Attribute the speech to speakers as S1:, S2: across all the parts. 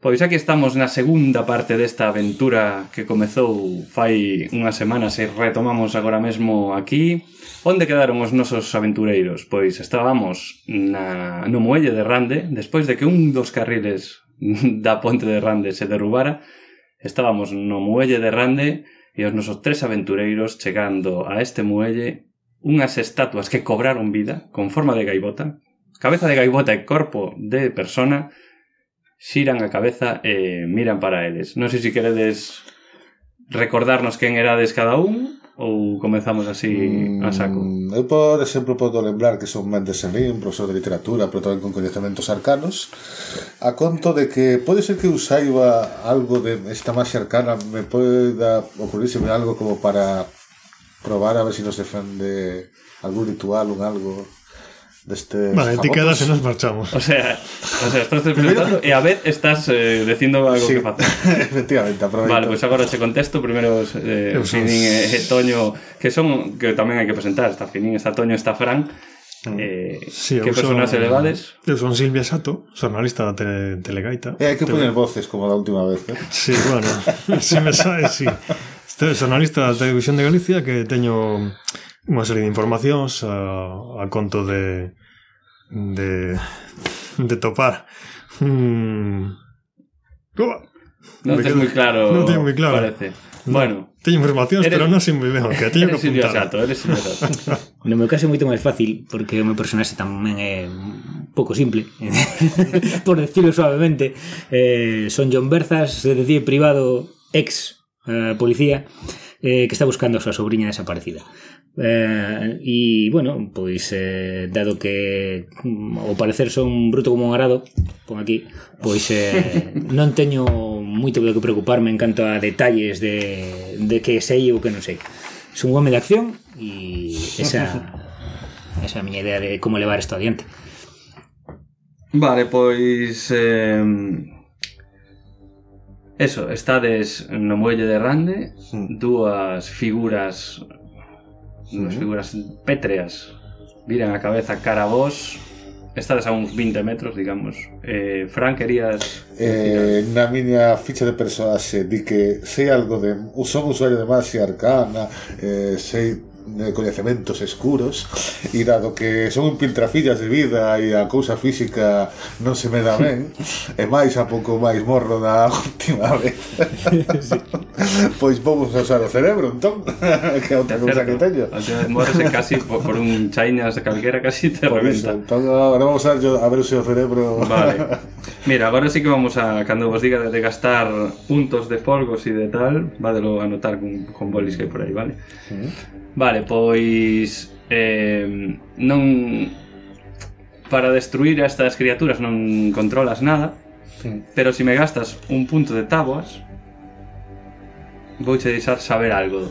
S1: Pois aquí estamos na segunda parte desta aventura que comezou fai unhas semanas e retomamos agora mesmo aquí. Onde quedaron os nosos aventureiros? Pois estábamos na, no muelle de Rande, despois de que un dos carriles da ponte de Rande se derrubara, estábamos no muelle de Rande e os nosos tres aventureiros chegando a este muelle unhas estatuas que cobraron vida con forma de gaivota, cabeza de gaivota e corpo de persona, xiran a cabeza e miran para eles. Non sei se queredes recordarnos quen erades cada un ou comezamos así a saco.
S2: Mm, Eu, por exemplo, podo lembrar que son Méndez Serrín, profesor de literatura, pero tamén con coñecementos arcanos, a conto de que pode ser que eu saiba algo de esta máxia arcana, me poida ocurrírseme algo como para probar a ver se si nos defende algún ritual, un algo deste...
S3: Vale, ti quedas e nos marchamos.
S1: O sea, o sea estás presentando e a vez estás eh, dicindo algo sí. que facer.
S2: Efectivamente, aproveito.
S1: Vale, pois agora che contesto primeiro eh,
S3: Eu son-
S1: Finín e, e Toño, que son que tamén hai que presentar, está Finín, está Toño, está Fran. Eh,
S3: Mm.
S1: sí,
S3: Sí, eu
S1: que
S3: son-
S1: personas elevades?
S3: Eu son Silvia Sato, xornalista da tele, Telegaita.
S2: E Eh, hai que poñer voces como da última vez, eh?
S3: Sí, bueno, se me sae, sí. Este xornalista da Televisión de Galicia que teño unha serie de informacións a, a conto de de de topar Mm. un Uah,
S1: Non
S3: Me
S1: tens
S3: quedo-
S1: moi claro.
S3: non teño moi claro.
S1: Parece. Bueno,
S3: teño informacións,
S1: Eres-
S3: pero non sei moi ben o que teño
S1: eres
S3: que
S1: Silvia
S3: apuntar.
S1: Sato, eres Silvia Sato.
S4: No meu caso é moito máis fácil porque o meu personaxe tamén é un pouco simple por decirlo suavemente eh, son John Berzas, detective privado ex eh, policía eh, que está buscando a súa sobrinha desaparecida eh, e bueno pois eh, dado que mm, ao parecer son un bruto como un arado pon aquí pois eh, non teño moito do que preocuparme en canto a detalles de, de que sei ou que non sei es un home de acción y esa esa é a miña idea de como levar isto adiante.
S1: Vale, pois eh, Eso, estades no muelle de Rande
S2: Mm.
S1: Dúas figuras Dúas
S2: Mm.
S1: figuras pétreas Viran a cabeza cara a vos Estades a uns 20 metros, digamos eh, Fran, querías...
S2: Eh, na miña ficha de personaxe di que sei algo de son usuario de magia arcana, eh, sei eh, coñecementos escuros e dado que son un piltrafillas de vida e a cousa física non se me dá ben e máis a pouco máis morro da última vez pois vamos a usar o cerebro entón que é outra cousa que teño
S1: Ao final morres e casi por, por un chainas de calquera Casi te
S2: Por
S1: reventa
S2: iso, entón agora vamos a, yo- a ver o seu cerebro
S1: Vale. Mira, agora sí que vamos a cando vos diga de gastar puntos de folgos e de tal, vádelo anotar con, con bolis que hai por aí, vale? Vale, pois eh, non para destruir a estas criaturas non controlas nada,
S2: Sí.
S1: pero se si me gastas un punto de táboas vouche deixar saber algo.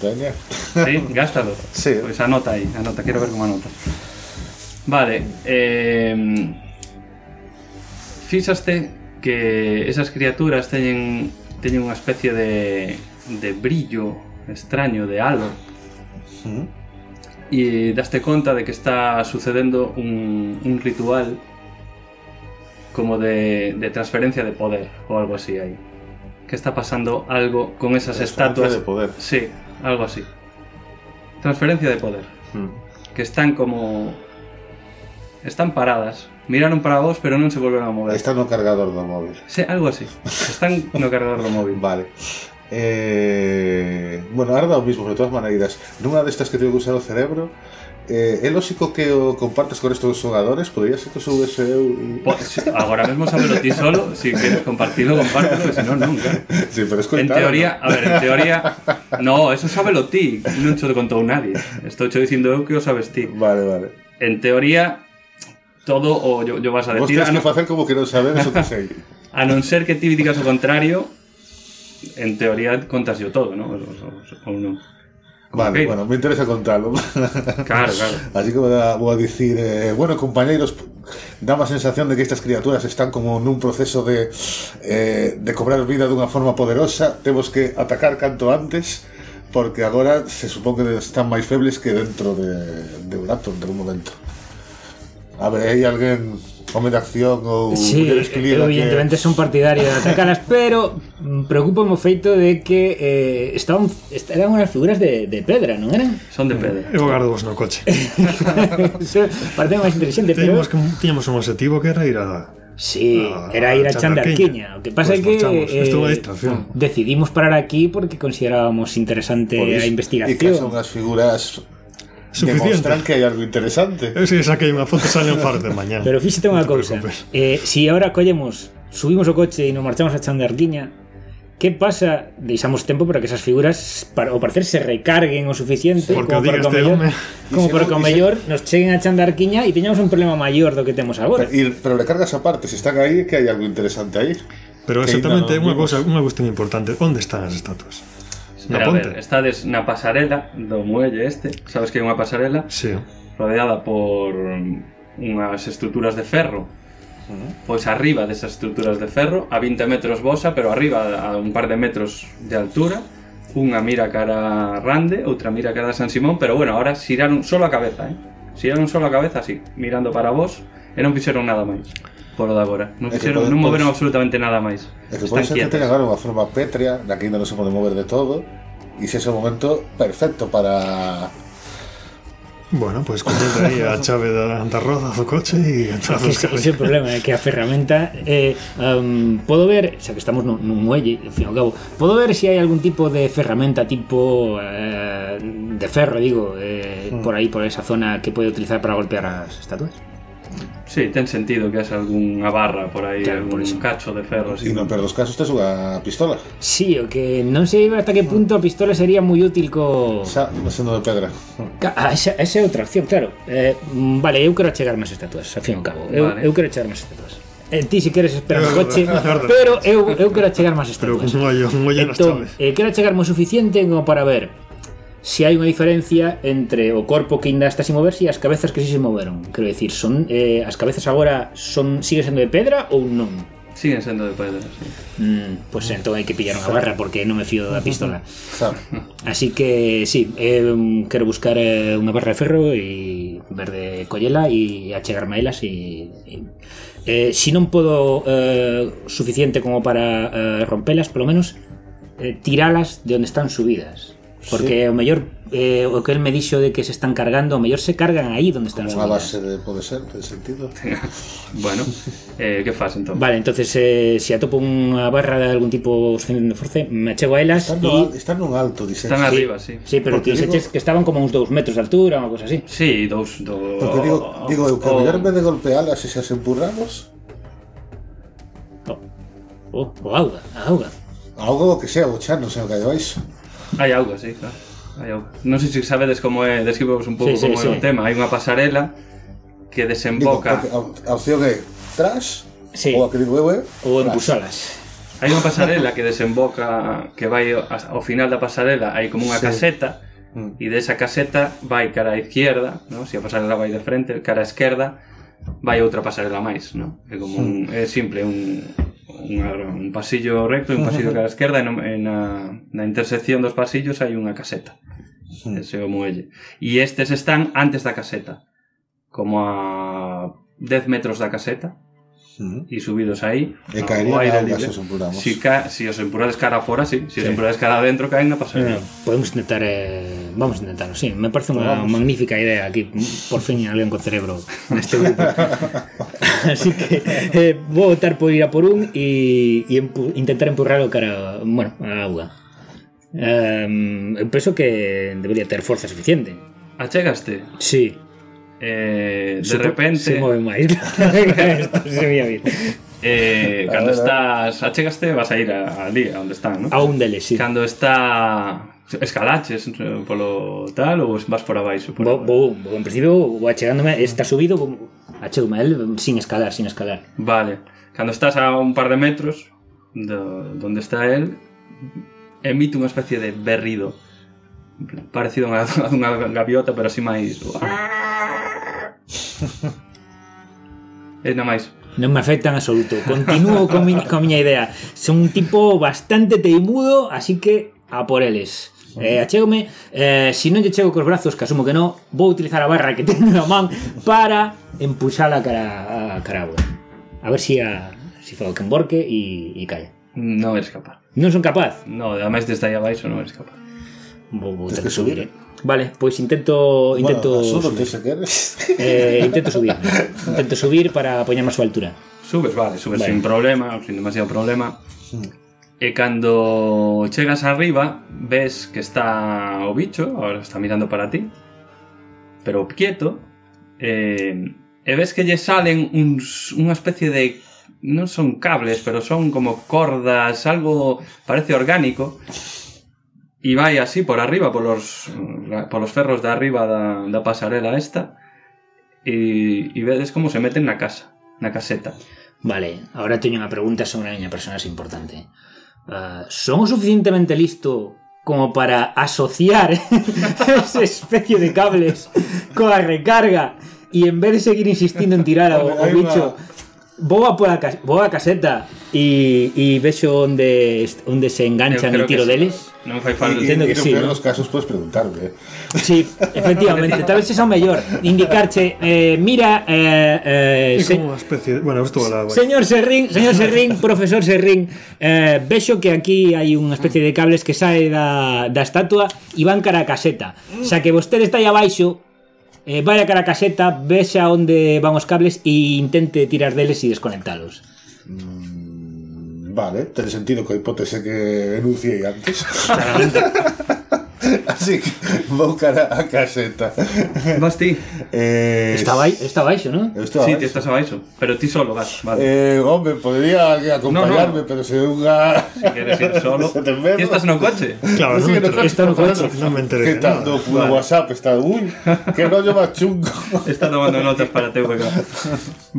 S2: Teña.
S1: Sí, gástalo.
S2: Sí.
S1: Pois anota aí, anota, quero ver como anota. Vale, eh, fixaste que esas criaturas teñen teñen unha especie de, de brillo extraño, de halo,
S2: Mm.
S1: e daste conta de que está sucedendo un, un ritual como de, de transferencia de poder ou algo así aí. Que está pasando algo con esas estatuas.
S2: Transferencia de poder.
S1: Sí, algo así. Transferencia de poder.
S2: Mm.
S1: Que están como... Están paradas. Miraron para vos, pero non se volveron a mover.
S2: Está no cargador do móvil.
S1: Sí, algo así. Están no cargador do móvil.
S2: Vale. Eh, bueno, ahora dá o mismo, de todas maneiras. Nunha destas que teño que usar o cerebro, eh, é lógico que o compartas con estos xogadores, podría ser que o soubese eu e...
S1: Po- si- Agora mesmo sabelo ti solo. Si queres compartirlo, compártelo. e Se non, nunca.
S2: Sí, pero
S1: En
S2: escoitado,
S1: teoría, a ver, en teoría... No, eso sabelo ti. Non te contou nadie. Estou che dicindo eu que o sabes ti.
S2: ¿no? Vale, vale.
S1: En teoría, todo o yo, yo vas a
S2: Vos
S1: decir... ah,
S2: tens que
S1: no,
S2: facer como que non sabedes o que sei.
S1: A non ser que ti digas o contrario, en teoría contas yo todo, ¿no? O, o, o non. Como
S2: Vale,
S1: que-
S2: bueno, me interesa contarlo.
S1: Claro, claro.
S2: Así que vou a- vou a dicir, eh, bueno, compañeiros, dá má sensación de que estas criaturas están como nun proceso de, eh, de cobrar vida dunha forma poderosa. Temos que atacar canto antes, porque agora se supón que están máis febles que dentro de, de un ato, de un momento. A ver, hai alguén home de acción
S3: Uh,
S2: ou
S4: Sí,
S2: mulleres que ligan
S4: evidentemente
S2: que...
S4: son partidarios de atacalas, pero mm, preocupa o feito de que eh, estaban, est- eran unas figuras de, de pedra, non eran?
S1: Son de pedra.
S3: Eu agardo vos no coche.
S1: Eh,
S4: Eso Parece máis inteligente, pero...
S3: Teñamos, que, Ah, teñamos un objetivo que era ir a...
S4: Sí,
S3: a-
S4: era ir a Chandarquiña. O que pasa é
S3: Pois Pues
S4: que
S3: marchamos.
S4: eh,
S3: Isto é unha distracción.
S4: decidimos parar aquí porque considerábamos interesante
S2: Por iso. E
S4: a
S2: que son
S4: investigación.
S2: as figuras demostran
S3: Suficiente.
S2: que hai algo interesante.
S3: Eu si saquei unha foto sale en far de mañá.
S4: Pero fíxate unha
S3: Non te
S4: cousa.
S3: preocupes.
S4: Eh, si ahora collemos, subimos o coche e nos marchamos a Chandarquiña, que pasa? Deixamos tempo para que esas figuras para, o parecer se recarguen o suficiente
S3: Porque o
S4: como para
S3: diga
S4: que o
S3: este
S4: mellor,
S3: home.
S4: como
S2: Dixemos-
S4: para que o
S2: dixe-
S4: mellor nos cheguen a Chandarquiña e teñamos un problema maior do que temos agora.
S2: Pero, y- pero recargas aparte, se están aí, que hai algo interesante aí.
S3: Pero
S2: Que
S3: exactamente
S2: ainda non
S3: unha
S2: vimos.
S3: cousa, unha cuestión importante. Onde están as estatuas?
S1: Pero, a
S3: Na ponte?
S1: ver, estades na pasarela do muelle este, sabes que é unha pasarela
S3: Sí.
S1: rodeada por mm, unhas estruturas de ferro. Pois arriba desas estruturas de ferro, a 20 metros bosa, pero arriba a un par de metros de altura, unha mira cara a Rande, outra mira cara a San Simón, pero bueno, ahora xiraron solo a cabeza, eh? Xiraron solo a cabeza así, mirando para vos, e non fixeron nada máis. Polo de agora, non,
S2: É E que
S1: fixeron,
S2: pode-
S1: non moveron
S2: pode-
S1: absolutamente nada máis.
S2: E que
S1: Están
S2: pode ser que
S1: quietas.
S2: tengan agora unha forma pétrea, na que ainda non se pode mover de todo, e se é o momento perfecto para...
S3: Bueno, pois pues, coñete aí a chave da, da roda do coche e entras
S4: Que
S3: os
S4: ese, ese é o
S3: carros.
S4: problema, é que a ferramenta eh, um, Podo ver, xa que estamos nun, nun muelle Al fin e ao cabo, podo ver se hai algún tipo de ferramenta Tipo eh, de ferro, digo eh, Por aí, por esa zona que pode utilizar para golpear as estatuas
S1: Sí, ten sentido que haxa algunha barra por aí,
S4: Claro,
S1: algún
S4: por iso.
S1: cacho de ferro así.
S2: E non perdo os casos, tes unha pistola.
S4: Sí, o que non sei hasta que punto a pistola sería moi útil co...
S2: Xa, sendo de pedra.
S4: Ca- ah, Esa, esa é outra opción, claro eh, mm, Vale, eu quero chegar máis estatuas, ao fin e ao cabo Eu,
S1: Vale.
S4: eu quero chegar máis estatuas Eh, ti si queres esperar o coche
S3: Claro.
S4: Pero eu, eu quero chegar máis
S3: Pero
S4: estatuas
S3: con un ollo, un ollo nas
S4: Entón,
S3: chaves.
S4: eh, quero chegarmo o suficiente como para ver se hai unha diferencia entre o corpo que ainda está sin moverse e as cabezas que si se moveron. Quero dicir, son eh, as cabezas agora son sigue sendo de pedra ou non?
S1: Siguen sendo de pedra, sí.
S4: Mm, pois entón hai que pillar unha barra porque non me fío da pistola.
S2: Xa,
S4: Así que sí, eh, quero buscar eh, unha barra de ferro e ver de collela e achegarme a elas e, e eh, si non podo eh, suficiente como para eh, rompelas, polo menos eh, tiralas de onde están subidas. Porque o mellor eh, o que el me dixo de que se están cargando, o mellor se cargan aí onde están
S2: unha
S4: subidas.
S2: base de pode ser, de sentido.
S1: Bueno, eh, que fas entón?
S4: Vale, entonces eh, se atopo unha barra de algún tipo de force, me achego a elas
S2: Están,
S4: e...
S2: no, están nun alto, dixen.
S1: Están arriba, sí.
S4: Sí, pero
S2: Porque
S4: que,
S2: digo-
S4: digo... que estaban como a uns dous metros de altura ou cosa así.
S1: Sí, dous... Do...
S2: Porque digo,
S1: Oh.
S2: digo eu que
S1: o-
S2: o... de golpealas e se as empurramos,
S4: Oh, oh, o auga, a auga.
S2: algo que sea, o chan, non sei o que hai baixo.
S1: Hai auga, sí, claro. Hai auga. Non sei se sabedes como é, describos un pouco
S4: Sí, sí,
S1: como é
S4: sí.
S1: o tema. Hai unha pasarela que
S2: Digo,
S1: desemboca...
S2: porque a, a opción é tras,
S4: Sí.
S2: ou a que digo eu é
S4: Ou en
S2: tras.
S4: busalas.
S1: Hai unha pasarela que desemboca, que vai a- ao final da pasarela, hai como unha
S2: Sí.
S1: caseta,
S2: Mm.
S1: e desa caseta vai cara a izquierda, ¿no? se a pasarela vai de frente, cara a esquerda, vai outra pasarela máis, ¿no? É como un, é simple, un, un, un pasillo recto e un pasillo cara a esquerda, e no- e na, na intersección dos pasillos hai unha caseta, ese é o muelle. E estes están antes da caseta, como a 10 metros da caseta,
S2: Mm.
S1: e subidos aí,
S2: E
S1: ao
S2: caerían
S1: aire
S2: a auga
S1: libre.
S2: se os empuramos.
S1: Si, ca si os empurades cara fora, sí. Si os empurades cara adentro, caen na pasarela.
S4: Podemos intentar, eh, vamos a intentarlo, sí. Me parece unha
S2: Vamos.
S4: magnífica idea aquí. Por fin alguén con cerebro neste grupo. Así que eh, vou votar por ir a por un e, e empu intentar empurralo cara, bueno, a auga. Um, eu penso que debería ter forza suficiente.
S1: Achegaste.
S4: Sí.
S1: Eh, de
S4: Supo-
S1: repente,
S4: se move máis. Isto se veía bien.
S1: eh, cando
S2: A ver,
S1: estás... Achegaste, vas a ir a- ali, a onde están, ¿no?
S4: A un deles, Ah, sí.
S1: Cando está... Escalaches eh, polo tal ou vas por abaixo? Por
S4: Vou, vou, vou, en principio, vou achegándome, está subido, vou, achegándome a él sin escalar, sin escalar.
S1: Vale. Cando estás a un par de metros do, donde está el, emite unha especie de berrido parecido a unha, a unha gaviota, pero así máis... É nada máis.
S4: Non me afecta en absoluto. Continúo con, mi, con miña idea. Son un tipo bastante teimudo, así que a por eles. Eh, achégome, eh, se non lle chego cos brazos, que asumo que non, vou utilizar a barra que teño na man para empuxala cara a cara a agua. A ver si a si fago que emborque e, e calla.
S1: No eres capaz.
S4: Non son capaz.
S1: No, además desde ahí abajo no eres capaz.
S4: Vou, vou
S2: Tens
S4: ter
S2: que
S4: que subir,
S2: subir.
S4: eh. Vale, pois intento intento
S2: Bueno, solo
S4: subir.
S2: te se queres.
S4: Eh, intento subir. Intento subir para poñerme a súa altura.
S1: Subes, vale, subes Hmm.
S4: Vale.
S1: sin problema, sin demasiado problema. E cando chegas arriba, ves que está o bicho, ahora está mirando para ti, pero quieto, eh, e ves que lle salen uns, unha especie de non son cables, pero son como cordas, algo parece orgánico, e vai así por arriba, polos, polos ferros de arriba da, da pasarela esta, e, e vedes como se meten na casa, na caseta.
S4: Vale, agora teño unha pregunta sobre a miña personaxe importante. Ah, son o suficientemente listo como para asociar esa especie de cables coa recarga e en vez de seguir insistindo en tirar ao, ao
S2: Aí va.
S4: bicho vou a, pola cas vou a caseta e, e vexo onde, est- onde se enganchan
S1: Eu
S4: e
S1: creo
S4: tiro
S1: que sí.
S4: deles
S1: Non fai
S2: Y,
S1: falta.
S2: y,
S4: Entiendo que
S2: en
S4: sí,
S2: peor
S4: ¿no?
S2: los casos puedes ¿eh? preguntarme.
S4: Sí, efectivamente, tal vez é o mellor indicarche, eh, mira eh, eh,
S3: É
S4: se,
S3: como E unha especie de... Bueno, isto va a la...
S4: Señor Serrín, señor Serrín, profesor Serrín, eh, vexo que aquí hai unha especie de cables que sae da, da estatua e van cara a caseta. Xa que vostede está aí abaixo, eh, vai a cara a caseta, vexa onde van os cables e intente tirar deles e desconectalos.
S2: Mm, Vale, tiene sentido que a hipótese que enuncié antes. Así que vou cara a caseta.
S1: Vas ti.
S2: Eh,
S4: Está, bai, está baixo, non?
S2: eu estaba
S1: Sí,
S2: baixo.
S1: ti estás abaixo, pero ti solo vas, vale.
S2: Eh, hombre, podría
S1: No,
S2: acompañarme,
S1: no.
S2: pero se unha...
S1: Si queres ir solo.
S2: Se te enferma.
S1: Ti estás no coche.
S3: Claro,
S2: Así
S3: non
S2: que
S3: me
S2: no
S3: enteré.
S2: creo que
S4: Está no
S2: estamos
S4: coche.
S2: hablando.
S3: No me enteré
S2: ¿Qué
S3: de
S2: tal?
S3: nada.
S2: No, fue WhatsApp está... Uy, qué rollo más chungo.
S1: Está tomando notas para teu pecado.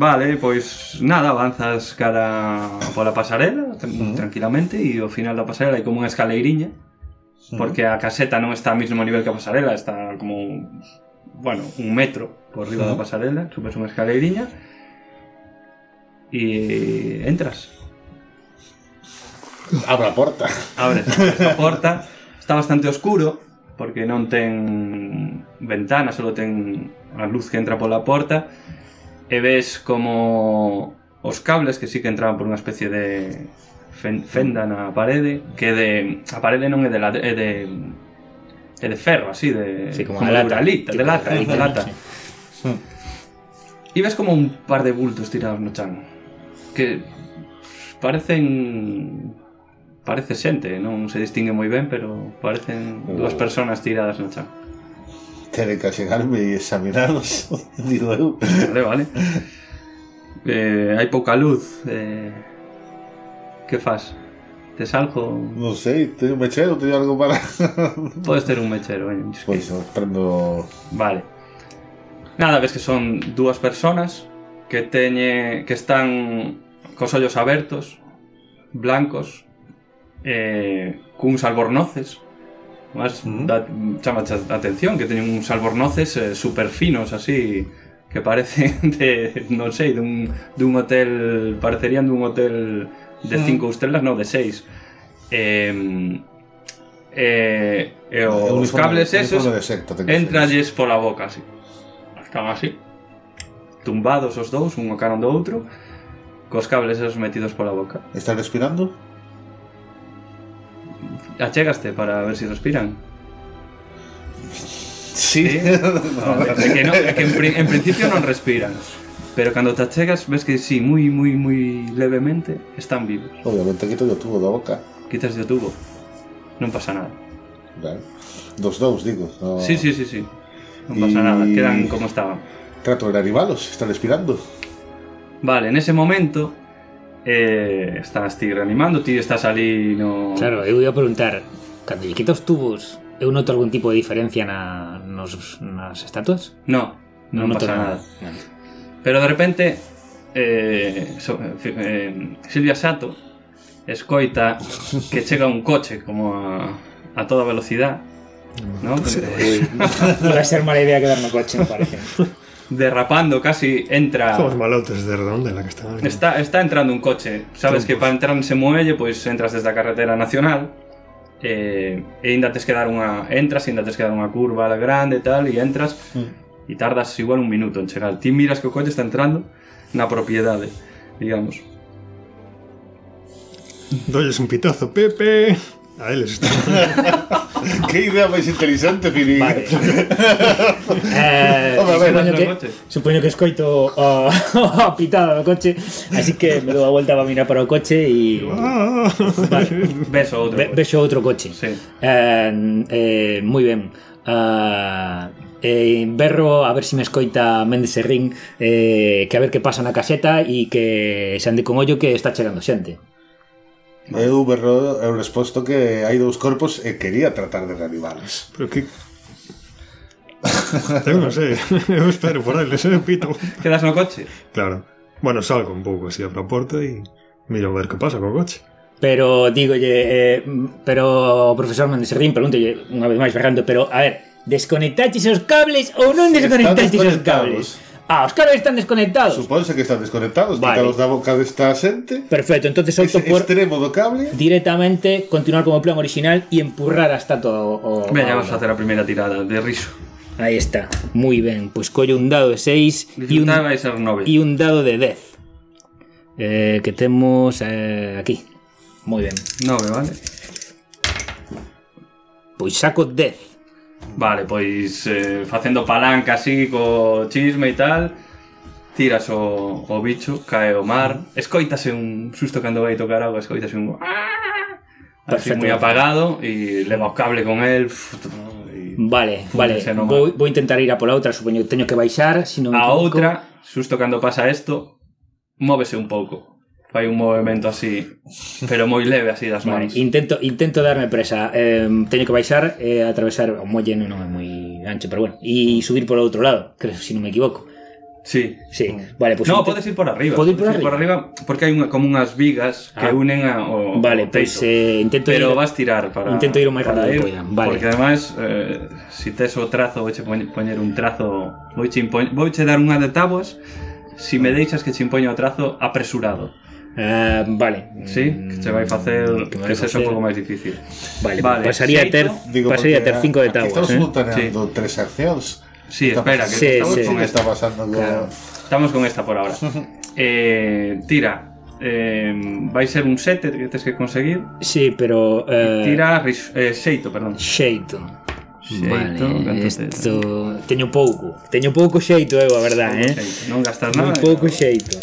S1: Vale, pois nada, avanzas cara pola pasarela tran- tranquilamente e ao final da pasarela hai como unha escaleiriña porque a caseta non está ao mesmo nivel que a pasarela, está como un- bueno, un metro por riba da pasarela, subes unha escaleiriña e entras.
S2: Abra a porta.
S1: Abres a porta, está bastante oscuro porque non ten ventana, solo ten a luz que entra pola porta e ves como os cables que sí que entraban por unha especie de fen- fenda na parede que de, a parede non é de, la, é de é de ferro, así, de,
S4: Sí, como
S1: de
S4: de lata.
S1: uralita, de
S4: Tipo de
S1: lata, de
S4: uralita,
S1: lata.
S4: sí.
S1: E ves como un par de bultos tirados no chan que parecen parece xente, non se distingue moi ben, pero parecen
S2: Oh.
S1: dúas persoas tiradas no chan.
S2: Tiene que llegarme y examinarlos. Digo, eu.
S1: Vale, vale. Eh, hai pouca luz. Eh, que fas? Te salgo?
S2: No sé, ¿tengo un mechero? ¿Tengo algo para...?
S1: Podes ter un mechero, veña, que-
S2: Pois pues, prendo...
S1: Vale. Nada, ves que son dúas persoas que teñe que están cos ollos abertos, blancos, eh, cuns albornoces. Mas
S2: Mm.
S1: da, chama a atención que teñen uns albornoces eh, super finos así que parecen de, non sei, dun, dun hotel, parecerían dun hotel de
S2: Mm.
S1: cinco estrelas, non, de seis. Eh, eh, e os
S2: Uniforme-
S1: cables esos
S2: uniforme de secta, ten que ser.
S1: Entralles pola boca así. Están así. Tumbados os dous, un o carón do outro, cos cables esos metidos pola boca.
S2: ¿Están respirando?
S1: Achegaste para ver se si respiran.
S2: Sí.
S1: Vale, é que, no, é que en, pri- en principio non respiran. Pero cando te achegas ves que sí, moi, moi, moi levemente están vivos.
S2: Obviamente quito yo tubo da boca.
S1: Quitas o tubo. Non pasa nada.
S2: Vale. Dos dous, digo. No...
S1: Sí, sí, sí, sí. Non pasa
S2: Y-
S1: nada, quedan como estaban.
S2: Trato de animalos, están respirando.
S1: Vale, en ese momento eh, estás ti reanimando, ti estás ali no...
S4: Claro, eu ia preguntar, cando lle quita os tubos, eu noto algún tipo de diferencia na, nos, nas estatuas?
S1: No, non,
S4: noto
S1: pasa nada.
S4: Vale.
S1: Pero de repente eh, so, fi- eh, Silvia Sato escoita que chega un coche como a, a toda velocidad ¿no?
S2: pues
S4: Iba a ser mala idea quedar no coche, me parece.
S1: derrapando casi entra
S3: Somos malotes de redonda la que está.
S1: pois está, está entrando un coche sabes que para entrar en ese muelle pues entras desde a carretera nacional eh, e ainda tes que dar unha entras, e ainda tes que dar unha curva grande e tal, e entras
S4: Mm.
S1: e tardas igual un minuto en chegar. Ti miras que o coche está entrando na propiedade, digamos.
S3: Dolles un pitazo, Pepe. A él está.
S2: Qué idea más interesante, Piri.
S4: Vale. Eh,
S2: Home, a
S1: outro
S2: ver,
S4: supoño, que,
S1: coche.
S4: supoño que escoito a, a pitada do coche Así que me dou a volta para mirar para o coche E
S3: Ah.
S1: Ves o outro. coche.
S4: ve, vexo outro coche
S1: Sí.
S4: eh, eh, Moi ben Ah, eh, Berro a ver se si me escoita Méndez Serrín eh, Que a ver que pasa na caseta E que se ande con ollo que está chegando xente
S2: Eu berro, eu resposto que hai dous corpos e quería tratar de reanimalos.
S3: Pero que. Eu non sei, eu espero por eles, eh, pito.
S1: Quedas no coche?
S3: Claro. Bueno, salgo un pouco así a porta e miro a ver que pasa co coche.
S4: Pero dígolle, eh, mm, pero o profesor Méndez Serrín pregúntolle unha vez máis berrando, pero a ver, desconectaches os cables ou non desconectaches os cables? Ah, os cables están desconectados.
S2: Supónse que están desconectados,
S4: Vale.
S2: vale. quitados da boca desta xente.
S4: Perfecto, entonces
S2: Ese
S4: opto por
S2: extremo do cable.
S4: directamente continuar como plan original y empurrar hasta todo o, o-
S1: Veña, vamos a hacer a primeira tirada de riso.
S4: Ahí está. Muy bien, pues collo un dado de 6 y un,
S1: Dificultad vai ser 9.
S4: y un dado de 10. Eh, que tenemos eh, aquí. Muy bien.
S1: 9, vale?
S4: Pues saco 10.
S1: Vale, pois eh, facendo palanca así co chisme e tal Tiras o, o bicho, cae o mar Escoítase un susto cando vai tocar agua Escoítase un... Así
S4: Perfecto.
S1: moi apagado E leva o cable con el fut, e
S4: Vale,
S1: Fúndese
S4: vale.
S1: no mar.
S4: Vou, vou intentar ir a pola outra, supoño que teño que baixar, se non me
S1: A
S4: equivoco.
S1: outra, susto cando pasa isto Móvese un pouco Fai un movimento así Pero moi leve así das
S4: Vale,
S1: mans
S4: intento, intento darme presa. Eh, teño que baixar, eh, atravesar o muelle non non é moi ancho, pero bueno, e subir por outro lado, creo, se non me equivoco.
S1: Sí
S4: Sí, vale, pues
S1: Mm. No,
S4: inte-
S1: podes ir por arriba
S4: Podo ir por
S1: podes ir por arriba Porque hai unha, como unhas vigas Que
S4: Ah.
S1: unen a, o,
S4: Vale,
S1: o
S4: pois
S1: teito.
S4: eh, intento
S1: Pero
S4: ir...
S1: vas tirar para...
S4: Intento ir o máis
S1: para
S4: rápido
S1: ir,
S4: que poida, vale.
S1: Porque ademais, eh, si tes o trazo, vouche poñ- poñer un trazo... Vouche, impo- vouche dar unha de tabuas, si me deixas que che impoño o trazo apresurado.
S4: Ah, vale. Mm,
S1: Sí? Que che vai facer...
S4: Que me
S1: Que
S4: vai
S1: sexa
S4: facer-
S1: un pouco máis difícil.
S4: Vale,
S1: Vale,
S4: pasaría a ter,
S1: xeito,
S2: Digo,
S4: pasaría a
S2: porque
S4: ter 5 de
S2: aquí
S4: tabuas,
S2: Estamos
S4: eh.
S2: simultaneando tres accións.
S1: Sí,
S2: Está
S1: espera, que
S2: pasando-
S4: Sí,
S1: estamos
S4: sí.
S1: con
S2: que
S1: esta.
S2: está pasando con...
S4: Claro.
S1: Estamos con esta por ahora. Eh, tira. Eh, vai ser un 7 que tes que conseguir.
S4: Sí, pero eh,
S1: Tira ris- eh, xeito, perdón.
S4: xeito.
S1: Xeito,
S4: vale,
S1: canto
S4: isto teño pouco. Teño pouco xeito, eu, a verdade, eh.
S1: Xeito, Non gastas
S4: Moi
S1: nada. eh?
S4: pouco xeito.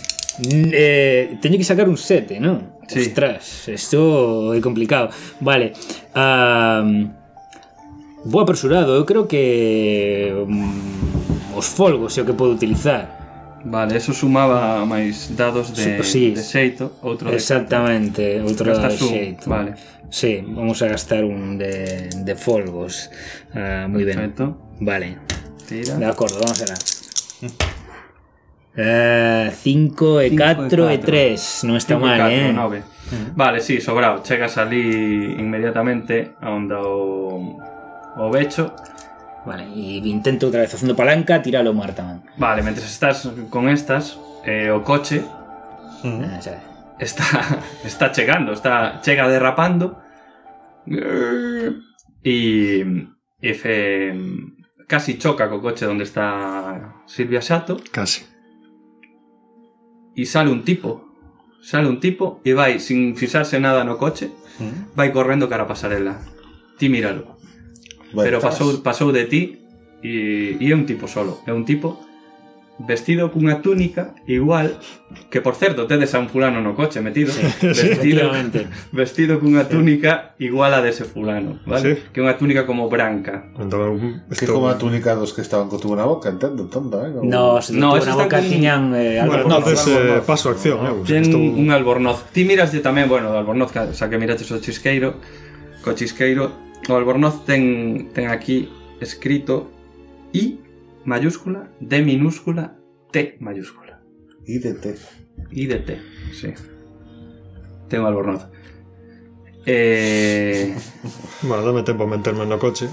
S4: N- Eh, teño que sacar un 7, non?
S1: Sí.
S4: Ostras, isto é complicado. Vale. Um, vou apresurado, eu creo que mm, os folgos é o que podo utilizar.
S1: Vale, eso sumaba máis dados de,
S4: Sí, sí.
S1: de xeito, outro de
S4: Exactamente, outro lado de
S1: Gastas un,
S4: xeito.
S1: vale.
S4: Sí, vamos a gastar un de, de folgos. Ah, moi ben.
S1: Perfecto.
S4: Vale,
S1: Tira.
S4: de acordo, vamos alá. 5 e
S1: Cinco e
S4: 4 e
S1: catro.
S4: 3 Non está
S1: Cinco e
S4: mal,
S1: catro,
S4: eh
S1: nove. Vale, sí, sobrado. Chegas ali inmediatamente a onda o, o becho.
S4: Vale, e intento outra vez facendo palanca Tiralo mar tamén
S1: Vale, mentres estás con estas, eh, o coche
S4: Ah, xa.
S1: está está chegando, está chega derrapando. E e fe, casi choca co coche onde está Silvia Sato.
S3: Casi.
S1: e sale un tipo. Sale un tipo e vai sin fixarse nada no coche, vai correndo cara a pasarela. Ti míralo.
S2: Bueno,
S1: Pero pasou pasou de ti e, e é un tipo solo, é un tipo vestido cunha túnica igual que por certo tedes a un fulano no coche metido, vestido
S4: Efectivamente
S1: vestido cunha túnica igual a dese fulano, vale?
S3: Sí.
S1: Que é unha túnica como branca.
S3: Entón,
S2: Que
S3: estou...
S2: como a túnica dos que estaban co tubo na boca, entendo, tonta, eh?
S4: No, se
S1: No,
S4: no,
S1: ese
S4: na
S1: está
S4: boca
S1: con-
S4: tiñan eh,
S3: Bueno,
S4: algo
S3: entonces
S2: algo
S3: eh,
S2: más.
S3: paso a acción, eu.
S1: Ten
S3: estou...
S1: un albornoz. Ti miraslle tamén, bueno, o albornoz, ca- xa que miraches o chisqueiro, co chisqueiro, o albornoz ten, ten aquí escrito I mayúscula, D minúscula, T mayúscula.
S2: Ídete.
S1: I de T, sí. Ten o albornoz. Eh,
S3: Bueno, dame tempo a meterme no coche.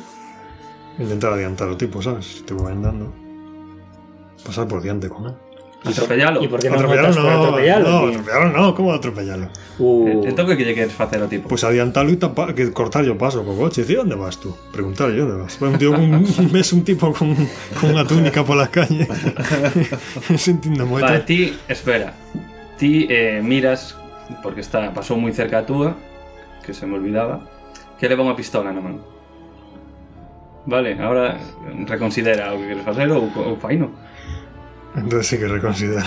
S3: Intentar adiantar o tipo, sabes? Te vou andando. Pasar por diante con él.
S1: Atropellalo.
S4: ¿Y por qué no
S3: Atropellarlo
S4: notas por
S3: no,
S4: atropellarlo?
S3: no,
S4: tío?
S3: atropellarlo no, ¿cómo atropellarlo?
S4: Uh,
S1: Entón que lle queres facer o tipo?
S3: Pues adiantalo y tapa, que cortarlle o paso co coche. Dicir, onde vas tú? Preguntarlle onde vas. Vai un tío cun, ves un tipo con, con unha túnica pola calle sentindo moito.
S1: Vale, ti, espera. Ti eh, miras, porque está pasou moi cerca a túa, que se me olvidaba, que leva unha pistola na man. Vale, ahora reconsidera o que queres facer ou, ou faino.
S3: Entonces sí que reconsidero.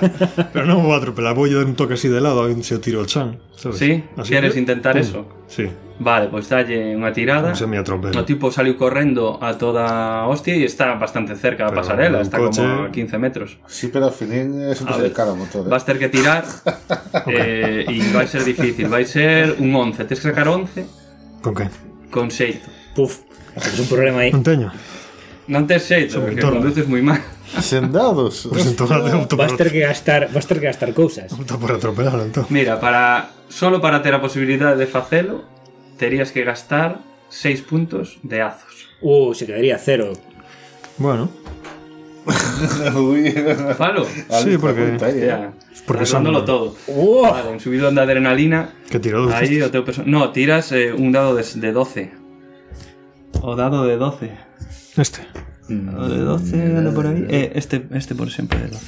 S3: Pero non vou atropelar, vou lle dar un toque así de lado e se o tiro o chan, sabes?
S1: Sí? Queres intentar
S3: pum,
S1: eso?
S3: Sí,
S1: Vale, pois dalle unha tirada.
S3: un semiatropelo.
S1: O tipo saliu correndo a toda hostia e está bastante cerca da
S3: Pero
S1: pasarela,
S3: un
S1: está
S3: coche-
S1: como a 15 metros.
S2: Sí, pero al final es un
S1: A
S2: de
S1: ver,
S2: cara motor. ¿eh?
S1: Vas ter que tirar eh, e vai ser difícil, vai ser un 11, tes que sacar 11
S3: Con que?
S1: con xeito.
S4: puf, es un problema ahí.
S3: Non teño.
S1: Non tes xeito,
S3: Sobre
S1: porque
S3: todo.
S1: conduces moi mal.
S2: Sendados.
S3: Pues entón, opto por,
S4: Vas ter que gastar, vas ter que gastar cousas.
S3: opto por atropelar, entón.
S1: Mira, para solo para ter a posibilidade de facelo, terías que gastar 6 puntos de azos.
S4: Uh, se quedaría cero.
S3: Bueno,
S2: Uy,
S1: Falo.
S2: Alex,
S3: porque-
S2: la cuenta ahí, ¿eh?
S1: Ya,
S3: Porque
S1: porque
S3: son-
S1: todo.
S4: Uh,
S1: Vale, un subidón de adrenalina
S3: que tiro dulces.
S1: Aí o teu perso... No, tiras eh, un dado de, de 12. O dado de 12.
S3: Este.
S1: O
S4: mm,
S1: de 12, anda por aí. Eh, este, este, por exemplo, de 12.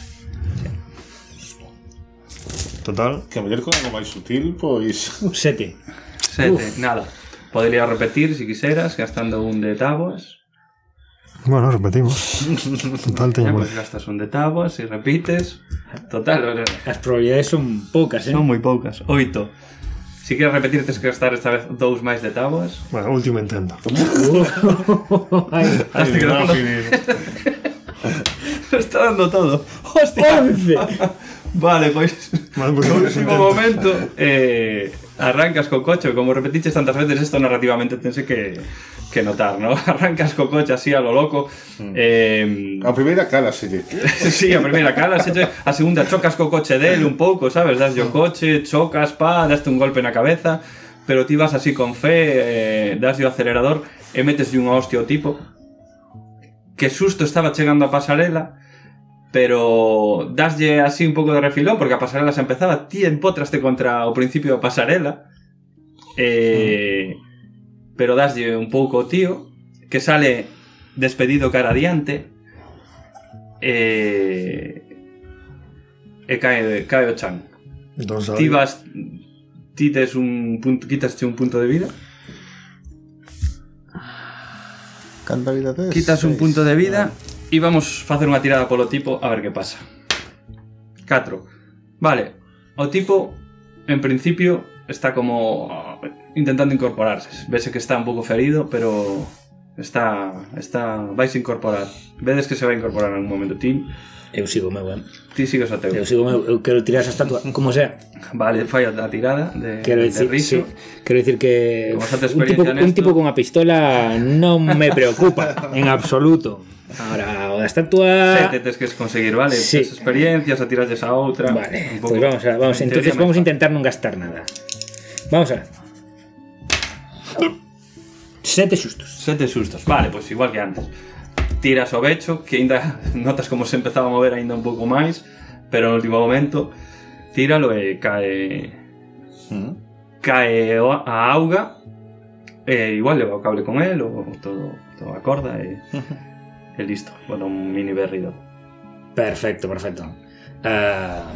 S3: Total,
S2: Que a mellor con algo máis sutil, pues, pois...
S4: sete.
S1: 7, nada. Podería repetir, se quixeras, gastando un de táboas.
S3: Bueno, repetimos. Total,
S1: Ya,
S3: teño moi.
S1: pues gastas un de táboas e repites. Total, o sea,
S4: As probabilidades son poucas, eh?
S1: son moi poucas. 8. Si queres repetir, tens que gastar esta vez dous máis de táboas.
S3: Bueno, último intento.
S4: Uh, ay,
S1: Has
S2: Ay,
S1: que
S2: no,
S1: no,
S2: Filipe.
S1: está dando todo. Hostia.
S4: once.
S1: Vale, pois...
S3: Vale, pues,
S1: No
S3: último
S1: último
S3: intento.
S1: momento eh, arrancas co coche, como repetiches tantas veces isto narrativamente tense que, que notar, ¿no? Arrancas co coche así a lo loco.
S3: Mm.
S1: Eh,
S2: A primeira cara, se lle.
S1: sí, a primeira cala, seche, a segunda chocas co coche del un pouco, sabes? Daslle o coche, chocas, pa, daste un golpe na cabeza, pero ti vas así con fe, eh, daslle o acelerador e meteslle unha hostia ao tipo que susto estaba chegando a pasarela pero daslle así un pouco de refilón porque a pasarela se empezaba ti empotraste contra o principio da pasarela eh, pero daslle un pouco o tío que sale despedido cara adiante e e Eh, cae, cae o chan
S3: Entón, sabe,
S1: ti vas ti tes un punto, quitaste un punto de vida
S2: Canta vida tes?
S1: Quitas un punto de vida e vamos facer unha tirada polo tipo a ver que pasa. 4. Vale, o tipo en principio está como ah, intentando incorporarse. Vese que está un pouco ferido, pero está está vais a incorporar. Vedes que se vai a incorporar en algún momento ti.
S4: Eu sigo meu, eh?
S1: Ti sigues o teu.
S4: Eu sigo meu, eu quero tirar esa estatua, como sea.
S1: Vale, falla a tirada de,
S4: Quero
S1: Eh, de
S4: decir,
S1: riso.
S4: sí, quero decir que
S1: Con bastante
S4: un tipo,
S1: experiencia en
S4: un
S1: esto.
S4: tipo con una pistola no me preocupa en absoluto. Ahora, o la estatua...
S1: Sete tes que conseguir, vale?
S4: Ah. Sí.
S1: Tes experiencias, a tiralles a outra.
S4: Vale,
S1: un pouco-
S4: pues vamos a, vamos,
S1: en teoría
S4: entonces vamos a
S1: máis
S4: intentar no gastar nada. Vamos a ver. Sete sustos.
S1: Sete sustos. Vale, pois igual que antes. Tiras o becho, que ainda notas como se empezaba a mover ainda un pouco máis, pero no último momento tíralo e cae
S2: ¿Mm?
S1: cae o- a auga e igual leva o cable con el ou todo, todo a corda e, e listo. Bueno, un mini berrido.
S4: Perfecto, perfecto. Ah,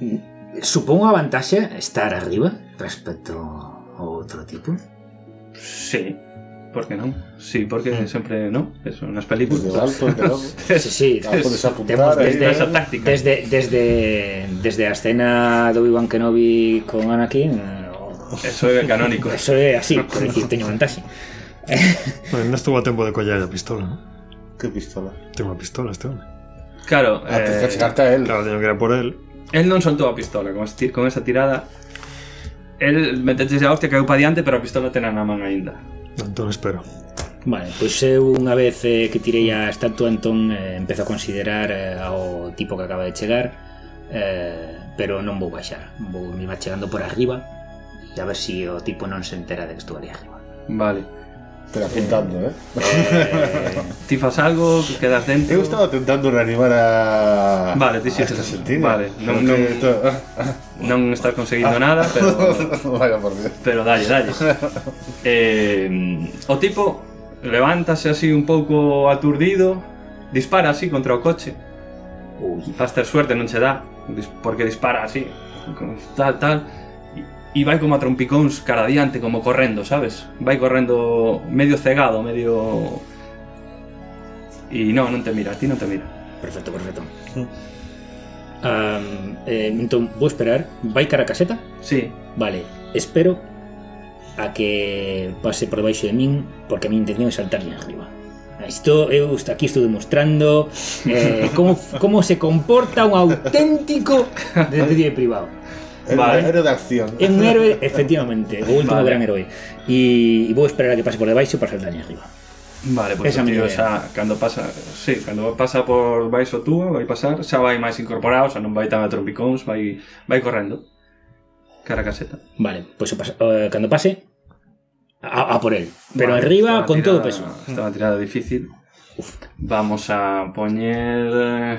S4: mm, supongo a vantaxe estar arriba respecto a outro tipo.
S1: Sí, por que non? Sí, porque sempre, non? Eso, nas películas.
S4: Pues
S2: Desde o Pues alto, claro.
S4: Sí, sí.
S2: Ah, podes apuntar
S4: Temos
S2: aí.
S4: desde,
S1: esa táctica.
S4: desde, desde, desde a escena do Obi-Wan Kenobi con Anakin, eh,
S1: Eso é canónico.
S4: eso é así, por decir, teño vantaxe.
S3: Bueno, non estuvo a tempo de collar a pistola, ¿no?
S2: Que pistola.
S3: Tengo unha pistola este hombre.
S1: Claro,
S2: Ah, tens
S1: eh,
S2: que chegarte a él.
S3: Claro, teño que ir a por él.
S1: El non soltou a pistola con, esti- con esa tirada. El meteches a hostia, caeu pa diante, pero a pistola tena na man aínda.
S3: Entón espero.
S4: Vale, pois eu unha vez eh, que tirei a estatua entón eh, empezo a considerar eh, ao tipo que acaba de chegar eh, pero non vou baixar vou me va chegando por arriba e a ver se si o tipo non se entera de que estou ali arriba
S1: Vale.
S2: Pero apuntando, ¿eh?
S4: Eh,
S1: Tifas algo, quedas dentro.
S2: Eu estaba tentando reanimar a...
S1: Vale, ti sí
S2: a esta
S1: te-
S2: sentina.
S1: vale, non-
S2: Pero que
S1: non-
S2: to-
S1: Non estás conseguindo nada, pero
S2: Vaya por Dios.
S1: pero dalle, dalle. Eh, o tipo levántase así un pouco aturdido, dispara así contra o coche. Vas ter suerte, non che dá, dis- porque dispara así, con- tal, tal, e e vai como a trompicóns cara adiante, como correndo, sabes? Vai correndo medio cegado, medio... E non, non te mira, a ti non te mira.
S4: Perfecto, perfecto. Ah, eh, entón, vou esperar. Vai cara a caseta?
S1: Sí,
S4: Vale, espero a que pase por baixo de min porque a miña intención é saltarlle arriba. Isto eu est- aquí estou demostrando eh, como, como se comporta un auténtico detective privado.
S2: Era,
S1: Vale.
S2: era de acción.
S4: É un héroe, efectivamente, o último
S1: Vale.
S4: gran heroe. E, e vou esperar a que pase por debaixo para saltarlle arriba.
S1: Vale, pois o
S4: Esa é a miña
S1: tío
S4: idea.
S1: xa, cando pasa, sí, cando pasa por baixo túa, vai pasar, xa vai máis incorporado, xa non vai tan a trompicóns, vai, vai correndo. Cara a caseta.
S4: Vale, pois o pas- eh, cando pase a, a por él, pero
S1: Vale,
S4: arriba
S1: estaba
S4: con todo o
S1: tirada-
S4: peso.
S1: Estaba unha tirada difícil.
S4: Uf,
S1: Vamos a poñer... eh,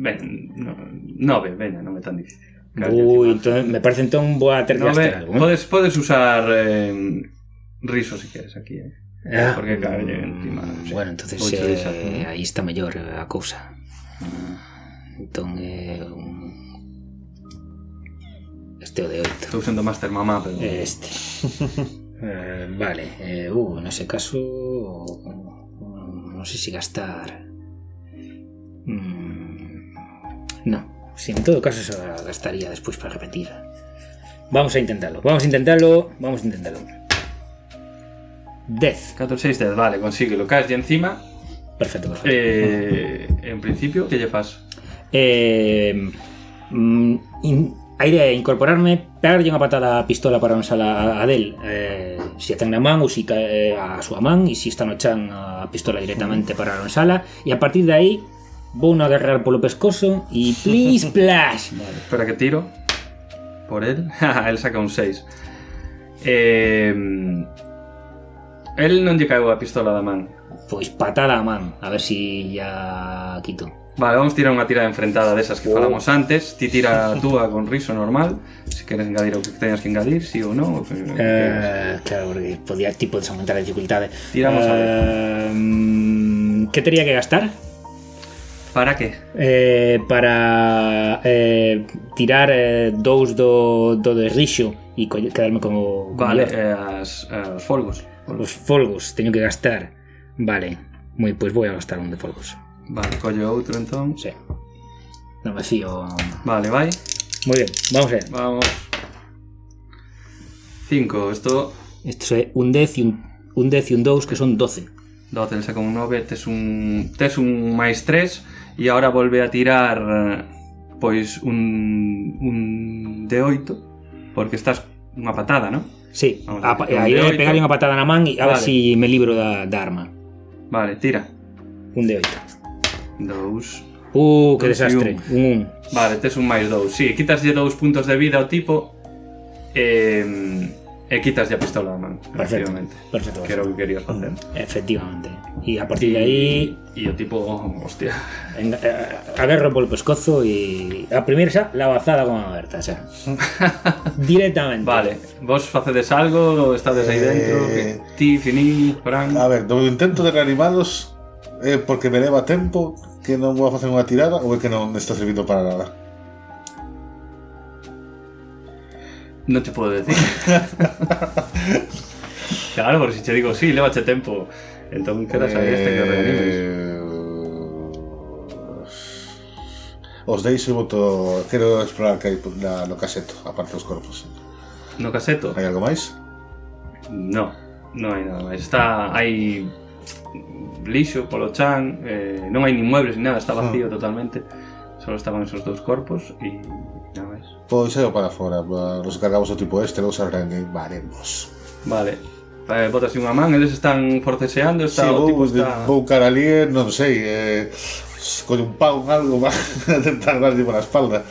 S1: Ben, no, nove, veña, non é tan difícil.
S4: Ui, entón, me parece entón vou a ter que
S1: nove,
S4: gastar algo. eh?
S1: podes, podes usar eh, riso se queres aquí, eh?
S4: Ah,
S1: Porque claro, lle
S4: mm,
S1: encima. sí.
S4: Bueno, entonces
S1: Oito
S4: eh,
S1: desa, ¿no? Mm.
S4: aí está mellor a cousa. Entón é un... Este é o de 8.
S1: Estou sendo master mamá, pero...
S4: Este. eh, vale, eh, uh, nese caso mm, non sei se gastar. Mm, no, si en todo caso se gastaría despois para repetir. Vamos a intentarlo, vamos a intentarlo, vamos a intentarlo. 10.
S1: 4, 6, 10, vale, consíguelo. Caes de encima.
S4: Perfecto, perfecto.
S1: Eh, en principio, que lle fas?
S4: Eh, mm, in- a idea é incorporarme, pegarlle unha patada á pistola para lanzala a, a del eh, se si a ten na man ou si cae eh, a súa man e se si está no chan a pistola directamente para lanzala e a partir de aí vou no agarrar polo pescozo e please splash
S1: Espera que tiro. Por él. Jaja, él saca un 6. Eh, él non lle caeu a pistola da man.
S4: pois patada a man a ver si ya quito
S1: Vale, vamos tirar unha tirada enfrentada desas
S4: Oh.
S1: que falamos antes. Ti tira a túa con riso normal. Si queres engadir o que teñas que engadir, si sí ou non. o que- o que queres.
S4: Eh, claro, porque podía tipo desaumentar a dificultade
S1: Tiramos a ver.
S4: Eh, mm, que tería que gastar?
S1: Para que?
S4: eh, para eh, tirar eh, dous do, do de rixo e colle- quedarme como como
S1: Vale,
S4: mellor.
S1: eh, as, as folgos.
S4: os folgos teño que gastar vale moi pois vou a gastar un de folgos
S1: Vale, collo outro entón.
S4: sí. non me fío
S1: Vale, vai.
S4: moi ben vamos a ver
S1: Vamos. 5. Esto,
S4: isto é un 10 e un, un 10 e un 2 que son 12
S1: 12, le saca un 9, tes un, tes un máis 3 e agora volve a tirar eh, pois un, un de 8 porque estás unha patada, non?
S4: Sí,
S1: Vamos
S4: a,
S1: a
S4: pa-
S1: ver, un
S4: a
S1: de
S4: idea é
S1: oito.
S4: pegarle unha patada na man e a ver
S1: Vale.
S4: si me libro da, da arma.
S1: Vale, tira.
S4: Un de 8.
S1: 2.
S4: Uh, que
S1: Dos e
S4: desastre. Un 1.
S1: Vale, tes un máis 2. Si, sí, quitaslle 2 puntos de vida ao tipo e, e quitaslle a pistola da man.
S4: Perfecto.
S1: efectivamente.
S4: Perfecto.
S1: Que era o que querías facer.
S4: Efectivamente. E a partir de aí
S1: E o tipo, oh, hostia.
S4: Venga, eh, agarro polo pescozo e a primeira xa la bazada con aberta xa. Directamente.
S1: Vale, vos facedes algo, estades aí dentro, que-
S2: Eh,
S1: ti, Fini, Fran...
S2: A ver, do intento de reanimalos é porque me leva tempo que non vou a facer unha tirada ou é que non está servindo para nada.
S1: Non te podo decir. claro, porque se te digo, sí, levache tempo. Entón, quedas aí este que o reanimes.
S2: Eh, Os deixo e voto... Quero explorar que hai na, no caseto, aparte dos corpos.
S1: No caseto?
S2: Hai algo máis?
S1: No, non hai nada máis. Está, hai lixo polo chan, eh, non hai ni muebles ni nada, está vacío
S2: Ah.
S1: totalmente. Solo estaban esos dous corpos e nada máis.
S2: Pois saio para fora, va, nos cargamos o tipo este, nos reanimaremos.
S1: Vale. Eh, botas unha man, eles están forceseando,
S2: Si,
S1: está o
S2: vou,
S1: tipo está...
S2: vou cara ali, non sei, eh, con un pau, algo, va a intentar darle por la espalda.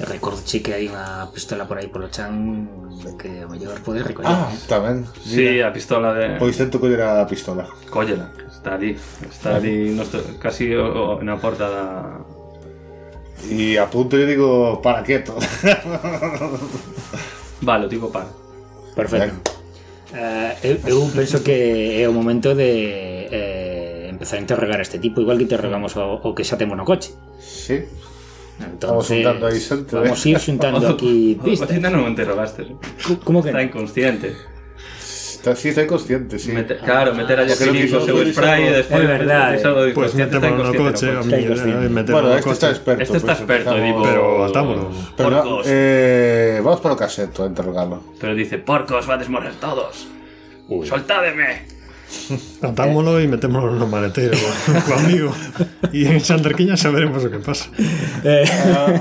S4: Recordo, sí, que hai unha pistola por aí polo chan que a mellor pode recoller.
S2: Ah,
S4: eh.
S2: tamén.
S1: Sí, a pistola de...
S2: Pois tento coller a este pistola.
S1: Cóllela, está ali, está ali no, está- casi o, o- na porta da...
S2: E apunto e digo, para quieto.
S1: Vale, o tico para.
S4: Perfecto. Eh, eu, eu penso que é o momento de eh, empezar a interrogar a este tipo, igual que interrogamos o, o que xa temos no coche.
S2: sí. Vamos
S4: Entonces,
S2: xuntando aí xente, eh.
S4: Vamos ir xuntando aquí
S1: O- o-
S4: pistas.
S1: O Tinder non me interrogaste.
S4: Co- Como que
S1: Está
S4: non?
S1: inconsciente.
S2: Está, sí, está inconsciente, sí.
S1: Mete- claro, meter allá
S2: Ah, creo
S1: o
S2: que
S1: seu
S2: inconsciente
S1: spray e
S2: es
S1: despois...
S4: verdad,
S1: metes algo de
S3: Pues
S1: inconsciente, está
S3: metémoslo no
S1: inconsciente no
S3: coche, a
S1: coche.
S3: mi eh, idea
S4: Está inconsciente.
S3: es meterlo
S2: Bueno,
S3: no
S2: este
S3: coche.
S2: está experto.
S1: Este está
S2: por eso
S1: experto,
S2: empezamos-
S1: digo...
S3: Pero atámonos.
S2: Pero no,
S1: Porcos.
S2: eh, vamos para o caseto a interrogarlo.
S1: Pero dice, porcos, vades morrer todos.
S3: Pues
S4: Ui.
S1: Soltádeme.
S3: Atámoslo y metémoslo en un maletero conmigo. Y en Chanderquiña ya veremos lo que pasa.
S4: Eh,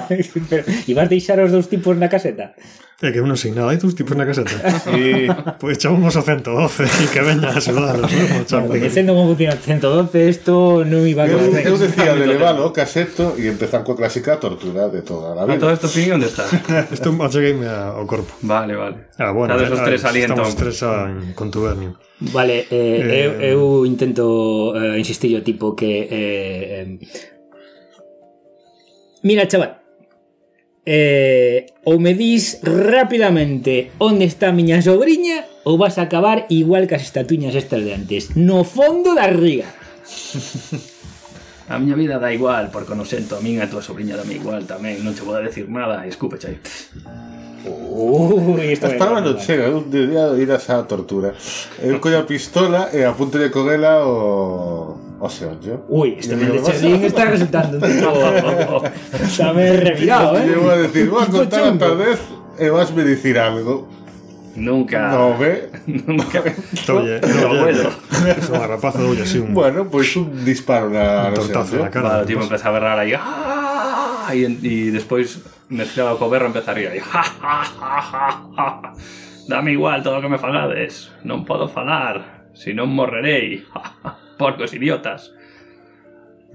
S4: pero, ibas deixar os dous tipos na caseta?
S3: É Eh, que uno sin nada, hay tus tipos en la caseta.
S2: Sí.
S3: Pues echamos a 112 y que venga a saludarnos. ¿no? Chao.
S4: Coñecendo como funciona o 112, isto non iba
S2: Eu,
S4: con
S2: eu
S4: os
S2: decía de leválo ao caseto e empezar coa clásica tortura de toda a
S1: A todo
S2: vida.
S1: esto fin, onde está?
S3: Esto achegueime ao corpo.
S1: Vale, vale.
S3: Ah, bueno,
S1: Estades os
S3: eh,
S1: tres ali,
S3: estamos
S1: entón.
S3: os tres a, en contubernio.
S4: Vale, eh,
S3: Eh,
S4: eu, eu intento eh, insistir o tipo que eh, em, Mira, chaval eh, Ou me dis rapidamente onde está a miña sobrinha Ou vas a acabar igual que as estatuñas estas de antes No fondo da riga
S1: A miña vida dá igual, porque non sento a min e a tua sobrinha dame igual tamén, non te vou a decir nada, e escúpeche aí.
S4: Ui, isto
S2: As
S4: é
S2: palabras non
S4: normal.
S2: chegan, un día irás á tortura. Eu collo a pistola e apunto de coguela o... o seollo.
S4: Ui, este
S2: Yo digo, "Vas
S4: Mendes
S2: a-
S4: Cherrín está resultando un tipo... Está me revirado,
S2: Lle vou a
S4: eh?
S2: decir, vou a
S4: Tipo
S2: contar a
S4: chungo.
S2: tardez e vas me dicir algo.
S1: Nunca.
S2: No, ve?
S1: Nunca.
S3: Oye,
S1: No, bueno.
S3: Es un rapazo, oye, sí, un,
S2: Bueno, pois un disparo na
S3: un tortazo en
S2: reserva.
S3: la cara.
S1: Vale, o
S3: ¿no?
S1: tipo empeza a berrar aí. "Ah!" E, e despois mezclado co berro empeza a rir aí. "Ja, ja, ja, ja, ja". Dame igual todo o que me falades. Non podo falar, se non morrerei. Ja, ja. Porcos idiotas.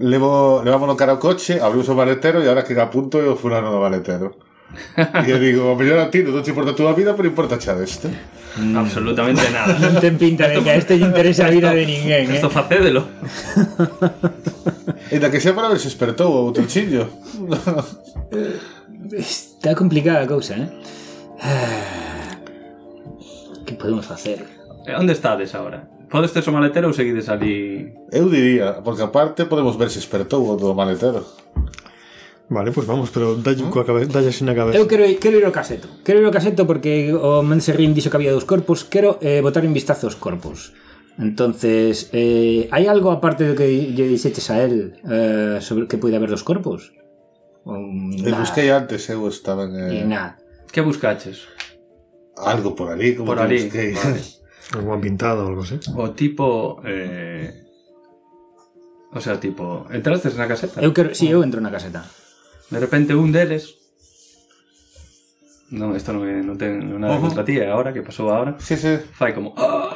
S2: Levo, levámonos cara ao coche, abrimos o maletero e ahora que apunto é o fulano do maletero. E eu digo, o mellor a ti, non te importa a túa vida, pero importa xa deste.
S1: Absolutamente nada.
S4: Non ten pinta de que a este lle interesa a vida de ninguén, eh?
S1: Esto facédelo.
S2: Ainda que sea para ver se despertou o outro chiño.
S4: Está complicada a cousa, eh? Que podemos facer?
S1: E onde ¿Eh? estades agora? Podes ter o maletero ou seguides ali
S2: Eu diría, porque aparte podemos ver se despertou o do maletero.
S3: Vale, pues vamos, pero dalle coa cabeza, dalle sin a cabeza.
S4: Eu quero, ir- quero ir ao caseto. Quero ir ao caseto porque o Manserrín dixo que había dous corpos. Quero eh, botar un vistazo aos corpos. Entonces, eh, hai algo aparte do que lle dixeches a él eh, sobre que puida haber dos corpos? Um,
S2: E busquei antes, eu estaba en, eh,
S4: Nada.
S1: Que buscaches?
S2: algo por ali, como
S1: Por
S2: que
S1: ali.
S2: busquei.
S1: Vale.
S3: Algo pintado o algo así.
S1: O tipo... Eh... O sea, tipo... Entrastes na caseta?
S4: Eu quero, si, sí, eu entro na caseta.
S1: De repente un deles... Non, isto non, é- non ten nada
S2: Ojo.
S1: contra ti, é agora, que pasou agora.
S2: Sí, sí.
S1: Fai como... "Ah".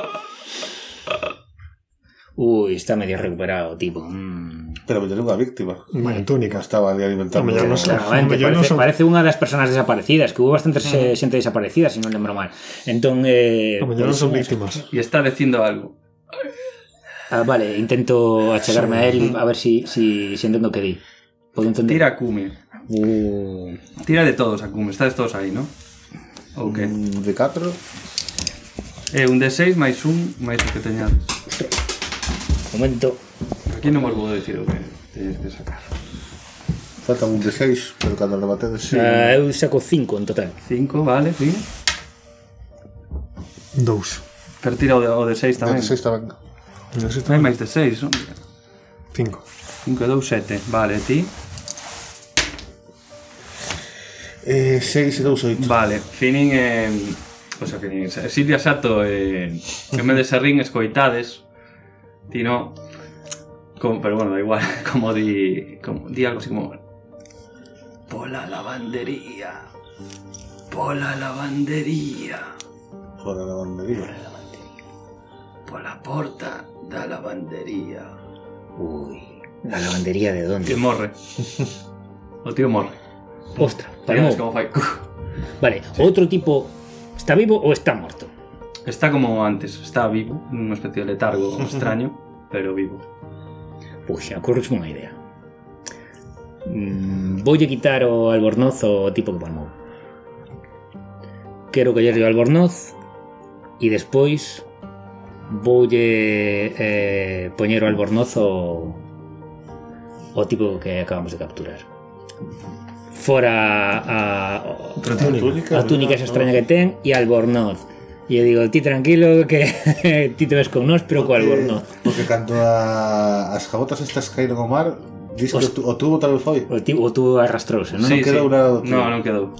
S4: Ui, está medio recuperado, o tipo. Mm.
S2: Pero me unha víctima.
S3: Bueno,
S2: Que
S3: túnica.
S2: estaba ali alimentando.
S3: Hombre, yo no sé. Hombre,
S4: Claramente,
S3: yo no
S4: parece,
S3: son-
S4: parece unha das persoas desaparecidas, que hubo bastante se- xente desaparecida, se non lembro mal. Entón, eh,
S3: Como yo no
S4: pois,
S3: son víctimas.
S1: E está dicindo algo.
S4: ah, vale, intento achegarme a él a ver si, si, si entendo que di. Podo entender.
S1: Tira a cume.
S4: Uh,
S1: Tira de todos a cume. Estades todos aí, non? Ou que?
S2: Mm, De 4.
S1: É Eh, un D6 máis un máis o que teñas.
S4: momento.
S1: Aquí non vos vou dicir o que teñes que sacar.
S2: Falta un de 6, pero cando le batedes... Sí.
S4: Ah, eu saco 5 en total.
S1: 5, vale, sí.
S3: Dos.
S1: Pero tira o de, o de 6
S2: de
S1: tamén.
S2: 6 tamén.
S3: No sé,
S1: Hai máis de 6, non?
S3: cinco.
S1: 5 e 2, 7. Vale, ti.
S2: Eh, 6 e 2, 8.
S1: Vale, Finin e... O sea, Finin, Silvia Sato e... En vez de Serrín escoitades Ti no como, Pero bueno, da igual Como di... Como, di algo así como Pola lavandería Pola lavandería
S2: Por a lavandería.
S1: Pola porta da lavandería
S4: Ui, La lavandería de dónde.
S1: Tío Morre. O tío Morre.
S4: Ostras,
S1: Veremos
S4: Palmo.
S1: cómo fai.
S4: Vale, otro tipo. ¿Está vivo o está muerto?
S1: Está como antes, está vivo, en una especie de letargo extraño, pero vivo.
S4: Pues acorresme una idea. Mm, Voy a quitar o Albornoz o tipo que Palmou. Quero coller o Albornoz e despois vou eh, poñer o Albornoz o, o tipo que acabamos de capturar. Fora a, a,
S2: La túnica,
S4: a túnica esa extraña que ten e Albornoz. E eu digo, ti tranquilo que ti te ves con nós, pero co Albornoz.
S2: Porque cando a, as jabotas estas caíron ao mar, dis que o, tu, o tubo tal vez foi.
S4: O, ti, o tú arrastrouse, non?
S2: Sí. quedou nada, tío.
S1: No, non quedou.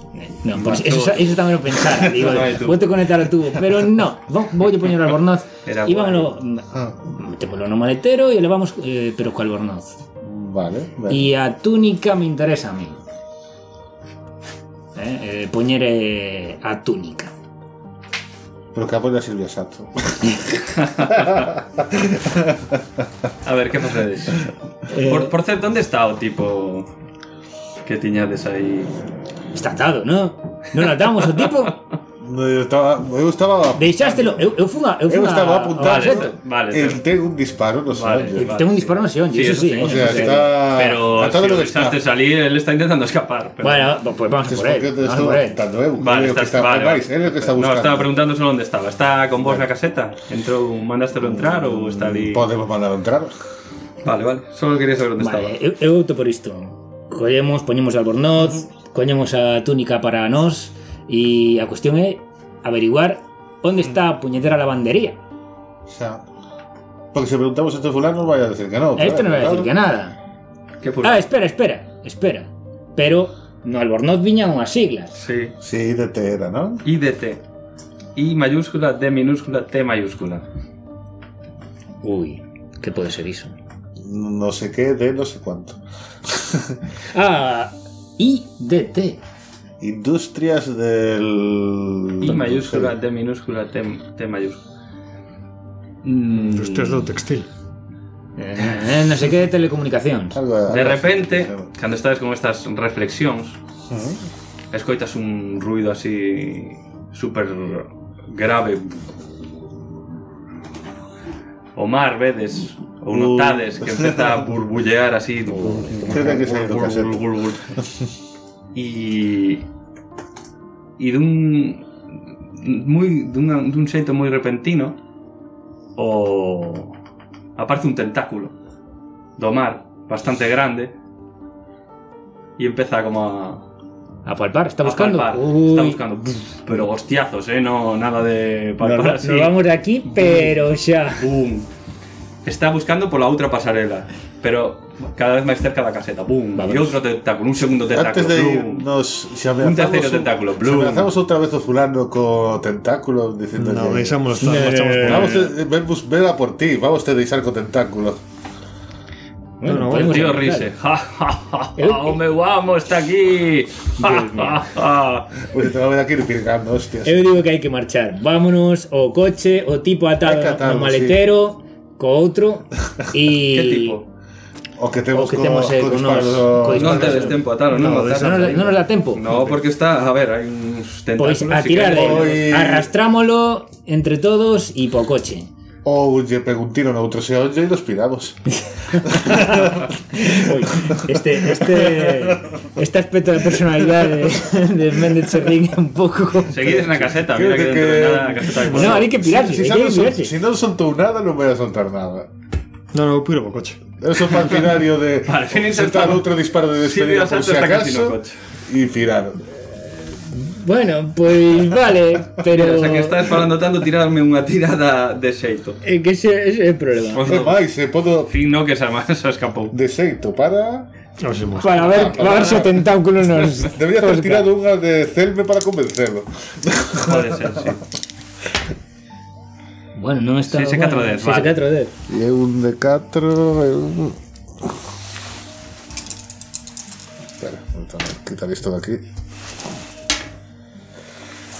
S4: No, por eso, eso, eso también lo pensaba. Digo,
S1: No, no, tú.
S4: voy a conectar al tubo, pero no. vo- Voy a poner albornoz.
S1: Era
S4: Y vámonos.
S2: Ah.
S4: Metémoslo en un maletero y elevamos, eh, pero con albornoz.
S2: Vale, vale.
S4: Y a túnica me interesa a mí. Eh, eh, poner eh, a túnica.
S2: Pero que apoia a Silvia Sato.
S1: A ver, que facedes?
S4: Eh,
S1: Por, por certo, onde está o tipo que tiñades aí?
S4: Está atado, ¿no? No lo atamos al tipo.
S2: No, eu estaba, eu estaba
S4: Deixástelo. Eu, eu fun a- eu
S2: Eu
S4: fun a-
S2: estaba
S4: ao
S2: apuntado.
S4: seto.
S1: vale,
S2: el
S1: vale.
S2: ten un disparo, no
S1: Vale,
S2: sé.
S1: vale.
S4: Tengo un disparo en ese onde,
S1: Sí,
S4: eso
S1: eso
S4: sí.
S1: sí.
S4: ¿eh?
S2: O sea,
S4: Eso sí.
S2: está.
S1: Pero
S2: está
S1: si
S2: lo
S1: o
S2: que
S1: deixaste
S2: está.
S1: salir, él está intentando escapar. Pero...
S4: Bueno, pues vamos a
S2: Es
S4: por
S2: porque
S4: él.
S2: te
S4: Vamos a
S2: estaba
S4: por él.
S2: apuntando, eh.
S1: Vale,
S2: Vale, que
S1: estás-
S2: está,
S1: vale,
S2: vais,
S1: vale.
S2: él es el que está
S1: No,
S2: buscando.
S1: estaba preguntando solo dónde estaba. ¿Está con vos na caseta? Entrou, mandástelo entrar ou está ali?
S2: Mm, Podemos mandar a entrar.
S1: Vale, vale. Solo quería saber onde
S4: Vale,
S1: estaba.
S4: eu, eu opto por isto. Collemos, poñemos albornoz, collemos a túnica para nós e a cuestión é averiguar onde está a puñetera lavandería.
S2: O sea, porque si preguntamos a este fulano, vaya a decir que no.
S4: A este non vai decir que nada.
S1: Que por...
S4: Ah, espera, espera, espera. Pero no albornoz viñan unhas siglas.
S1: Sí.
S2: Sí, de Tera, ¿no?
S1: IDT. I mayúscula, D minúscula, T mayúscula.
S4: Ui, que pode ser iso?
S2: No sé qué, de no sé cuánto.
S4: Ah, IDT.
S2: Industrias del.
S1: I mayúscula, D minúscula, T, T mayúscula.
S3: Usted es lo textil.
S4: Eh, non sei que de telecomunicacións.
S2: Algo- algo
S1: De
S2: así.
S1: repente, cando estás con estas reflexións, escoitas un ruido así super grave. O mar, vedes, ou notades que empeza a burbullear así.
S2: Tiene que salir do caseto.
S1: E e dun moi dunha, dun xeito moi repentino o aparece un tentáculo do mar bastante grande e empeza como a
S4: A palpar, está buscando.
S1: A palpar.
S4: Ui.
S1: Está buscando. Buf, Pero hostiazos, ¿eh? No, nada de palpar
S4: Nos, va-
S1: así.
S4: nos vamos de aquí, pero xa.
S1: Bum. Está buscando por la otra pasarela. Pero cada vez más cerca de la caseta. Bum.
S4: Vamos.
S1: Y otro tentáculo, un segundo tentáculo.
S2: Antes de
S1: Bum.
S2: irnos, si amenazamos,
S1: tercero
S2: un-
S1: tentáculo,
S2: si
S1: Bloom.
S2: amenazamos otra vez a fulano con tentáculos diciendo
S3: No,
S2: que...
S3: dejamos los marchamos por
S2: Mm. Vamos,
S3: ahí.
S2: te- ven, bus- ven a eh, por ti, vamos a deisar con tentáculos.
S3: Bueno, bueno,
S4: podemos
S1: Tío
S4: arrancar.
S1: Rise. Ja, ja, ja,
S4: Eh, eh.
S1: ja, ¡Hombre, vamos! ¡Está aquí! Ja, ja, ja.
S2: Pues te va a ver aquí pirgando, hostias.
S4: Eu digo que hai que marchar. Vámonos o coche, o tipo atado
S2: Hai que atarlo,
S4: no maletero, co outro e
S1: ¿Qué tipo?
S2: O que tenemos
S4: o que temos, eh, con unos-
S2: disparos-
S4: con
S1: No
S4: disparos.
S1: te des tiempo a atarlo, no,
S3: No,
S1: lo
S3: de
S1: atas
S3: esa
S4: No nos,
S1: ahí.
S4: no nos dá tempo.
S1: No, porque está. A ver, hay unos tentáculos.
S4: Pois Pues a
S1: y que-
S4: tirar de
S2: Voy.
S4: arrastrámolo entre todos e po coche.
S2: O lle preguntino no outro se oye y nos piramos.
S4: Ui, este, este, este aspecto de personalidade de, de Méndez Serrín é un pouco...
S1: Seguid en la caseta, mira
S2: Creo
S1: que
S2: que-
S1: dentro de nada la caseta hay
S4: No, hai que pirarse,
S2: si,
S4: hai
S2: si,
S4: que
S2: non son,
S4: pirarse.
S2: si non soltou nada, non vai a soltar nada.
S3: No, no, puro por coche.
S2: Eso é partidario de
S1: Al fin
S2: soltar
S1: intentamos-
S2: outro disparo de
S1: Silvia
S2: despedida por
S1: Santos
S2: si
S1: está casi no
S2: acaso
S1: coche.
S2: e pirar.
S4: Bueno, pois vale, pero...
S1: O sea que estás falando tanto, tirarme unha tirada de xeito.
S4: É eh, que ese, ese é o problema.
S2: E máis, se podo
S1: Fin, no, que se, ama- se escapou.
S2: de xeito para...
S3: A ver si
S1: Pues
S3: hemos-
S4: Para ver, para ver se o tentáculo nos...
S2: Debería ter
S4: zosca.
S2: tirado unha de Celme para convencelo.
S1: Pode ser, sí.
S4: Bueno, non está...
S1: Seis e catro dez,
S4: seis e
S1: vale.
S4: catro dez.
S2: E é un de 4... Un... Espera, entón, quitar isto de aquí.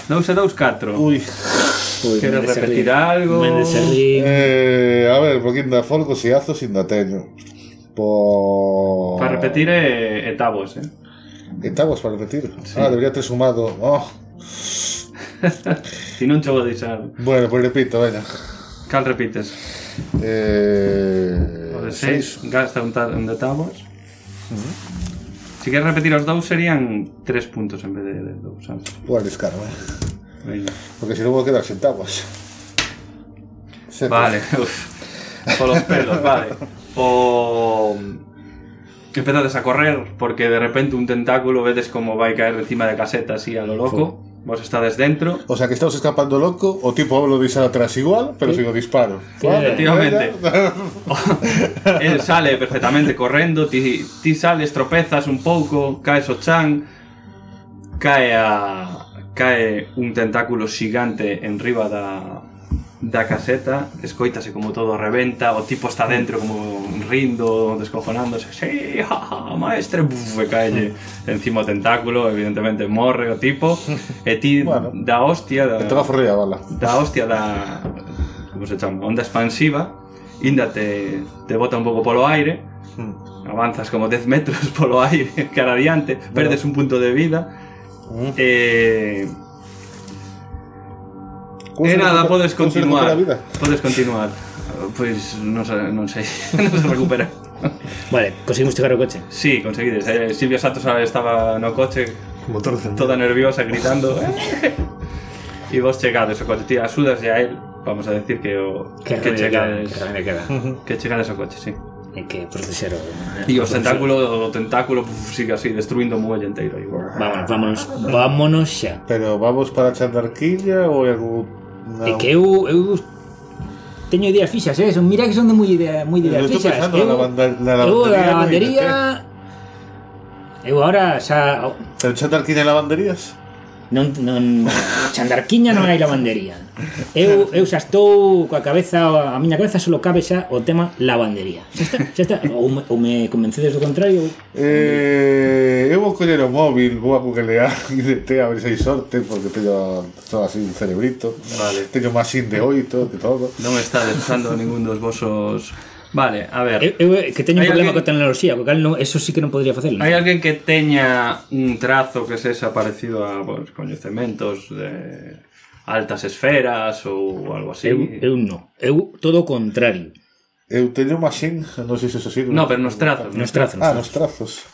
S1: Non será os 4.
S2: Ui.
S4: Pois,
S1: Quero
S4: Méndez
S1: repetir
S4: Serrín.
S1: algo.
S4: Méndez Serrín.
S2: Eh, a ver, porque inda folgo se azo sin da teño. por...
S1: Para repetir eh, etavos, eh.
S2: Etavos para repetir. Ah, debería ter sumado. Oh.
S1: Si non chego a deixar.
S2: Bueno, pues repito, venga.
S1: Cal repites?
S2: Eh,
S1: O de
S2: seis.
S1: 6 gasta un, ta- un de etavos. Si queres repetir os dous serían 3 puntos en vez de, de dous, sabes?
S2: Vou arriscar, eh?
S1: Venga.
S2: Porque si no vou quedar sen taguas. Sete.
S1: Vale, uf. Polos pelos, vale. O empezades a correr porque de repente un tentáculo vedes como vai caer encima de caseta así a lo loco. Vos estades dentro.
S2: O sea que estamos escapando loco, o tipo lo deixar atrás igual, pero sin o disparo.
S4: Sí.
S1: Efectivamente. Él sale perfectamente correndo, ti, ti sales, tropezas un pouco, caes o chan, cae a cae un tentáculo xigante en riba da da caseta, escoítase como todo rebenta, o tipo está dentro como rindo, descojonándose, sí, ja, ja, maestre, buf, e caelle encima o tentáculo, evidentemente morre o tipo, e ti
S2: Bueno.
S1: da hostia, da,
S2: Entón a forrella, bala.
S1: da hostia da como se chama, onda expansiva inda te, te bota un pouco polo aire avanzas como 10 metros polo aire cara adiante, perdes un punto de vida e
S2: Como
S1: e
S2: se
S1: nada,
S2: recupera-
S1: podes
S2: como se
S1: continuar
S2: recupera a vida?
S1: podes continuar Pues pois non, se, non sei non se recupera
S4: Vale, conseguimos chegar ao coche.
S1: si, sí, conseguides eh, Silvia Santos estaba no coche
S3: Motor de centro.
S1: toda nerviosa gritando "Eh". e vos chegades ao coche, ti axudas a él vamos a decir que o
S4: Que
S1: que
S4: queda,
S1: chegades
S4: que remedio queda.
S1: que chegades ao coche, si sí.
S4: Hai que protexer o...
S1: E o tentáculo, o tentáculo puf, sigue así, destruindo o muelle enteiro. aí.
S4: Vámonos, vámonos, vámonos xa.
S2: Pero vamos para a chandarquilla ou algún...
S4: É que eu, eu teño ideas fixas, eh? Son, mira que son de moi idea, moi de
S2: Eu
S4: ideas
S2: estou
S4: fixas.
S2: pensando na banda- na
S4: eu da
S2: lavandería,
S4: lavandería... Eu ahora xa... oh,
S2: Pero chandarquilla e lavanderías?
S4: Non, non, chandarquiña non hai lavandería. Eu, eu xa estou coa cabeza, a miña cabeza solo cabe xa o tema lavandería. Xa está, xa está. Ou me, ou me convencedes do contrario,
S2: Eh, eu vou coller o móvil, vou a googlear IDT a ver se hai sorte, porque teño só así un cerebrito.
S1: Vale.
S2: Teño máis in de oito que todo.
S1: Non está desfando ningún dos vosos... Vale, a
S4: Eu,
S1: ver.
S4: eu eh, que teño
S1: Hai
S4: un problema
S1: alguén-
S4: coa tecnoloxía, co cal non, eso sí que non podría facelo.
S1: Hai alguén que teña un trazo que sexa parecido a vos coñecementos de altas esferas ou algo así?
S4: Eu, eu non. Eu todo o contrario.
S2: Eu teño máis in, non sei se eso sirve.
S1: No, pero nos trazos.
S4: Nos trazos.
S2: Ah, nos trazos.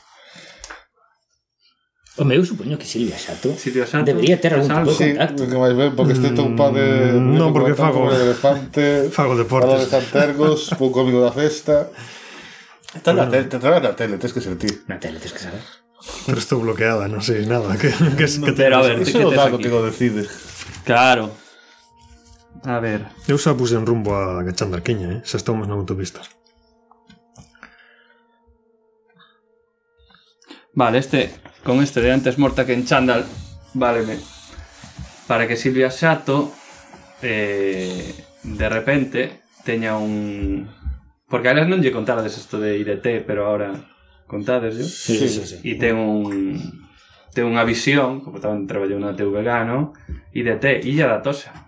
S4: Home, eu supoño que Silvia Sato
S1: Silvia Sato,
S4: debería ter
S1: es
S4: algún tipo
S1: algo.
S4: de
S2: Sí,
S4: contacto.
S2: que máis ben, porque este ton pa de...
S3: Mm, non, porque fago-
S2: De elefante,
S3: fago
S2: falo
S3: deportes.
S2: de Santergos, pouco amigo da festa. Está na tele, te trae na tele, tens que ser ti.
S4: Na tele, tens que saber.
S3: Pero estou bloqueada, non sei nada. Que, que, que te...
S1: Pero a ver,
S2: Iso
S1: que
S2: é o
S1: tes
S2: dado
S1: aquí?
S2: que o decide.
S1: Claro. A ver.
S3: Eu xa puse en rumbo a Chandarquiña, eh? xa estamos na autopista.
S1: Vale, este, con este de antes morta que en chándal, váleme. Para que Silvia Sato, eh, de repente, teña un... Porque ahora non lle contades isto de IDT, pero ahora contades, yo.
S4: Sí, sí, sí. sí.
S1: E ten un... Ten unha visión, como tamén traballou na TVG, non? IDT, Illa da Tosa.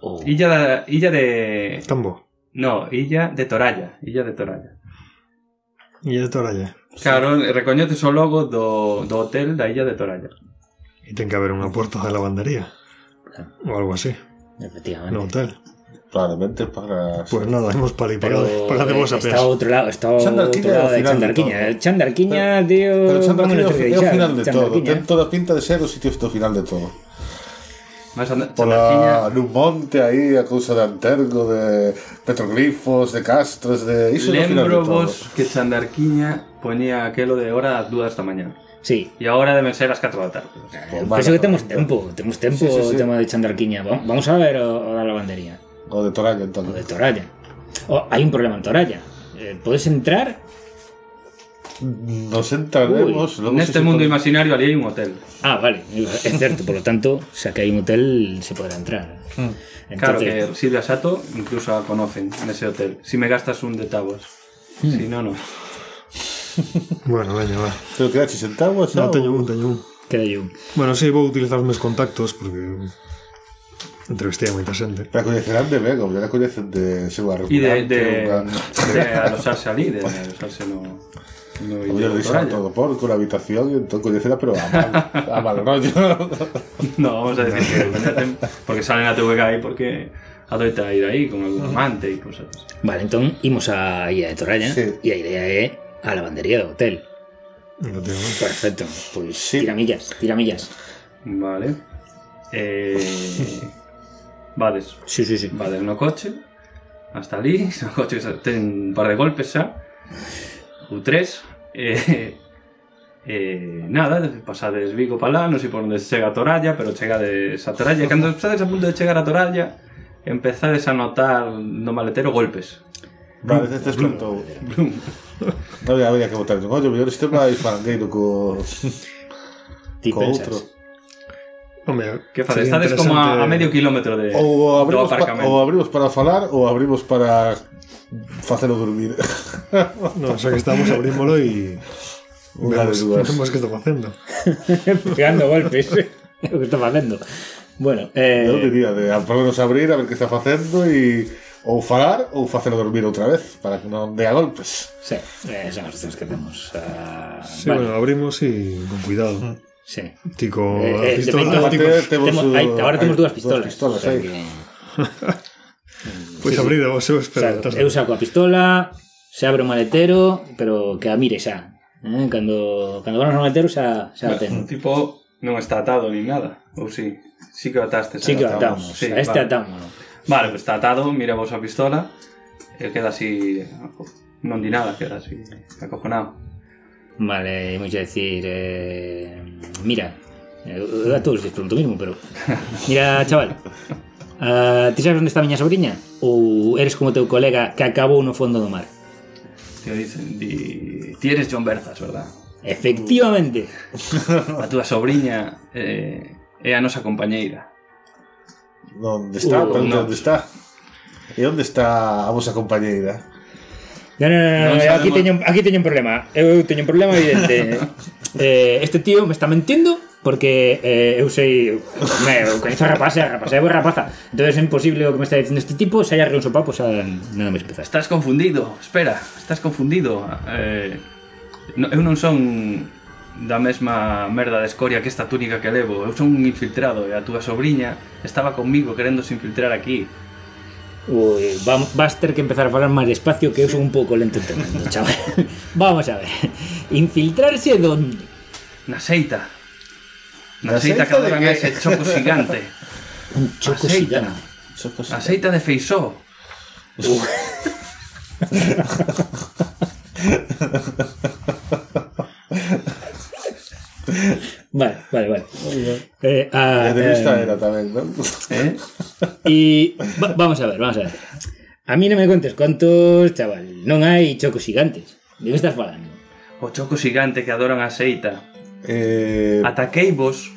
S4: O...
S1: Illa, da, illa de...
S3: Tambo.
S1: No, Illa de Toralla. Illa de Toralla.
S3: E de Toralla.
S1: Claro, recoñeces o logo do, do hotel da Illa de Toralla.
S3: E ten que haber unha puerta da lavandería. Ou algo así.
S4: Efectivamente.
S3: No hotel.
S2: Claramente para...
S3: Pois pues nada, hemos para aí, para, para de
S4: eh,
S3: vos a
S4: está
S3: peas.
S4: ao outro lado, está ao
S2: Chandarquiña é o
S4: outro lado
S2: final
S4: de
S2: de
S4: Chandarquiña.
S2: todo.
S4: El Chandarquiña, tío...
S2: Pero Chandarquilla é
S4: vámonos,
S2: o
S4: que
S2: fi- é o
S4: deixar.
S2: final de todo.
S4: Chandarquiña.
S2: Ten toda a pinta de ser o sitio do final de todo.
S1: Mas anda,
S2: Pola, nun monte aí, a cousa de Antergo, de petroglifos, de castros, de... Iso é o final de
S1: lembro
S2: todo.
S1: vos que Chandarquiña ponía aquelo de hora das dúas da mañá.
S4: Sí.
S1: E agora deben ser as 4 da tarde.
S2: Pois
S4: Penso
S2: vale,
S4: que temos
S2: claramente.
S4: tempo, temos tempo
S2: Sí, sí, sí.
S4: o tema de Chandarquiña. Va- Vamos a ver o, o da lavandería.
S2: O de Toralla, entón.
S4: O de Toralla. O, hai un problema en Toralla. Eh, podes entrar
S2: Nos entraremos... logo se
S1: Neste
S2: se
S1: mundo
S2: pode-
S1: imaginario ali hai un hotel.
S4: Ah, vale, es cierto, por lo tanto, o sea que hay un hotel, se podrá entrar.
S3: Hmm.
S4: Entonces,
S1: Claro que Silvia Sato incluso a conocen nese hotel. Si me gastas un de tabos.
S2: Hmm.
S1: Si non, non.
S3: Bueno, veña, va.
S2: Pero quedaxe sentados,
S3: No, teño un, teño un.
S4: queda yo.
S3: Bueno, sí, vou utilizar os meus contactos porque Entrevisté moi interesante.
S2: La coñecerán de Vega, ya la coñecen de
S1: E
S2: Seu
S1: de,
S2: Argumente,
S1: de,
S2: unha-
S1: de alosarse ali, de alosarse no... no
S2: O
S1: no
S2: mellor
S1: Toralla.
S2: deixan todo porco na habitación e entón coñecela, pero a mal, a mal rollo.
S1: No, vamos a decir que coñecen porque salen a TVK e porque adoita ir aí con
S2: Hmm.
S1: algún amante e cosas.
S4: Vale, entón imos a Illa de Toralla
S2: Sí.
S4: e a idea é a lavandería do hotel.
S3: Efectivamente.
S4: Perfecto, pois
S2: Sí.
S4: tira millas, tira millas.
S1: Vale. Eh, vades,
S4: Sí, sí, sí.
S1: vades no coche, hasta ali, no coche que xa ten un par de golpes xa, ou tres, eh, eh, nada, pasades Vigo para lá, non sei por onde chega a Toralla, pero chegades a Toralla, e cando estades a punto de chegar a Toralla, empezades a notar no maletero golpes.
S2: Vale, te despertou. Non había, había que botar un ollo, mellor este máis fangueiro co...
S4: Ti
S2: co
S4: pensas.
S2: outro.
S3: Home,
S1: Que fades?
S3: sería
S1: Estades como a, a
S3: interesante-
S1: medio kilómetro de,
S2: Ou
S1: do
S2: abrimos, pa,
S1: aparcamento.
S2: ou abrimos para falar ou abrimos para facelo dormir.
S3: No, xa que estamos, abrímolo e
S2: Unha de
S3: vemos,
S2: dúas.
S3: vemos que está facendo.
S4: Pegando golpes. É o que está facendo. Bueno,
S2: Eu
S4: eh,
S2: diría de a- ponernos a abrir a ver que está facendo e ou falar ou facelo dormir outra vez para que non dea golpes.
S4: sí, eh, son as opcións que temos. Ah,
S3: Sí,
S4: vale,
S3: bueno, abrimos e con cuidado.
S4: sí.
S3: Ti co
S4: Eh, eh,
S3: a pistola, ti
S4: depende-
S2: Aparte,
S3: co-
S2: temos
S4: Temos-
S2: o-
S4: hai- ahora
S2: hai
S4: temos dúas
S2: dúas
S4: pistolas.
S2: pistolas,
S4: o sea
S2: hai.
S4: que-
S3: pois abrir vos seus,
S4: O sea,
S3: pero estás-
S4: eu saco a pistola, se abre o maletero, pero que a mire xa. Eh? Cando, cando vamos ao maletero xa, xa a
S1: O
S4: ten.
S1: tipo non está atado nin nada, ou si? Sí que o ataste.
S4: Sí que o
S1: atamos.
S4: atamos, a este
S1: vale.
S4: atámonos.
S1: Vale, pues está atado, mira vos a pistola, e queda así... Non di nada, queda así acojonado.
S4: Vale, imos a decir, eh, mira, eh, eu- eu a todos lles pregunto o mismo, pero... Mira, chaval, uh, ti sabes onde está a miña sobrinha? Ou eres como teu colega que acabou no fondo do mar?
S1: Te dicen, di... Ti eres John Berzas, verdad?
S4: Efectivamente.
S1: A túa sobrinha eh, é a nosa compañeira.
S2: Onde está? Uh,
S4: Uh,
S1: no.
S2: onde está? E onde está a vosa compañeira?
S4: No, no, no, no,
S1: Non
S4: aquí,
S1: sabemos.
S4: teño, aquí teño un problema. Eu teño un problema evidente. eh, este tío me está mentindo porque eh, eu sei... Me, eu coñezo a rapaza, a rapaza, eu rapaza. Entón é imposible o que me está dicindo este tipo. Se haya reunido sopa, pues xa non me empezaste.
S1: Estás confundido, espera, estás confundido. Eh, no, eu non son da mesma merda de escoria que esta túnica que levo. Eu son un infiltrado e a túa sobrinha estaba conmigo queréndose infiltrar aquí.
S4: Ui, vam- vas ter que empezar a falar máis despacio que eu son un pouco lento entendendo, chaval. Vamos a ver. Infiltrarse donde?
S1: Na seita. Na,
S2: Na
S1: seita,
S2: seita
S1: que
S2: de
S1: adoran
S2: que?
S1: a ese choco xigante.
S4: Un choco
S1: Aceita.
S4: xigante.
S1: A
S4: Ah,
S1: seita de Feisó.
S4: Vale, vale, vale. Eh, a,
S2: A entrevista
S4: eh,
S2: era tamén, non?
S1: Eh?
S4: Y va- vamos a ver, vamos a ver. A mí no me contes contos, chaval. Non hai chocos gigantes. De que estás falando?
S1: O choco xigante que adoran a seita.
S2: Eh,
S4: ah,
S1: Ataquei vos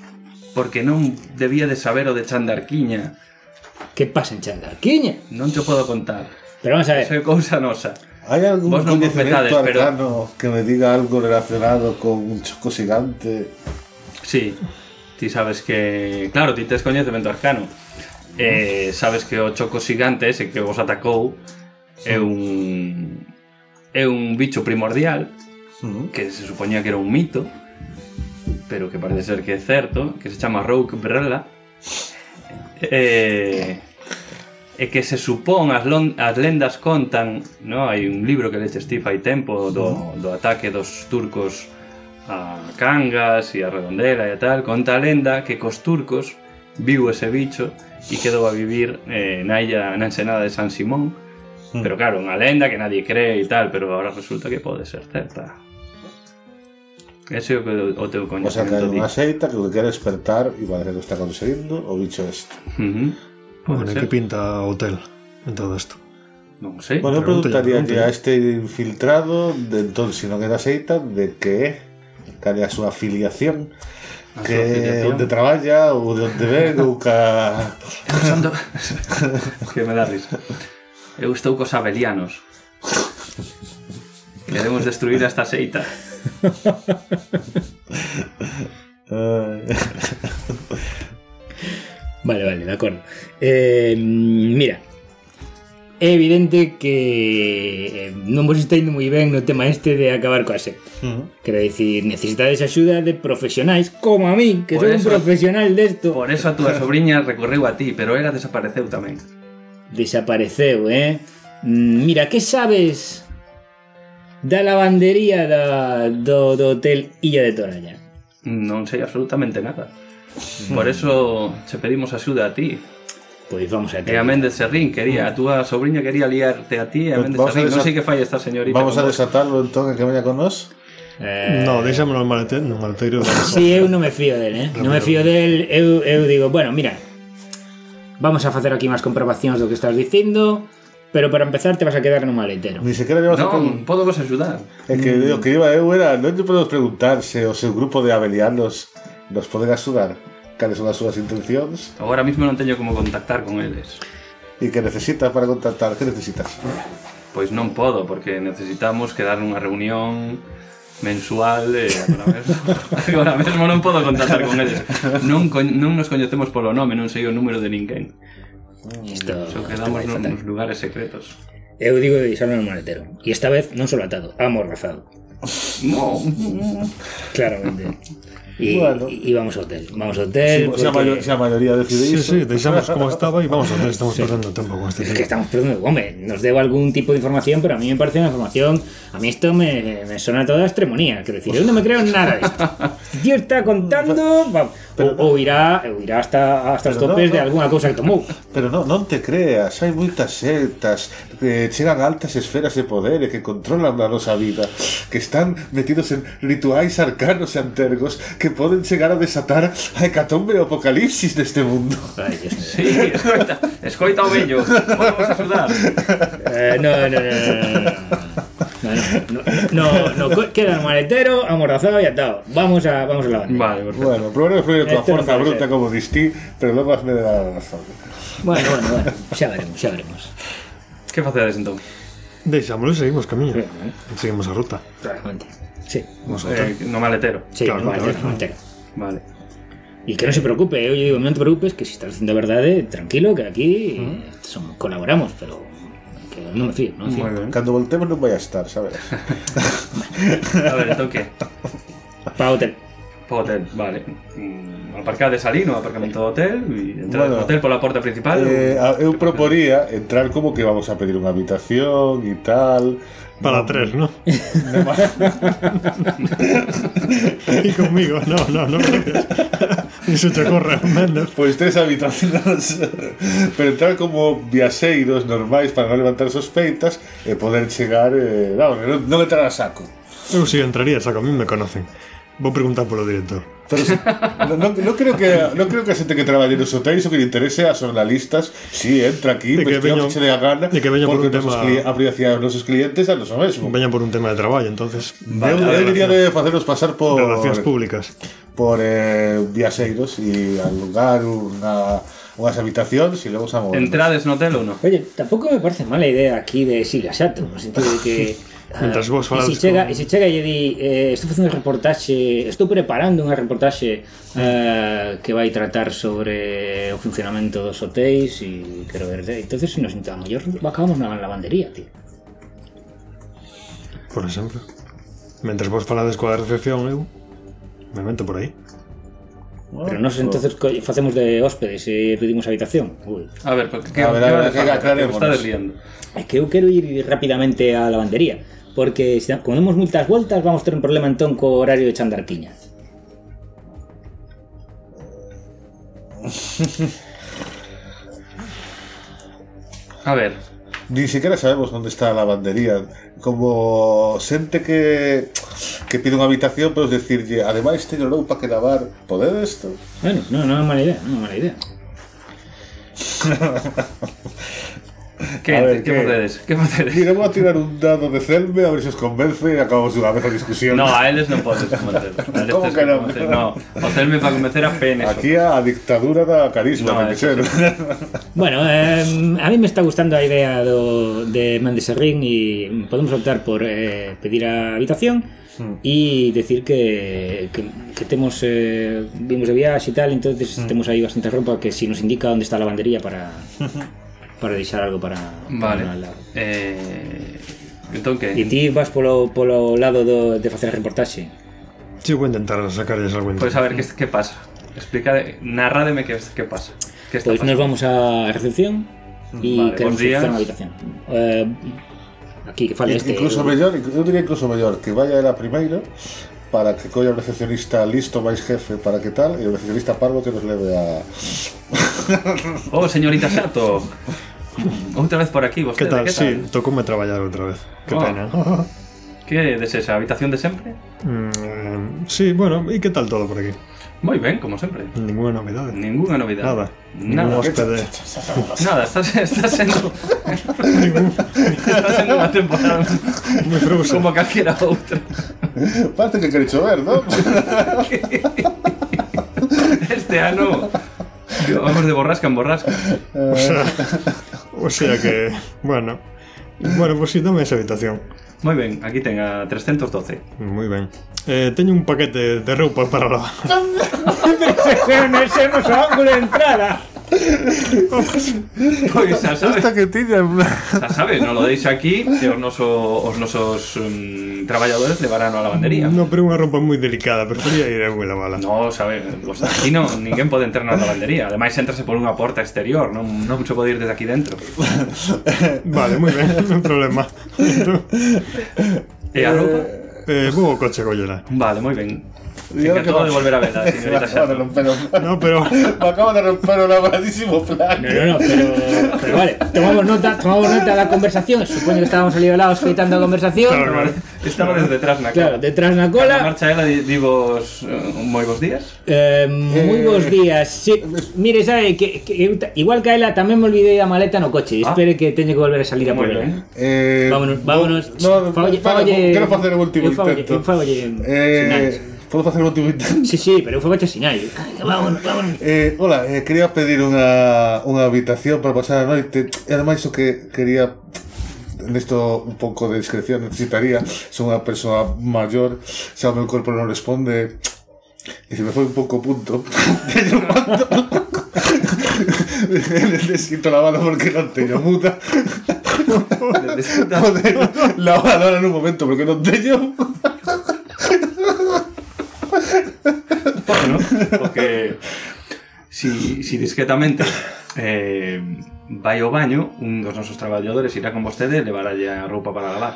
S1: porque non debía de saber o de Chandarquiña.
S4: Que pasa en Chandarquiña?
S1: Non te o podo contar.
S4: Pero vamos a ver.
S1: Eso é cousa nosa.
S2: hai algún
S1: Vos non
S2: coñecemento
S1: bofetades, pero-
S2: arcano que me diga algo relacionado con un choco xigante?
S1: Sí, ti sabes que... Claro, ti tes coñecemento arcano. Eh, sabes que o choco xigante ese que vos atacou é un... É un bicho primordial que se supoñía que era un mito, pero que parece ser que é certo, que se chama Rogue Brella, eh, e que se supón as, lon, as lendas contan, no? hai un libro que leche Steve hai tempo do, do ataque dos turcos a Cangas e a Redondela e tal, conta a lenda que cos turcos viu ese bicho e quedou a vivir eh, na illa na ensenada de San Simón
S2: Hmm.
S1: pero claro, unha lenda que nadie cree e tal, pero ahora resulta que pode ser certa. Ese é o que o teu
S2: O sea, que hai
S1: coñecemento di.
S2: unha seita que o que quere despertar e parece que o está conseguindo o bicho este.
S4: Eh,
S1: Ujú. Pode
S3: Bueno,
S1: ser.
S3: que pinta hotel en todo isto.
S1: Non sei.
S2: Bueno, eu
S3: Pregunta,
S2: preguntaría
S3: pregunta.
S2: que a este infiltrado, de entón, se non era seita, de que é, cal é a súa afiliación,
S1: A súa
S2: que
S1: afiliación.
S2: onde traballa, ou de onde ven, ou ca...
S1: Pensando... que me dá risa. Eu estou cos abelianos. Queremos destruir a esta seita.
S2: Eh,
S4: Vale, vale, de acuerdo. Eh, mira, é evidente que eh, non vos está indo moi ben no tema este de acabar coa secta.
S1: Ujú.
S4: Quero dicir, necesitades axuda de profesionais como a min, que
S1: Por
S4: sou un
S1: eso-
S4: profesional desto.
S1: Por eso a túa sobrinha recorreu a ti, pero ela desapareceu tamén.
S4: Desapareceu, eh? Mm, Mira, que sabes da lavandería da, do, do hotel Illa de Toralla?
S1: Non sei absolutamente nada. Por eso che pedimos axuda a ti.
S4: Pois vamos a
S1: E a Méndez Serrín quería, a túa sobrinha quería liarte a ti e a
S2: Pues
S1: Méndez
S2: vamos a
S1: Serrín. Non
S2: desa-
S1: sei que fai esta señorita.
S2: Vamos
S1: con
S2: a
S1: vos.
S2: desatarlo entonces que vaya con nos.
S4: Eh,
S3: No, deixámoslo no malete- no maleteiro.
S4: Sí, eu non me fío del, eh? Non me fío del, eu, eu digo, bueno, mira, vamos a facer aquí máis comprobacións do que estás dicindo, pero para empezar te vas a quedar no maletero.
S2: Ni siquiera llevas a
S1: Non,
S2: con...
S1: podo vos axudar.
S2: Es que
S3: Mm.
S2: lo que iba eu era, non lle podemos preguntarse o seu grupo de abelianos nos poden axudar cales son as súas intencións
S1: Agora mismo non teño como contactar con eles.
S2: e que necesitas para contactar, que necesitas?
S1: Pois non podo, porque necesitamos quedar nunha reunión mensual e agora mesmo, agora mesmo non podo contactar con eles. Non, coñ- non nos coñecemos polo nome, non sei o número de ninguén.
S4: Isto
S1: Só
S4: está
S1: quedamos
S4: moi
S1: nun-
S4: fatal.
S1: nos lugares secretos.
S4: Eu digo de deixarlo no maletero. E esta vez non solo atado, amorrazado.
S1: No.
S4: Claramente. E,
S2: Bueno.
S4: e vamos ao hotel. Vamos ao hotel.
S2: Se a, maio- se a maioría decide
S3: Eh, Sí,
S2: iso.
S3: sí, deixamos como estaba e vamos a ver, estamos perdendo tempo con este
S4: Es que
S3: tema.
S4: estamos perdiendo. Hombre, nos debo algún tipo de información, pero a mí me parece una información. A mí esto me, me suena toda extremonía. Quiero decir, yo no me creo en nada de esto. Este tío está contando. va- o, o irá, o irá hasta, hasta los
S2: Pero no,
S4: topes de
S2: no.
S4: alguna cosa que tomó.
S2: Pero non, non te creas, hai moitas sectas que chegan a altas esferas de poder e que controlan a nosa vida, que están metidos en rituais arcanos e antergos que poden chegar a desatar a hecatombe e o apocalipsis deste mundo.
S4: Ay, Dios mío.
S1: Sí, escoita, escoita o bello. Podemos axudar.
S4: Eh, no, no, no, no, no, no, no, no, no, no, no, queda el maletero, amordazado y atado. Vamos a, vamos a la banda.
S1: Vale, perfecto.
S2: Bueno, primero fluye con
S4: Este no
S2: fuerza
S4: puede
S2: bruta
S4: ser.
S2: como distí, pero luego hazme de la razón.
S4: Bueno, bueno, bueno, ya veremos, ya veremos.
S1: Que facedes entón?
S3: Deixámoslo e seguimos camiño.
S4: Ujú.
S3: Seguimos a ruta.
S4: Claramente. Sí,
S1: Eh, no maletero.
S4: sí,
S3: Claro,
S4: no, maletero,
S3: claro.
S4: maletero.
S1: Vale.
S4: Y que no se preocupe, ¿eh? yo digo, no te preocupes, que si estás diciendo verdad, eh, tranquilo, que aquí eh, somos- colaboramos, pero que no me fío, no me fío.
S1: Muy bien.
S2: Cuando voltemos no voy a estar, ¿sabes?
S1: A ver, entón que?
S4: Pa' hotel.
S1: Pa hotel, vale. Mm, Aparcades ali no aparcamento do hotel e entrades no
S2: Bueno.
S1: hotel pola porta principal.
S2: Eh, a- eu proporía entrar como que vamos a pedir una habitación y tal.
S3: Para
S2: No,
S3: tres, ¿no?
S2: no más.
S3: Y conmigo, no, no, no. gracias. Ni se te corre, Méndez.
S2: Pues tres habitaciones. Pero entrar como viaseiros normais para no levantar sospeitas e poder chegar, eh, vamos, que non, non entrar a saco.
S3: Eu si entraría, saco, a mí me conocen. Vou preguntar polo director.
S2: Pero se- non, non, non creo que non creo que a xente que traballe nos hotéis o que lle interese a xornalistas si entra aquí,
S3: De que
S2: vestido
S3: veño-
S2: que se le a gana
S3: de que veño por
S2: porque
S3: un
S2: os nosos
S3: tema-
S2: cli- a privacidade dos nosos clientes a noso mesmo
S3: Veña por un tema de traballo, entonces...
S2: eu, eu diría de faceros pasar por
S3: Relacións públicas.
S2: por eh, viaseiros e alugar unha unhas habitacións e logo xa mover
S1: Entrades no hotel ou no?
S4: Oye, tampoco me parece mala idea aquí de Sigasato, en el sentido de que... ah,
S3: Mientras vos falades
S4: e se chega,
S3: con-
S4: e se chega e di, eh, estou facendo un reportaxe, estou preparando un reportaxe eh, que vai tratar sobre o funcionamento dos hotéis e quero ver, eh, entonces se nos sentamos, yo acabamos na lavandería, tío.
S3: Por exemplo. Mentres vos falades coa recepción, eu me meto por aí.
S4: Pero nos entonces co- facemos de hóspedes e pedimos habitación. Ui.
S1: A ver, pues, porque que,
S2: A ver,
S1: que vale
S2: a ver, que
S1: facer? Que
S2: aclarémonos.
S1: me estades liando.
S4: É que eu quero ir rapidamente á lavandería, porque se como demos moitas voltas vamos ter un problema entón co horario de chandarquiña.
S1: A ver,
S2: Ni siquiera sabemos dónde está la lavandería. Como xente que que pide unha habitación, podes decirlle, ademais teño loupa que lavar, podedes isto?
S4: Bueno, non, non é mala idea, non é mala idea.
S1: que,
S2: A ver,
S1: que
S2: que-
S1: facedes? Que facedes?
S2: Mira, vou a tirar un dado de celme a ver se os convence e acabamos dunha vez a discusión.
S1: No, a eles non podes convencer. A eles
S2: Como
S1: tes
S2: que non?
S1: convencer. No, hotelme para convencer a penes.
S2: Aquí a, a dictadura da carisma,
S1: No,
S2: no, que
S1: eso
S2: ser.
S4: Bueno, eh, a mí me está gustando a idea do, de Mandeserrín e podemos optar por eh, pedir a habitación y decir que, que, que temos eh, vimos de viaxe e tal, entonces temos aí bastante roupa que si nos indica onde está a lavandería para para deixar algo para, para
S1: Vale.
S4: la-
S1: Eh, entón que?
S4: E ti vas polo, polo lado do, de facer a reportaxe.
S3: Sí, voy a intentar sacarles algo en
S1: Pois Pues a ver, que, que pasa? Explica, narrádeme que, que pasa. Que está
S4: Pois Pues nos
S1: pasando?
S4: vamos á recepción e
S1: Vale, bos
S4: queremos
S1: días.
S4: fixar unha habitación. Eh, aquí que fale este.
S2: incluso mellor, eu diría incluso mellor que vaya era primeiro para que colla o recepcionista listo máis jefe para que tal e o recepcionista parvo que nos leve a
S1: Oh, señorita Sato. Outra vez por aquí,
S3: ¿Qué
S1: vostede.
S3: tal?
S1: que
S3: Sí, tocóme trabajar otra vez. Qué
S1: Oh.
S3: pena.
S1: Que des esa habitación de sempre?
S3: Mm, eh, sí, bueno, ¿y qué tal todo por aquí?
S1: Moi ben, como sempre.
S2: Mm.
S3: Ninguna novedad.
S1: Ninguna novidade.
S3: Nada. Ningún
S1: Nada.
S3: hospede.
S1: Nada, estás, estás sendo... estás sendo unha temporada
S3: Muy frousa.
S1: como calquera outra.
S2: parece que quere chover, non?
S1: Este ano... tío, Vamos de borrasca en borrasca.
S3: O sea, o sea que, bueno. Bueno, pues sí, dame esa habitación.
S1: Moi ben, aquí ten a 312.
S3: Muy bien. Eh, teño un paquete de roupa para lavar.
S4: Ese é o noso ángulo de entrada.
S1: Pois xa sabes,
S2: Esta que tiña
S1: xa sabes, non lo deis aquí e os, noso, os nosos um, traballadores levarán a lavandería.
S3: No, pero unha roupa moi delicada, prefería ir a unha lavala.
S1: No, sabe, pues aquí no, ninguén pode entrar na lavandería Ademais, entrase por unha porta exterior Non, non se pode ir desde aquí dentro
S3: Vale, moi ben, non hai problema.
S1: E a roupa?
S3: Eh, vou ao coche collera.
S1: Vale, moi ben
S2: E ahora que
S1: Encantado de
S2: va-
S1: volver a verla,
S2: me
S1: señorita
S2: acaba de
S1: Sato
S2: romper o
S3: No, pero
S2: me acaba de romper o labradísimo plan
S4: No, no, no, pero, pero vale, tomamos nota, tomamos nota da conversación. Supoño que estábamos ali ao lado escoitando a conversación.
S3: Claro, claro.
S1: Estaba desde atrás na
S4: Claro,
S1: cola
S4: detrás na
S1: Na
S4: cola.
S1: marcha ela di, di vos eh, moi bons días
S4: Eh, moi bons días. Sí, mire, sabe que, que eu ta- igual que a ela tamén me olvidei da maleta no coche.
S1: Ah.
S4: Espere que teño que volver a salir a por
S1: Moi
S4: ela.
S1: ben
S2: Eh,
S4: Vámonos, vámonos.
S2: No, no,
S4: Fagolle-
S2: para,
S4: fagolle-
S2: quero facer o último
S4: eu fagolle-
S2: intento.
S4: eu fagolle
S2: eh,
S4: sinais.
S2: podo facer o último intento?
S4: Sí, sí, pero eu fagoche sinais. Vámonos, vámonos.
S2: Eh, hola, eh, quería pedir unha, unha habitación para pasar a noite E ademais o que quería Nesto un pouco de discreción necesitaría Son unha persoa maior Xa o meu corpo non responde E se me foi un pouco punto Teño un manto Necesito lavado porque non teño muda Poder lavado ahora nun momento porque non teño
S1: Bueno, porque si, si discretamente eh, vai ao baño Un dos nosos traballadores irá con vostede E levaralle a roupa para lavar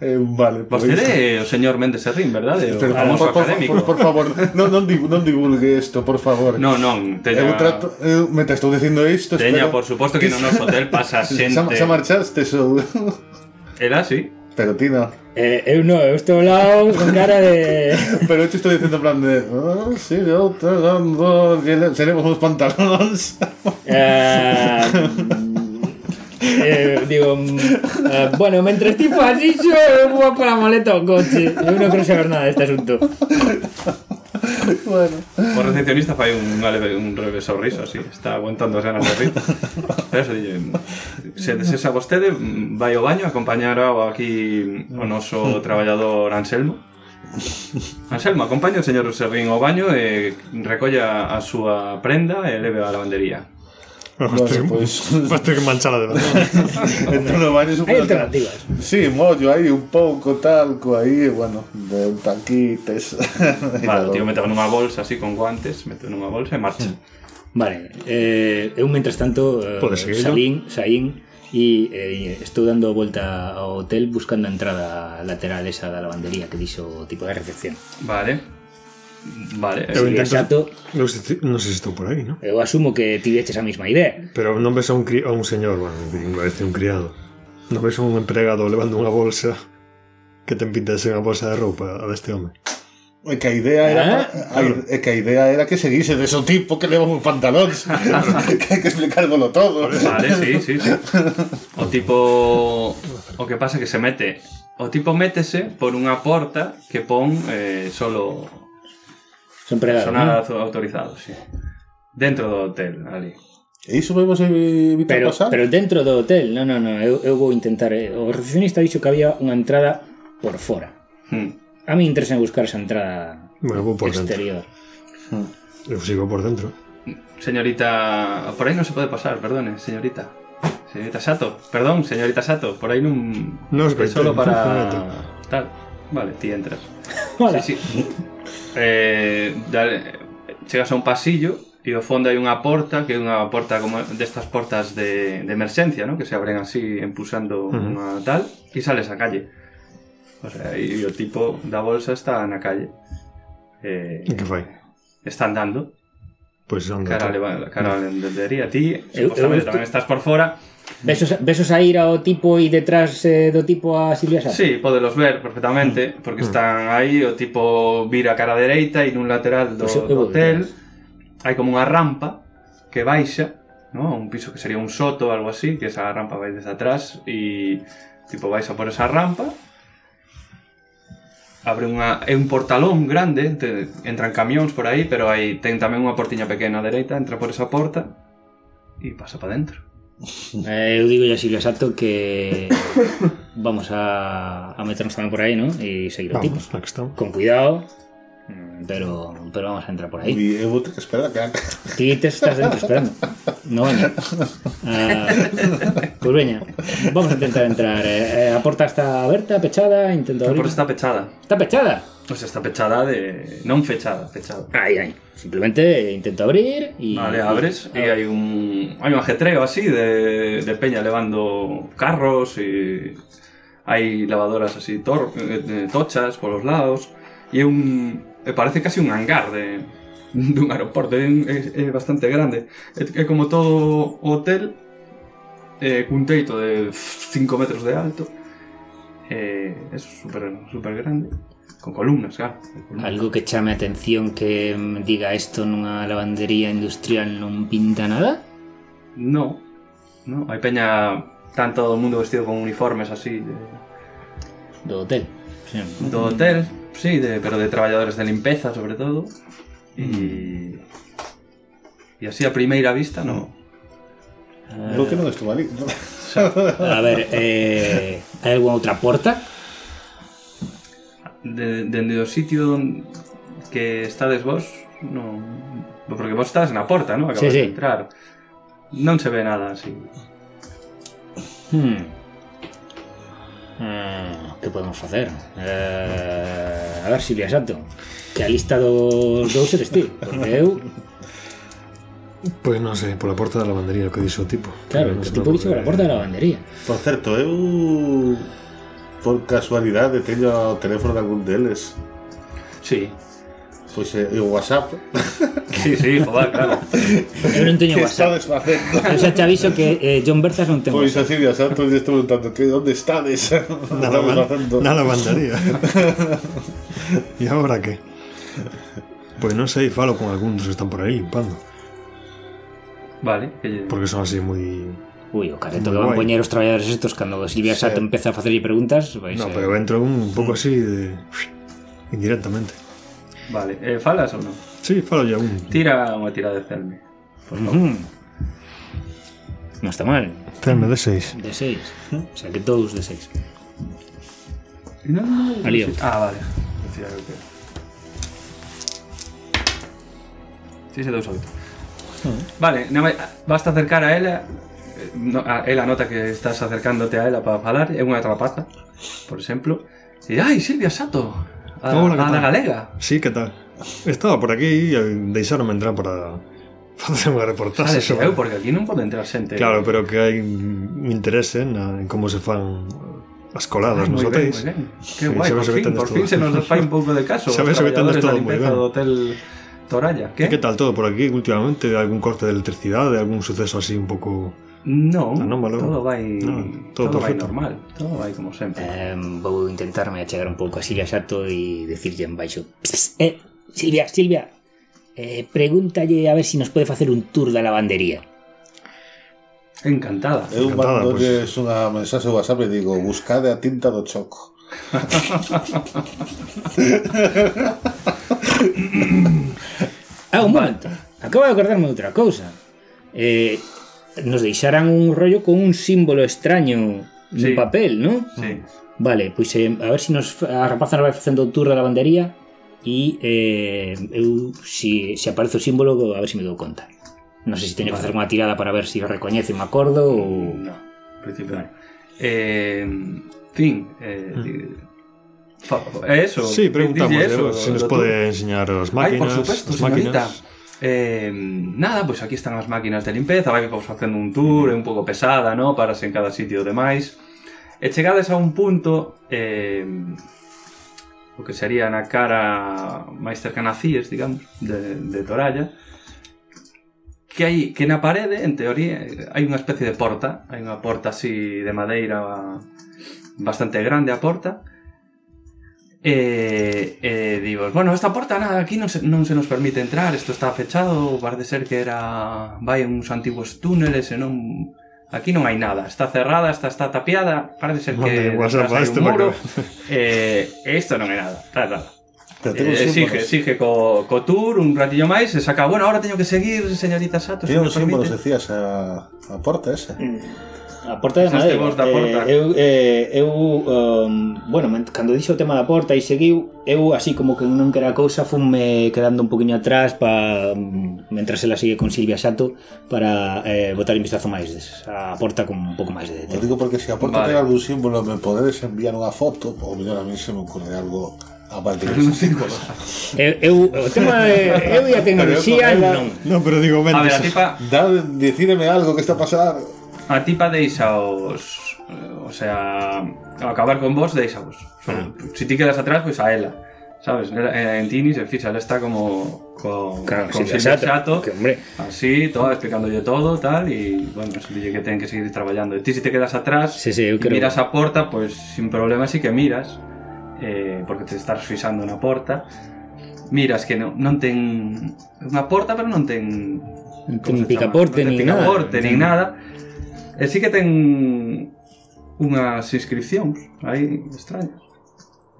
S2: eh, Vale, pois-
S1: Vostede é o señor Méndez Serrín, verdade? O
S2: Pero,
S1: famoso
S2: Este, por, por,
S1: académico
S2: por, por favor, non, non, divu- non divulgue isto, por favor
S1: Non, non, teña,
S2: Eu trato, eh, eu, mentre estou dicindo isto,
S1: teña
S2: espero-
S1: por suposto que no noso hotel pasa xente.
S2: Xa, xa marchaste, sou...
S1: Era así.
S2: este Pero ti non.
S4: Eh, eu no, eu estou ao lado con cara de...
S2: Pero eu te estou dicindo en plan de... Oh, sí, eu te dando... Seremos uns pantalóns.
S4: Eh, eh, digo, mm, eh, bueno, mentre ti fas iso, eu vou a pola maleta ao coche. Eu non quero saber nada deste asunto.
S2: bueno.
S1: O recepcionista fai un, leve, un breve sorriso así. Está aguantando as ganas de rir. Pero se dille, se desesa vostede, mm, vai ao baño, acompañará o aquí o noso traballador Anselmo. Anselmo, acompaña o señor Serrín ao baño e recolla a súa prenda e leve á lavandería.
S3: Hostia,
S1: pues-
S2: pois.
S3: vas ter que manchala de verdade.
S2: Entro no baño,
S4: Hai
S2: supoño que...
S4: alternativas.
S2: Sí, mollo aí un pouco, talco aí, e bueno, de un tanquites.
S1: Vale, o tío mete nunha bolsa así con guantes, mete nunha bolsa e marcha.
S4: Vale, eh, eu mentras tanto eh,
S3: Podes seguir,
S4: saín, saín e eh, estou dando volta ao hotel buscando a entrada lateral esa da lavandería que dixo o tipo de recepción.
S1: Vale. Vale.
S3: Eu
S1: eh,
S4: Sería xato.
S3: Non sei se- non sei se estou por aí, ¿no?
S4: Eu asumo que ti veches a mesma idea.
S3: Pero non ves a un, cri a un señor, bueno, un- parece un criado. Non ves a un empregado levando unha bolsa que ten pinta de ser unha bolsa de roupa a deste home.
S2: É que a idea era a,
S4: Ah,
S2: é que a idea era que seguise de so tipo que leva uns pantalóns. que hai que explicárvolo todo.
S1: Vale, sí, sí, sí. O tipo... O que pasa é que se mete... O tipo métese por unha porta que pon eh, solo
S4: Son pregados,
S1: sonar
S4: ¿no?
S1: auto- autorizado, sí. Dentro do hotel, ali.
S2: E iso vemos evitar
S4: Pero,
S2: pasar?
S4: pero dentro do hotel, non, non, non, eu, eu vou intentar. eh, O recepcionista dixo que había unha entrada por fora.
S1: Hmm.
S4: A mí me interesa buscar esa entrada
S3: Bueno, voy por dentro.
S4: exterior.
S3: Yo sigo por dentro.
S1: Señorita... Por ahí no se puede pasar, perdone, señorita. Señorita Sato, perdón, señorita Sato, por ahí no...
S3: No os
S1: es solo
S3: coitéis,
S1: para...
S3: fíjate.
S1: Tal. Vale, ti entras.
S4: Hola.
S1: Sí, sí. Eh, dale, chegas a un pasillo e ao fondo hai unha porta que é unha porta como destas portas de, de emerxencia, ¿no? que se abren así empusando uh
S3: Ujú.
S1: -huh. unha tal e sales á calle. O sea, e o tipo da bolsa está na calle. Eh,
S3: ¿Y qué fue?
S1: está andando.
S3: Pues Pois anda.
S1: Cara, leva- cara a lendería a ti.
S4: Eu- eu
S1: Supostamente
S4: estu-
S1: tamén estás por fora.
S4: Besos, besos a ir ao tipo e detrás eh, do tipo a Silvia Sá.
S1: Sí, podelos ver perfectamente, porque están aí, o tipo vira a cara dereita e nun lateral do,
S4: Pois eu- eu
S1: do
S4: vou
S1: hotel hai como unha rampa que baixa, ¿no? a un piso que sería un soto ou algo así, que esa rampa vai desde atrás e tipo baixa por esa rampa abre unha, é un portalón grande, te, entran camións por aí, pero aí ten tamén unha portiña pequena á dereita, entra por esa porta e pasa para dentro.
S4: Eh, eu digo ya Silvia Sato que vamos a, a meternos tamén por aí, ¿no? E seguir o tipo.
S3: Vamos, aquí estamos.
S4: Con cuidado, mm, pero, pero vamos a entrar por aí.
S2: Y eu vou ter que esperar a que
S4: Ti te estás dentro esperando. No veña. Ah, pois veña, vamos a intentar entrar. Eh, eh, a porta está aberta, pechada,
S1: A
S4: intento abrir.
S1: porta está pechada.
S4: Está pechada.
S1: O sea, está pechada de... non fechada, pechada.
S4: Ahí, ahí. Simplemente intento abrir y.
S1: Vale, abres y hay un, hay un ajetreo así de, de peña levando carros y hay lavadoras así tor- eh, eh, tochas por los lados y é un eh, parece casi un hangar de, de un aeroporto, é, un- é, é bastante grande. É, é como todo o hotel eh, cun teito de 5 metros de alto. Eh, é super, super grande, con columnas, claro. con columnas.
S4: Algo que chame a atención que mm, diga isto nunha lavandería industrial non pinta nada?
S1: No, no, hai peña tan todo o mundo vestido con uniformes así de,
S4: Do hotel. Sí.
S1: do hotel, sí, de, pero de traballadores de limpeza sobre todo. E e así a primeira vista no.
S4: Ah.
S2: Creo que non estou ali.
S4: A ver, eh, hai algunha outra porta?
S1: De, dende o sitio don- que estades vos, no, porque vos estás na porta, ¿no? Acabas
S4: Sí, sí.
S1: de entrar. Non se ve nada así.
S4: Hmm. Ah, que podemos facer? Eh, a ver, Silvia Santo, que a lista dos dous eres ti, porque eu,
S3: Pues no sé, por la puerta de la lavandería, lo que dice el tipo. Pois
S4: claro,
S3: Pero
S4: o
S3: no eh, se
S4: tipo
S3: me
S4: dixo que a
S3: ocurre-
S4: porta da lavandería.
S2: Por certo, eu por casualidade teño o teléfono de algún deles.
S1: Sí.
S2: Pois é, e o WhatsApp.
S1: Sí, sí, joder, claro.
S4: Eu non teño
S2: Que
S4: WhatsApp.
S2: estades facendo?
S4: Eu xa te aviso que eh, John Berzas non ten
S2: Pois
S4: WhatsApp.
S2: así de Santos lle estou preguntando que onde estades?
S3: La,
S2: Estamos facendo.
S3: lavan- la lavandería. ¿Y ahora qué? Pues no sé, y Pois falo con algunos que están por ahí limpando.
S1: Vale, que lle-
S3: Porque son así muy.
S4: Ui, o careto
S3: Moi
S4: que van
S3: guai.
S4: poñer os traballadores estos cando Silvia Sato empeza a facerlle preguntas, vais
S3: No,
S4: eh,
S3: pero entro un poco así de. indirectamente.
S1: vale. Eh, falas ou non?
S3: Sí, falo ya un.
S1: Tira unha tira de celme.
S4: ujú. Non está mal,
S3: Tenme de 6.
S4: de 6. O sea, que todos de 6.
S1: No, no, no,
S4: Alío.
S1: sí. Ah, vale. Decía eu que- Sí, se deu solto.
S3: Ah.
S1: Vale, na vai- vas a acercar a ela eh, no, a ela nota que estás acercándote a ela para falar, é unha trapaza, por exemplo. E, ai, Silvia Sato, a,
S3: Ah, Hola, que
S1: a da
S3: tal?"
S1: galega.
S3: Sí, ¿qué tal? Estaba por aquí y deixaronme entrar para facer unha
S1: Vale,
S3: reportaxe sobre...
S1: eu, porque aquí non pode entrar xente.
S3: Claro, pero que hai interese na, en como se fan as
S1: Ai,
S3: coladas nos
S1: moi ben,
S3: hotéis.
S1: moi ben. Que
S3: Sí,
S1: guai,
S3: xa
S1: por
S3: ves o que
S1: fin,
S3: tendes
S1: por
S3: todo.
S1: fin se nos fai un pouco de caso.
S3: Xa
S1: os
S3: ves o que
S1: traballadores
S3: tendes
S1: da
S3: todo moi
S1: limpeza
S3: ben.
S1: do hotel Toralla. Que?
S3: ¿Qué? ¿Qué tal todo por aquí últimamente? ¿Algún corte de electricidad? ¿De algún suceso así un pouco...?
S1: No,
S3: Anómalo.
S1: todo vai,
S3: No, Ah, todo
S1: todo vai
S3: perfecto.
S1: normal, todo vai como sempre.
S4: Eh, vou intentarme achegar un pouco a Silvia Sato e dicirlle en baixo "Ps, ps, eh, Silvia, Silvia eh, pregúntalle a ver se si nos pode facer un tour da lavandería
S1: Encantada.
S2: Eu
S3: Encantada,
S2: mandolles unha mensaxe ao WhatsApp e digo, buscade a tinta do choco.
S4: Ah, un momento, acabo de acordarme de outra cousa eh, Nos deixaran un rollo con un símbolo extraño no
S1: Sí.
S4: papel, non?
S1: Sí.
S4: Vale, pois eh, a ver se nos a rapaza nos vai facendo o tour da lavandería e eh, eu se, se aparece o símbolo a ver se me dou conta. Non sei se teño que facer unha tirada para ver se o recoñece me acordo
S1: Oh,
S4: ou
S1: No, en principio no. Eh, fin, eh, di- fa- é eso.
S3: Mm.
S1: di-
S3: Sí,
S1: dille
S3: preguntamos
S1: eso,
S3: se nos
S1: do
S3: pode enseñar as
S1: Ay,
S3: máquinas.
S1: por supuesto,
S3: as
S1: señorita.
S3: máquinas.
S1: Eh, nada, pues aquí están las máquinas de limpieza, vai que vamos facendo un tour, é un pouco pesada, ¿no? Paras en cada sitio e demais. E chegades a un punto eh, o que sería na cara máis cercana a Cies, digamos, de, de Toralla, que hai que na parede, en teoría, eh, hai unha especie de porta, hai unha porta así de madeira bastante grande a porta, E, e digo, bueno, esta porta nada, aquí non se, non se nos permite entrar, isto está fechado, parece ser que era vai uns antigos túneles e non aquí non hai nada, está cerrada, está está tapiada, parece ser
S3: Mande
S1: que
S3: WhatsApp
S1: detrás hai
S3: a este
S1: un muro.
S3: para
S1: Eh, e isto non é nada, tal, tal.
S2: Pero tengo
S1: Eh, exige,
S2: símbolos.
S1: exige co, co tour un ratillo máis e saca, bueno, ahora teño que seguir, señorita Sato, se
S2: Tiene
S1: me
S2: unos símbolos,
S1: permite.
S2: decías, a, a porta esa.
S4: A porta de
S1: Pensaste
S4: madeira.
S1: vos da porta.
S4: Eh, eu eh, eu um, bueno, ment- cando dixo o tema da porta e seguiu, eu así como que non quera cousa funme quedando un poquinho atrás pa mm, mentras ela sigue con Silvia Sato para eh, botar un vistazo máis des- a porta con un pouco máis
S2: Lo
S4: de detalle.
S2: digo porque si a porta
S1: Vale.
S2: tiene algún símbolo, me podéis enviar una foto, o mejor a mí se me ocurre algo a partir de
S1: Un
S2: eso.
S1: símbolo.
S4: Eu, eu o tema de eu e a tecnoloxía
S2: Pero eu con ela-
S4: non.
S3: No, pero
S1: A
S3: digo,
S1: ver,
S3: vendes.
S1: a tipa,
S2: Dad- Decídeme algo que está pasando.
S1: A ti pa deixaos eh, O sea, ao acabar con vos deixaos Solo, Si ti quedas atrás, pois pues a ela Sabes, Nela- eh, en ti ni se fixa Ela está como con, con Silvia Sato
S4: que hombre,
S1: Así, toda, explicándolle todo, tal E, bueno, se dille que ten que seguir traballando E ti si te quedas atrás
S4: Sí, sí, eu
S1: e
S4: creo.
S1: Miras a porta, pois pues, sin problema sí que miras eh, Porque te estás fixando na porta Miras que non, non ten unha porta, pero non ten
S4: non
S1: como se chama?
S4: ten picaporte
S1: non ten
S4: nin nada.
S1: picaporte, nin nada. E sí que ten unhas inscripcións aí extrañas.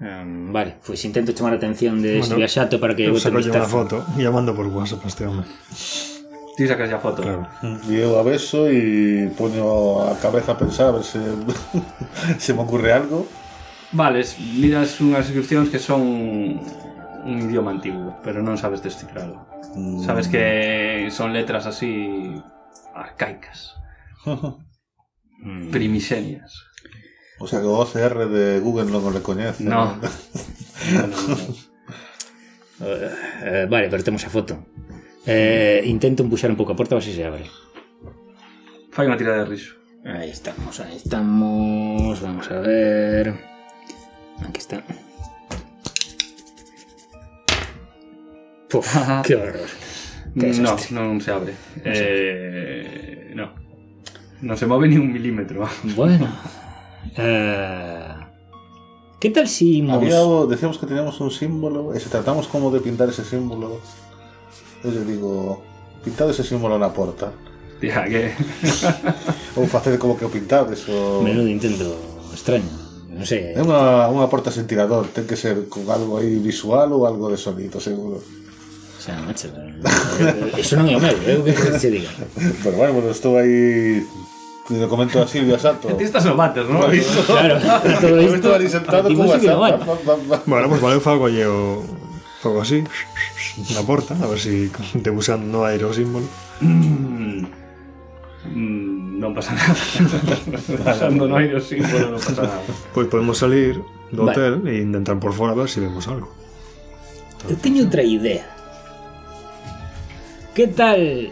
S4: Um, vale, pois intento chamar a atención de
S3: Bueno,
S4: Silvia Sato para que
S3: Eu
S4: bote un
S3: saco una
S4: vistazo.
S3: foto y la mando por WhatsApp a este hombre.
S1: Ti sacas ya foto.
S3: Claro.
S2: Llego a beso y pongo a cabeza a pensar a ver si se me ocurre algo.
S1: Vale, es- miras unhas inscripcións que son un idioma antigo, pero non sabes descifralo.
S2: Mm,
S1: Sabes que son letras así arcaicas,
S4: Mm.
S1: primixenias.
S2: O sea que OCR de Google no me reconoce.
S1: No. no, no, no.
S4: Eh, vale, pero temos a foto. Eh, intento empuxar un pouco a porta a ver se se abre.
S1: Fai unha tira de riso.
S4: Ahí estamos, ahí estamos. Vamos a ver. Aquí está. Puf, qué horror.
S1: No,
S4: Qué desastre.
S1: non se abre. Eh, no. Non se move ni un milímetro.
S4: Bueno. Eh, ¿Qué tal si mos-
S2: Había algo- decíamos que teníamos un símbolo, y si tratamos como de pintar ese símbolo, yo le digo, pintad ese símbolo en la puerta.
S1: Tía, que...
S2: O hacer como que o pintad eso.
S4: Menudo intento extraño. No sé.
S2: É unha, unha porta sen tirador, ten que ser con algo aí visual ou algo de sonido, seguro.
S4: O sea, macho. eh, Eso non é o meu, é o que se diga.
S2: Pero bueno, bueno, estou aí le comento a Silvia Sato.
S1: Ti estás no bates, ¿no?
S4: Claro, a todo
S2: Eu estou
S4: isto.
S2: ali sentado con a
S4: Imos que no van.
S2: Sato.
S3: Bueno, pues vale, fago yo fago así, la porta, a ver si te buscan no hay los símbolos.
S1: Mm, mm, non pasa nada. Pasando no hai o símbolo, non pasa nada.
S3: Pues pois podemos salir del
S4: Vale.
S3: hotel e intentar por fuera a ver si vemos algo.
S4: Eu teño outra idea. Que tal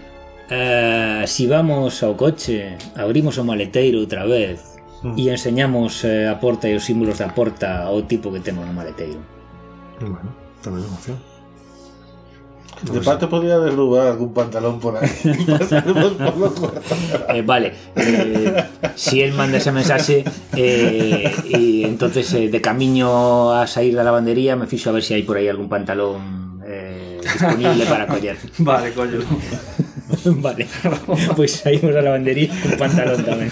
S4: eh, si vamos ao coche, abrimos o maleteiro outra vez e enseñamos eh, a porta e os símbolos da porta ao tipo que temos no maleteiro?
S3: Bueno, también es una opción.
S2: De parte podría deslugar algún pantalón por aí. Pasaremos polo cuarto.
S4: Eh, vale, eh, si él manda ese mensaje eh, y entonces eh, de camino a salir da lavandería me fixo a ver si hai por aí algún pantalón eh, disponible para coller.
S1: Vale, coño.
S4: Vale, pois saímos da lavandería con pantalón tamén.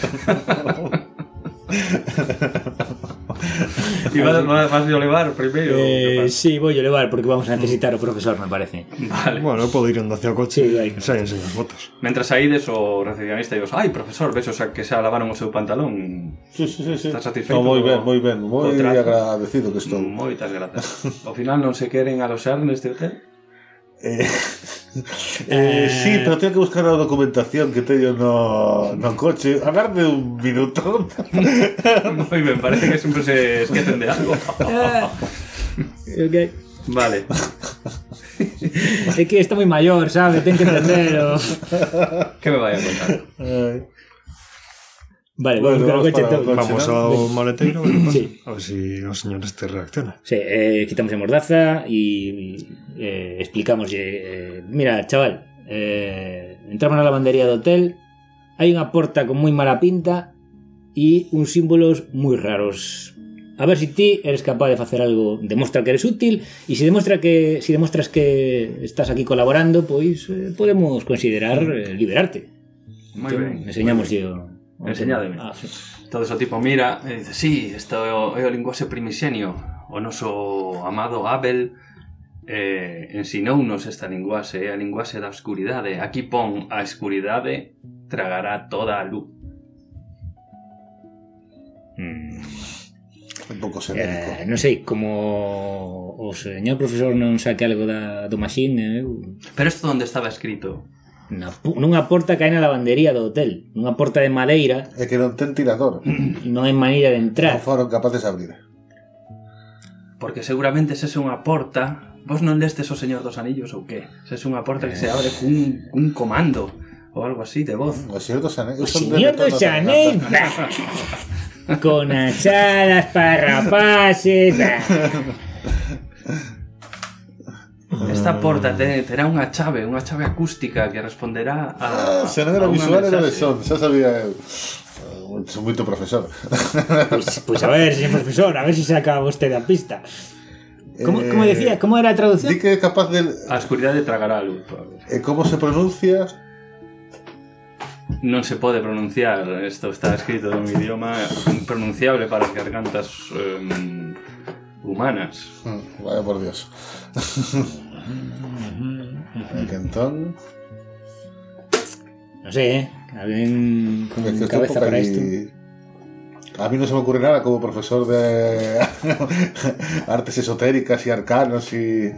S5: Y vas, vas, vas a elevar primero. ¿qué
S4: Eh,
S5: pasa?
S4: sí, voy a elevar porque vamos a necesitar un profesor, me parece.
S1: Vale.
S3: Bueno, eu podo ir andando hacia o coche
S4: Sí, vai.
S3: e saen sen as botas.
S1: Mentras aides o recepcionista e vos, ai, profesor, ves, o sea, que se lavaron o seu pantalón.
S2: Sí, sí, sí, sí.
S1: Estás satisfeito
S2: No, moi
S1: co-
S2: ben, moi ben, moi
S1: co trato?
S2: agradecido que estou.
S1: Moitas grazas. Ao final non se queren aloxar neste hotel?
S2: Eh, eh, sí, pero tengo que buscar la documentación que tengo no, no coche. Agarde un minuto.
S1: Moi ben, parece que sempre se esquecen de algo.
S4: Ah, ok.
S1: Vale.
S4: Es que está muy mayor, ¿sabes? Ten que entenderlo.
S1: Que me vai a contar?
S2: Eh,
S4: Vale,
S2: Bueno,
S4: vamos con
S2: vamos
S4: el coche
S2: para el
S4: entonces.
S2: coche.
S3: Vamos
S2: ¿no?
S3: ao maleteiro e pasa?
S4: Sí.
S3: a ver si o señor este reacciona.
S4: Sí, eh, quitamos a mordaza y eh, explicamos. eh, mira, chaval, eh, entramos na lavandería do hotel, hai unha porta con moi mala pinta e uns símbolos moi raros. A ver se ti eres capaz de facer algo, demostra que eres útil e se demostra que se demostras que estás aquí colaborando, pois eh, podemos considerar eh, liberarte.
S1: Moi ben.
S4: Enseñamos yo.
S1: Enseñádeme.
S4: Ah, sí.
S1: Todo o tipo mira e dice, sí, isto é o, é o linguaxe primixenio. O noso amado Abel eh, ensinounos esta linguaxe, é a linguaxe da oscuridade. Aquí pon a escuridade tragará toda a luz.
S4: Mm.
S2: Un pouco
S4: Eh,
S2: xenérico.
S4: non sei, como o señor profesor non saque algo da, do machine, eu...
S1: Pero isto onde estaba escrito?
S4: Na, pu- nunha porta cae na lavandería do hotel, nunha porta de madeira,
S2: É que non ten tirador.
S4: non hai maneira de
S2: Non
S4: entrar.
S2: foron capaces de abrir.
S1: Porque seguramente se é unha porta Vos non lestes o Señor dos Anillos ou que? Se é unha porta que se abre cun, cun comando Ou algo así de voz
S2: O señor dos anéis.
S4: O señor dos anéis,
S1: Ah.
S4: bah. con achadas para rapaces, bah.
S1: Esta porta te, terá unha chave, unha chave acústica Que responderá a,
S2: Ah,
S4: Ah,
S2: Se non
S1: a
S2: era
S1: unha
S2: visual, era de
S1: mensaxe.
S2: son. Xa sabía eu. Eh, Son moito profesor.
S4: Pois pues, a ver, señor profesor, a ver se si saca vostede a pista. Como,
S2: Eh,
S4: como decía, como era a
S2: Di
S4: traducción?
S2: que é capaz de...
S1: A escuridade tragará a luz Pablo.
S2: E como se pronuncia?
S1: Non se pode pronunciar Isto está escrito en un idioma impronunciable para as gargantas em, humanas
S2: Mm, Vaya por Dios.
S4: Mm.
S2: E que entón...
S4: Non sei, eh? Alguén con
S2: Es que estoy
S4: cabeza
S2: poca
S4: para
S2: y-
S4: isto?
S2: A mí no se me ocurre nada como profesor de artes esotéricas y arcanos y...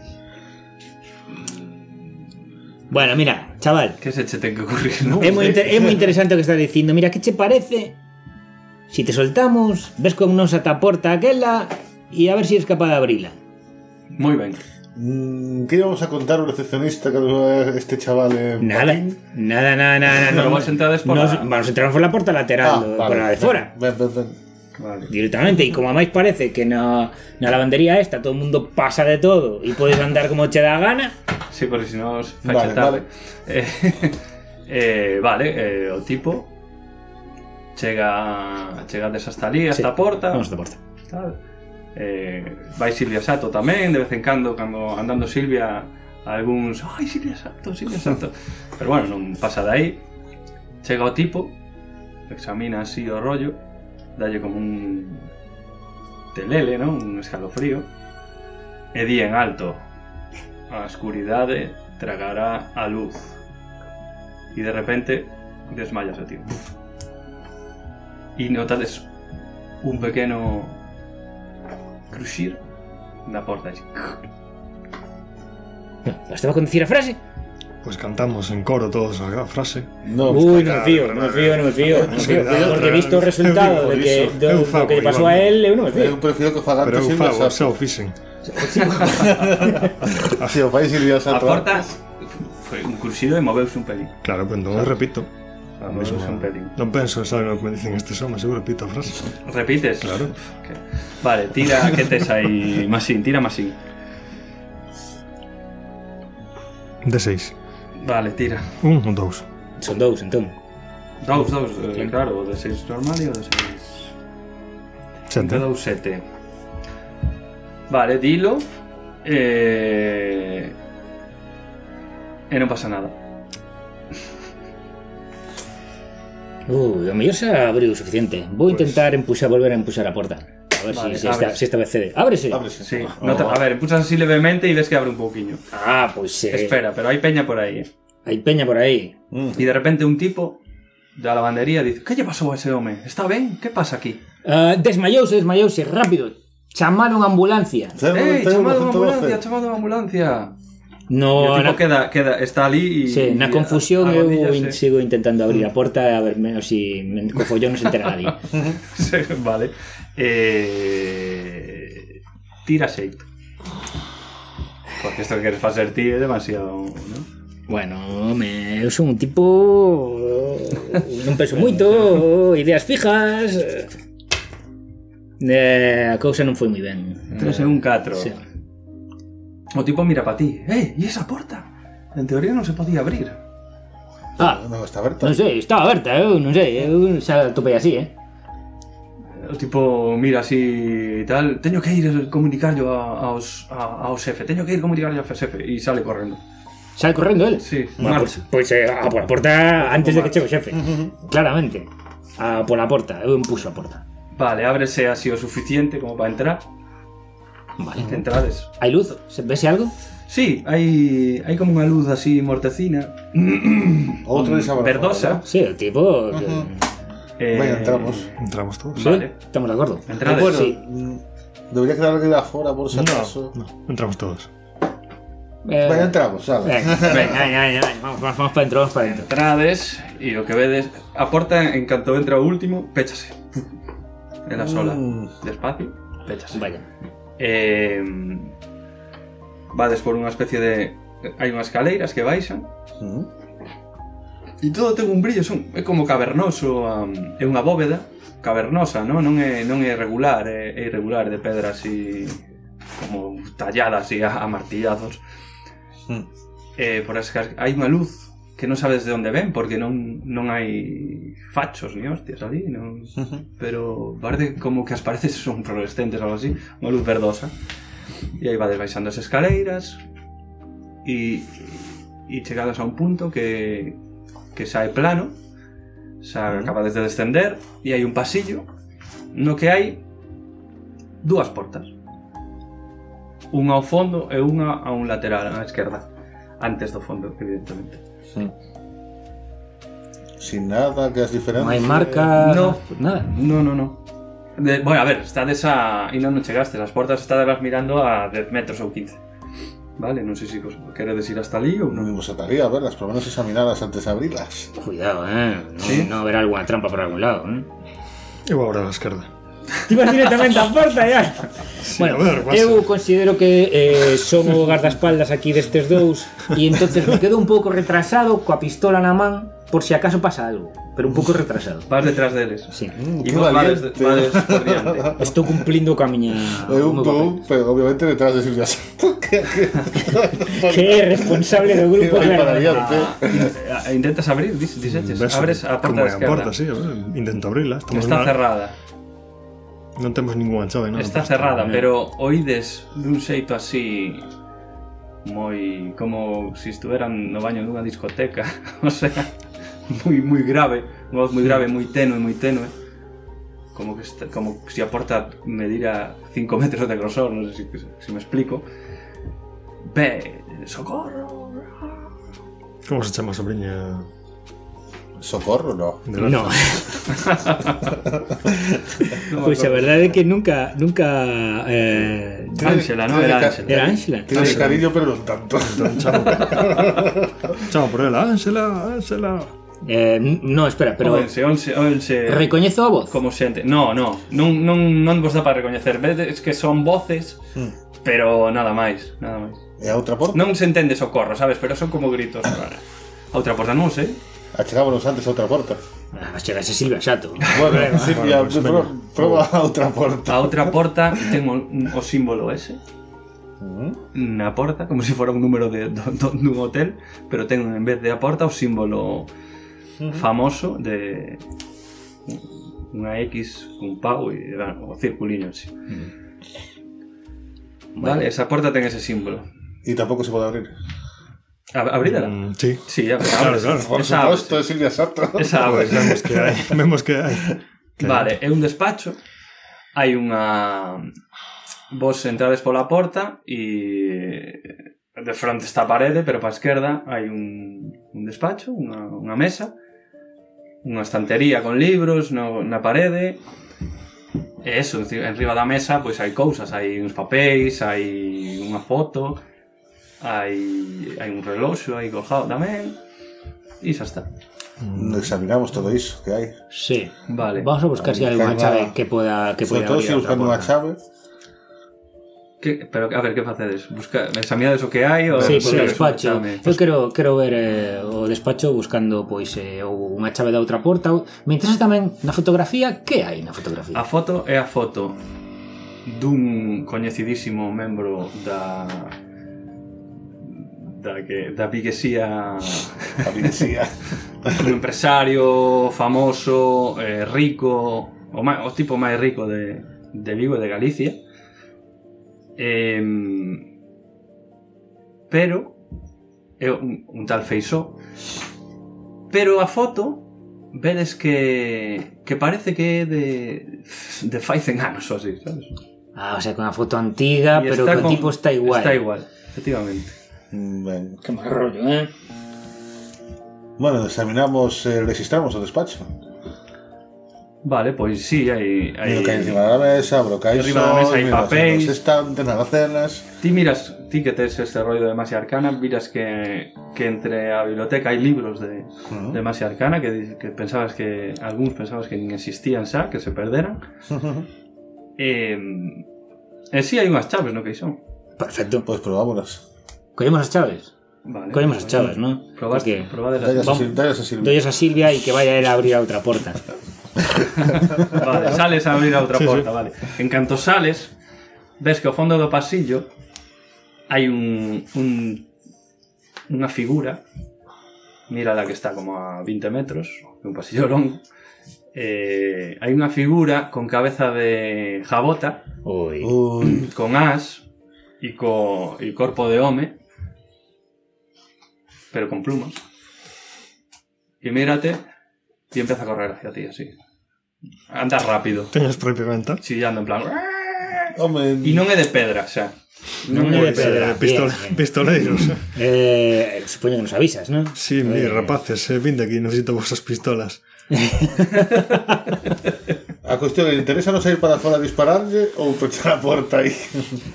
S4: Bueno, mira, chaval,
S1: Que se che ten que ocurrir, non?
S4: Es muy, inter- es muy interesante lo que estás diciendo. Mira, ¿qué te parece? Si te soltamos, ves con nos a ta porta aquella y a ver si eres capaz de abrirla.
S1: Moi ben
S2: Mm, ¿Qué íbamos a contar un recepcionista que nos va a dar este chaval en
S4: Nada,
S2: Paquín?
S4: nada, nada, nada.
S1: Pero
S4: no,
S1: vos entrades por
S4: nos-
S1: la-
S4: Vamos a entrar por la puerta lateral,
S2: Ah, vale,
S4: do- por la de
S2: ven,
S4: fuera.
S2: Ven, ven, ven.
S1: Vale
S4: Directamente, y como además parece que no la lavandería esta todo el mundo pasa de todo y puedes andar como te da gana,
S1: Sí, porque si no os
S2: Vale,
S1: facha tarde. Eh, eh, vale, eh, o tipo chega chegades hasta ali, hasta
S4: Sí.
S1: a porta,
S4: vamos a la puerta.
S1: tal. Eh, vai Silvia Sato tamén, de vez en cando cando andando Silvia algúns, ai Silvia Sato, Silvia Sato. Pero bueno, non pasa de aí. Chega o tipo, examina así o rollo, dalle como un telele, non? Un escalofrío. E di en alto, a escuridade tragará a luz. E de repente desmayas a ti. E notades un pequeno cruxir da porta. así.
S4: ¿Bastaba con decir la frase?
S3: Pois cantamos en coro todos a a frase.
S2: No,
S4: Uy, no me
S3: claro,
S4: fío,
S3: claro,
S4: no me
S3: claro.
S4: fío, no me fío. no me fío,
S3: Cuidado,
S4: Porque he visto el
S3: claro,
S4: resultado de
S3: eu
S4: que,
S3: fago igual.
S4: de lo que le pasó a él, eu no me
S2: eu
S4: fío.
S2: prefiero que
S3: Pero
S2: fagante
S3: eu
S2: Silvia
S3: fago, xa
S2: Sato.
S3: o fixen.
S2: Si o fai Silvia
S1: A
S2: Sato.
S1: porta foi un cruxido e moveuse un pelín.
S3: Claro, pero non repito.
S1: Ah,
S3: O
S1: non,
S3: mismo.
S1: es un pelín.
S3: Non penso, saben o que me dicen estes homes, eu repito a frase.
S1: Repites?
S3: Claro.
S1: Que- Vale, tira que tes aí masín, tira masín.
S3: De seis.
S1: Vale, tira.
S3: Un ou dous.
S4: Son dos, entonces.
S1: Dous, dous, eh, claro, o de seis normal e o de seis
S3: Sete.
S1: Te dou sete. Vale, dilo. Eh... E non pasa nada.
S4: Uh, Ui, o mellor xa abriu o suficiente. Vou intentar empuxar, volver a empuxar a porta. A ver
S1: Pois.
S4: si-
S1: Vale,
S4: si, esta,
S1: ábrese.
S4: si esta vez cede. ¡Ábrese!
S2: Ábrese.
S1: Sí, Oh, no te- a ver, pulsas así levemente y ves que abre un poquillo.
S4: Ah, pues eh,
S1: Espera, pero hay peña por ahí. ¿eh?
S4: hay peña por ahí.
S2: Mm.
S1: Y de repente un tipo de la lavandería dice, ¿qué le pasó a ese hombre? ¿Está bien? ¿Qué pasa aquí?
S4: Ah, desmayouse, desmayouse, rápido. Chamar unha ambulancia.
S2: Cero,
S1: ¡Eh,
S2: noventa y uno,
S1: chamado a ambulancia,
S2: 112.
S1: chamado a ambulancia! Y el
S4: Oh, No,
S1: tipo
S4: na,
S1: queda, queda, está ali y...
S4: sí, na
S1: y-
S4: confusión
S1: a- a
S4: eu
S1: rodillas,
S4: in-
S1: sí. Mm.
S4: sigo intentando abrir a porta a ver menos si me, co follón non se entera nadie.
S1: Sí, vale. Eh... Tira shape. Porque esto que quieres hacer ti es demasiado...
S4: Eh,
S1: ¿no?
S4: Bueno, me, eu son un tipo eh, non penso moito, ideas fijas. eh. Eh, a cousa non foi moi ben.
S1: Tres en un 4.
S4: Sí.
S1: O tipo mira para ti. ¡Eh, y esa puerta! En teoría no se podía abrir.
S4: Ah,
S2: No, está abierta.
S4: non sei, estaba aberta, eu non sei, eu xa topei así, eh.
S1: El tipo mira así y tal. Tengo que ir a comunicar yo a, a, os, a, a os jefe. Tengo que ir a comunicar yo a jefe. Y sale corriendo.
S4: Sale correndo el.
S1: Sí,
S4: Bueno,
S1: marcha.
S4: pois, pois eh, a pola porta antes de que chegue o xefe. Claramente. A pola porta, eu empuxo eh, a porta.
S1: Vale, ábrese así o suficiente como para entrar.
S4: Vale.
S1: Entrades.
S4: Hai luz? Se vese algo?
S1: Sí, hay, hay como una luz así mortecina, mm,
S2: Otro desabrafado,
S1: verdosa.
S4: Sí, o tipo... que-
S1: Eh,
S2: ¿no? Venga, entramos.
S3: Entramos todos.
S4: Sí,
S1: Vale.
S4: Estamos de acuerdo.
S1: Entrades.
S2: bueno,
S4: sí.
S2: mm, debería quedar alguien afuera por si
S1: No.
S2: acaso.
S3: Entramos todos.
S4: Eh,
S2: Venga, entramos, ala.
S4: venga, venga, venga, venga, vamos, vamos, vamos para dentro, vamos para dentro.
S1: Entrades y lo que ves es... Aporta en cuanto entra o último, péchase. En la sola. Despacio, péchase.
S4: Vaya.
S1: Eh, vades por unha especie de... Hai unhas caleiras que baixan
S2: Mm.
S1: E todo ten un brillo, son, é como cavernoso a, É unha bóveda cavernosa, non? Non é, non é regular, é, é irregular de pedra así Como tallada así a, a martillazos
S2: Mm.
S1: eh, por as, cas- Hai unha luz que non sabes de onde ven Porque non, non hai fachos ni hostias ali non... Pero parece como que as paredes son fluorescentes ou algo así, unha luz verdosa. E aí vades baixando as escaleiras e, e chegadas a un punto que, que xa é plano, xa acabades de descender e hai un pasillo no que hai dúas portas. Unha ao fondo e unha a un lateral, á esquerda. Antes do fondo, evidentemente.
S2: Mm. Sin nada que as diferencias.
S4: Non hai marca...
S1: No.
S4: Nada.
S1: No, no, no. De- bueno, a ver, estades a... E non non chegaste, as portas estadevas mirando a 10 metros ou 15. Vale, non sei se vos queredes ir hasta ali ou
S2: No
S1: non.
S2: me gustaría verlas, por lo menos examinarlas antes de abrirlas.
S4: Cuidado, eh. No,
S1: Sí.
S4: no haberá alguna trampa por algún lado, eh.
S3: Eu agora a esquerda.
S4: Te ibas directamente á porta, ya.
S3: a
S4: bueno,
S3: ver, pasa.
S4: eu considero que eh, son o guardaespaldas aquí destes dous e entonces me quedo un pouco retrasado coa pistola na man por si acaso pasa algo, pero un pouco retrasado.
S1: Vas detrás deles.
S4: Sí.
S1: E
S2: Mm, qué
S1: vos vades,
S2: valiente.
S1: vades por diante.
S4: Estou cumplindo coa miña
S1: Ah,
S2: Hay un
S4: o meu
S2: tú, pero obviamente detrás de Silvia Santos. que- que-
S4: papel. Que é responsable do
S2: que va
S4: grupo
S2: para
S4: claramente.
S2: adelante.
S1: Ah, Intentas abrir, dis, diseches.
S3: Ves
S1: Abres a porta da
S3: como é
S1: esquerda.
S3: porta, sí, a ver, intento abrirla. Estamos
S1: Está
S3: na-
S1: cerrada.
S3: Non temos ninguna chave, non? eh,
S1: Está cerrada, pero oídes dun xeito así moi como se estuveran no baño dunha discoteca, o sea, moi moi grave, unha voz moi grave, moi tenue, moi tenue. Como que está, como se a porta medira 5 metros de grosor, non sei se, se me explico. Ve, socorro.
S3: Como se chama a sobrinha
S2: Socorro, no.
S3: de Larza?
S4: No. pois a verdade é que nunca nunca eh,
S1: Ángela, non era Ángela.
S4: era Ángela.
S2: Tienes cariño, pero no tanto.
S3: Chamo. Chamo por ela. Ángela, Ángela.
S4: Eh, n- no, espera, pero
S1: Onse, onse, onse.
S4: recoñezo a voz.
S1: como xente. No, no, non, non, non vos dá para recoñecer. Vedes que son voces, pero nada máis, nada máis.
S2: E a outra porta?
S1: Non se entende socorro, sabes, pero son como gritos rara. A outra porta non sei.
S2: Achegámonos antes a outra porta.
S4: Ah, chegase Silvia Xato.
S2: Bueno,
S4: eh.
S2: Silvia,
S3: pues
S2: pro-
S3: venga.
S2: prueba a outra porta.
S1: A outra porta ten o, o símbolo ese na porta, como se fora un número de, do, do, dun hotel, pero ten en vez de a porta o símbolo famoso de unha X cun pau e era o circuliño así. Vale, esa porta ten ese símbolo.
S2: Y tampoco se puede abrir.
S1: Ab- Abrídela.
S3: Mm, sí.
S1: Sí, abre,
S3: Claro,
S1: abre.
S3: claro.
S2: Por
S1: Esa
S2: supuesto, es Silvia Sarto.
S1: Esa abre.
S3: Vemos que hai. Vemos que hai.
S1: Vale, é un despacho hai unha vos entrades pola porta e de fronte está a parede, pero para a esquerda hai un, un despacho, unha, unha mesa, unha estantería con libros no, na parede, e eso, enci- enriba da mesa pois hai cousas, hai uns papéis, hai unha foto, hai, hai un reloxo aí colgado tamén, e xa está.
S2: Mm,
S3: Mm,
S2: Examinamos todo iso que hai.
S4: Sí.
S1: Vale.
S4: Vamos a buscar si hay alguna
S2: Buscar la-
S4: chave que pueda que
S2: Sobre
S4: pueda
S2: todo
S4: abrir
S2: si
S4: a
S2: buscando
S4: otra
S2: unha
S4: puerta.
S2: chave.
S1: Que, pero, a ver, que facedes? Busca, examinades o que hai? Ou,
S4: Sí, por
S1: Sí,
S4: o despacho.
S1: chame.
S4: Eu quero, quero ver eh, o despacho buscando pois eh, ou unha chave da outra porta. ou- Me interesa tamén na fotografía, que hai na
S1: A
S4: fotografía?
S1: foto é a foto dun coñecidísimo membro da da que da burguesía
S2: A policía.
S1: un empresario famoso, eh, rico, o, má, o tipo máis rico de, de Vigo e de Galicia. Em, pero é un, un tal Feisó. Pero a foto vedes que que parece que é de de fai 100 anos ou así, sabes?
S4: Ah, o sea, con a foto antiga,
S1: E
S4: Ah, pero que o
S1: con-
S4: tipo está igual.
S1: Está igual, efectivamente.
S2: Mm, ben.
S4: Que mal rollo, eh?
S2: Bueno, examinamos, eh, registramos o despacho.
S1: Vale, pois si, sí, hai hai
S2: Miro que hai encima da mesa, abro caixón,
S1: Encima da mesa hai
S2: miro as-
S1: papéis.
S2: os estantes, nas gacelas...
S1: Ti miras, ti que tes este rollo de Masia Arcana, miras que, que entre a biblioteca hai libros de,
S2: Ujú.
S1: de Masia Arcana que, di- que pensabas que, algúns pensabas que nin existían xa, que se perderan. Mm. E, e si hai unhas chaves no que son.
S4: Perfecto.
S2: Pois probámonos.
S4: Collemos as chaves.
S1: Vale.
S4: Collemos as chaves, non?
S1: Probaste,
S4: Porque
S1: probades as
S2: Dallas a
S4: Vamos.
S2: Sil- dallas a Silvia.
S4: Doyos a Silvia e que vaya él a abrir a outra porta.
S1: Vale, sales a abrir a outra
S3: Sí, sí.
S1: porta, vale. En canto sales, ves que ao fondo do pasillo hai un, un unha figura mira la que está como a 20 metros un pasillo longo eh, hai unha figura con cabeza de jabota
S4: Oi.
S2: Ui,
S1: con as e co e corpo de home pero con plumas e mírate e empieza a correr hacia ti así anda rápido
S3: Teñas propiamente.
S1: chillando en plan
S2: home,
S1: e non é de pedra xa
S4: Non é de pedra.
S3: pistol,
S4: Bien,
S3: Eh,
S4: bien.
S3: pistoleiros.
S4: Eh, supoño que nos avisas, non?
S3: Sí, mi,
S4: Eh,
S3: rapaces, eh, vinde aquí, necesito vosas pistolas.
S2: a cuestión é, interesa non sair para fora a dispararlle ou pechar a porta aí?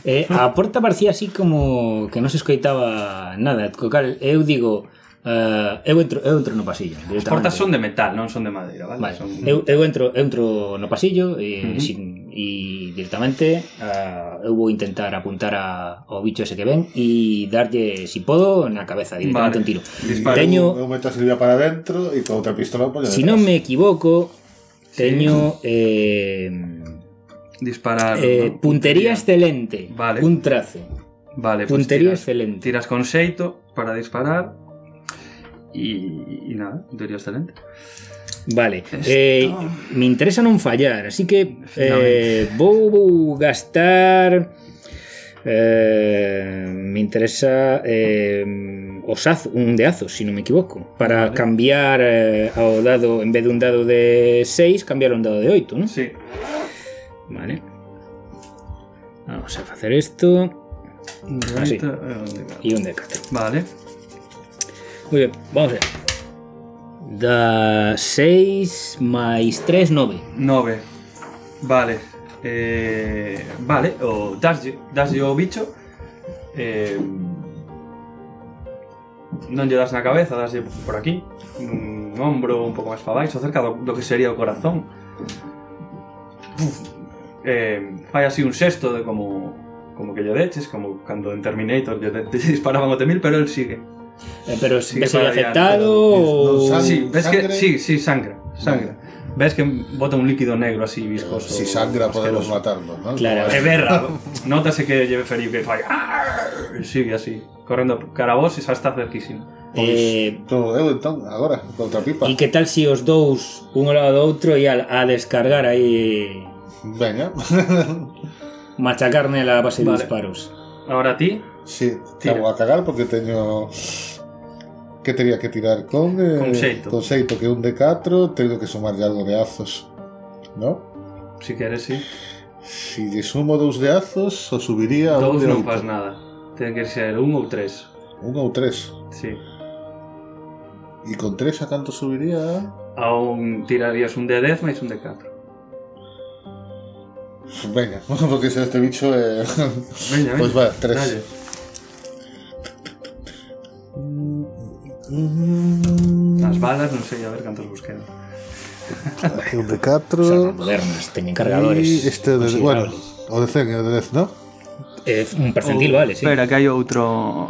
S4: Eh, a porta parecía así como que non se escoitaba nada, co cal eu digo, eh, eu entro, eu entro no pasillo.
S1: as portas son de metal non son de madeira vale,
S4: Vale.
S1: son
S4: Eu, eu entro, eu entro no pasillo e,
S1: Ujú.
S4: sin, e directamente uh, eu vou intentar apuntar a, ao bicho ese que ven e darlle, si podo, na cabeza
S1: Vale.
S4: directamente un tiro.
S1: Dispara.
S4: Teño-
S2: Eu meto a Silvia para dentro e con outra pistola pois, poño detrás.
S4: Si non me equivoco, teño eh,
S1: disparar
S4: eh,
S1: non?
S4: puntería excelente,
S1: Vale.
S4: un trace.
S1: vale, pues
S4: Puntería
S1: tiras,
S4: excelente.
S1: tiras con xeito para disparar e, e nada, teoría excelente
S4: Vale, eh, me interesa non fallar, así que eh,
S1: Efectivamente.
S4: vou, vou gastar eh, me interesa eh, os az, un de azos, se non me equivoco, para
S1: Vale.
S4: cambiar eh, ao dado, en vez de un dado de 6, cambiar a un dado de 8, non?
S1: sí,
S4: Vale. Vamos a facer isto
S1: Ah,
S4: Así.
S1: sí. Eh,
S4: e un de 4.
S1: vale
S4: Muy bien, vamos allá. Da 6 máis 3, 9.
S1: 9. Vale. Eh, vale, o daslle, daslle o bicho. Eh, non lle das na cabeza, daslle por aquí, un ombro un pouco máis para baixo, cerca do, do que sería o corazón. Puf. Eh, fai así un sexto de como como que lle deches, como cando en Terminator lle, de- lle disparaban o temil, pero el sigue.
S4: Eh, pero
S1: Sí
S4: sí
S1: que
S4: ves
S1: para adiante,
S4: afectado
S2: pero non
S4: ou-
S2: sabe.
S1: Sí, ves que
S2: ¿Sangre?
S1: sí, sí, sangra, sangra. Ves que bota un líquido negro así viscoso.
S2: Si sangra podemos
S1: asqueroso.
S2: matarnos, non? Pois,
S4: Claro. eh,
S1: É berra. Notase que lleve ferido que fai. "Arr!" E Sigue así, correndo cara a vos e xa está cerquísimo.
S4: Eh,
S2: pois, Todo eu entón, agora, con outra pipa.
S4: E que tal se os dous un ao lado do outro e al, a descargar aí
S2: Veña.
S4: machacar nela a base de
S1: Vale.
S4: disparos.
S1: Ahora ti,
S2: Sí,
S1: Tira.
S2: acabo a cagar porque teño que teria que tirar con eh,
S1: Con xeito.
S2: con xeito que é un de 4, teño que sumarlle algo de azos, ¿no?
S1: si queres, si.
S2: Si lle sumo dous de azos, o subiría a Ah, un
S1: Dous
S2: de
S1: non
S2: oito.
S1: faz nada. Ten que ser un ou tres.
S2: Un ou tres.
S1: Sí.
S2: E con tres a canto subiría a...
S1: A un tirarías un de 10 máis un de 4.
S2: Veña, porque se este bicho eh...
S1: Veña,
S2: Pois va, tres.
S1: Dalle. As balas non sei a ver cantos vos quedan.
S2: Hai un de
S4: Son
S2: 4
S4: modernas,
S2: E
S4: teñen cargadores. Pues
S2: este de... Bueno,
S4: considerables.
S2: o de 100 e o de 10, non?
S4: Eh, un percentil, vale,
S1: este-
S4: sí.
S5: Espera, que hai outro...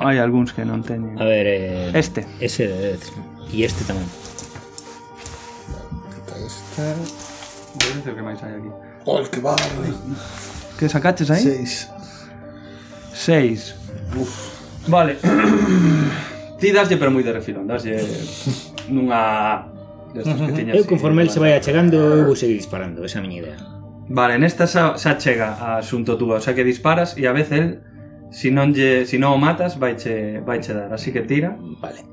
S5: Hai algúns que non teñen.
S4: A ver, eh,
S5: Este.
S4: ese de 10. Y este tamén.
S2: Quita Este...
S1: Debe ser que máis hai aquí.
S2: ¡Oh, que vale!
S5: Que sacaches aí?
S2: 6
S5: Seis.
S1: Vale. Ti daslle pero moi de refilón, daslle nunha destas e que tiñas.
S4: Eu conforme el se vai achegando, eu vou seguir disparando, esa é a miña idea.
S1: Vale, nesta xa, xa chega a asunto túa, o sea que disparas e a vez el si non lle, si non o matas vaiche vaiche dar, así que tira.
S4: Vale.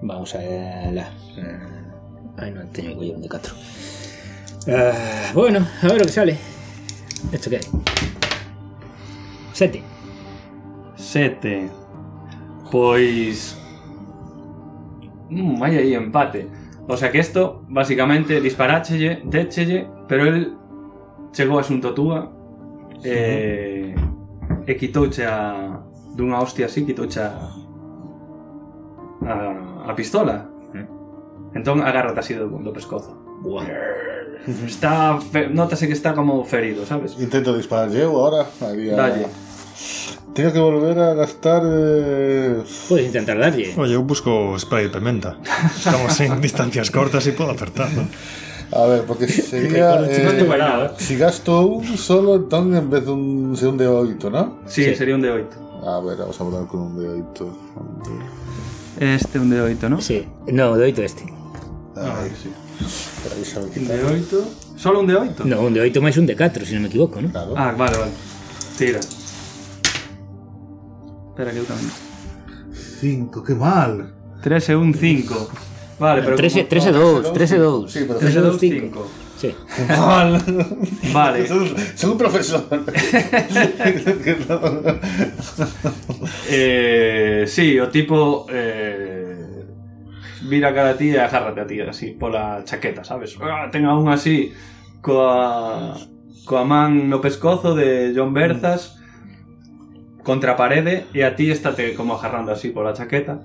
S4: Vamos a la. Ah, Ay, no, tenía que llevar un de 4. bueno, a ver lo que sale. ¿Esto qué hay? 7.
S1: 7. Pois mm, hai aí empate. O sea que isto, basicamente, disparáchelle, déchelle, pero el chegou a asunto túa e, e quitouche a... dunha hostia así, quitouche a, a, a pistola. Entón agárrate así do, do pescozo. Está, fe- notase que está como ferido, sabes?
S2: Intento disparar eu ahora Había...
S1: Dalle.
S2: Tengo que volver a gastar... Eh...
S4: Puedes intentar darle.
S3: Oye, yo busco spray de pimenta. Estamos en distancias cortas y puedo acertar, ¿no?
S2: A ver, porque sería...
S4: Chicos,
S2: eh...
S4: tú parado, eh.
S2: Si gasto un solo, entón en vez dun, de un de 8, non?
S1: Sí,
S4: Sí.
S1: sería un de 8.
S2: A ver, vamos a probar con un de 8.
S5: Este un de oito, non?
S4: Sí. No, de 8 este.
S2: Ay, sí. Pero aí xa me
S1: Un
S2: quita.
S1: de 8. Solo un de 8?
S4: No, un de 8 máis un de 4, se non me equivoco, ¿no?
S2: Claro.
S1: Ah, vale, vale. Tira. Espera que eu tamén.
S2: 5, que mal.
S1: 3 e 1, 5. Vale, pero...
S4: 13, 13 2, 13 2.
S2: Sí, pero
S1: 3 e 2,
S4: 5.
S1: 5.
S4: Sí.
S2: Mal.
S1: Vale.
S2: Son un profesor.
S1: Eh, sí, o tipo... Eh, mira cara a ti e agárrate a ti, así, pola chaqueta, sabes? Ah, Ten a un así, coa, coa man no pescozo de John Berzas, contra a parede, e a ti estate como agarrando así pola chaqueta,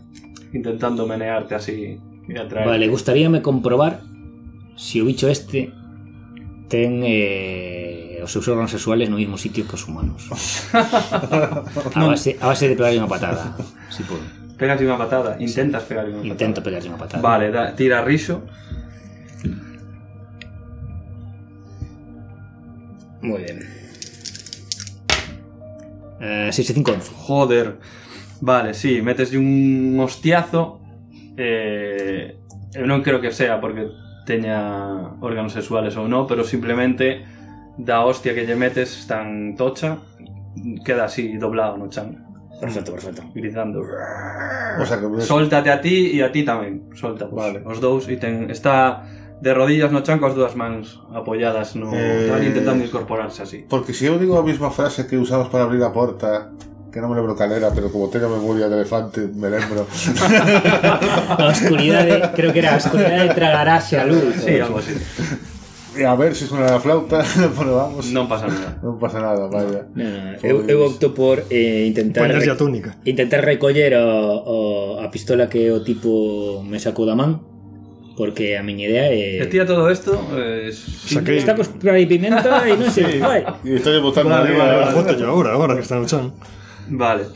S1: intentando menearte así e atraer.
S4: Vale, gustaríame comprobar se o bicho este ten eh, os seus órganos sexuales no mismo sitio que os humanos. A base, a base de pegarlle unha patada, si podo.
S1: Pegas unha patada, intentas pegar unha patada.
S4: Intento pegarlle unha patada.
S1: Vale, da, tira rixo.
S4: Muy bien. Eh, 6 e 5 11.
S1: Joder. Vale, sí, meteslle un hostiazo. Eh, eu non creo que sea porque teña órganos sexuales ou non, pero simplemente da hostia que lle metes tan tocha queda así doblado no chan,
S4: Perfecto, perfecto.
S1: gritando.
S2: o sea, que me...
S1: Sóltate a ti e a ti tamén. Solta, pues,
S2: Vale.
S1: vale. os dous e ten está de rodillas no chan coas dúas mans apoiadas no
S2: Eh.
S1: tal intentando incorporarse así.
S2: Porque si eu digo a mesma frase que usamos para abrir a porta, que non me lembro cal era, pero como teño memoria de elefante, me lembro.
S4: A oscuridade, creo que era a oscuridade tragarase a luz.
S1: Sí, algo así.
S2: E a ver se suena la flauta, pero vamos.
S1: Non pasa nada.
S2: Non pasa nada, vaya.
S4: No, no, no. Eu, eu opto por eh, intentar
S3: Poñerlle a
S4: rec-
S3: túnica.
S4: intentar recoller o, o, a pistola que o tipo me sacou da man porque a miña idea
S1: E
S4: é
S1: ti a todo isto eh,
S3: Saquei-
S4: está cos spray de pimenta e non sei vai.
S2: E estou botando
S1: Vale,
S2: arriba.
S1: vale,
S3: Ahora, boto yo ahora, ahora que está en Ochan.
S1: Vale.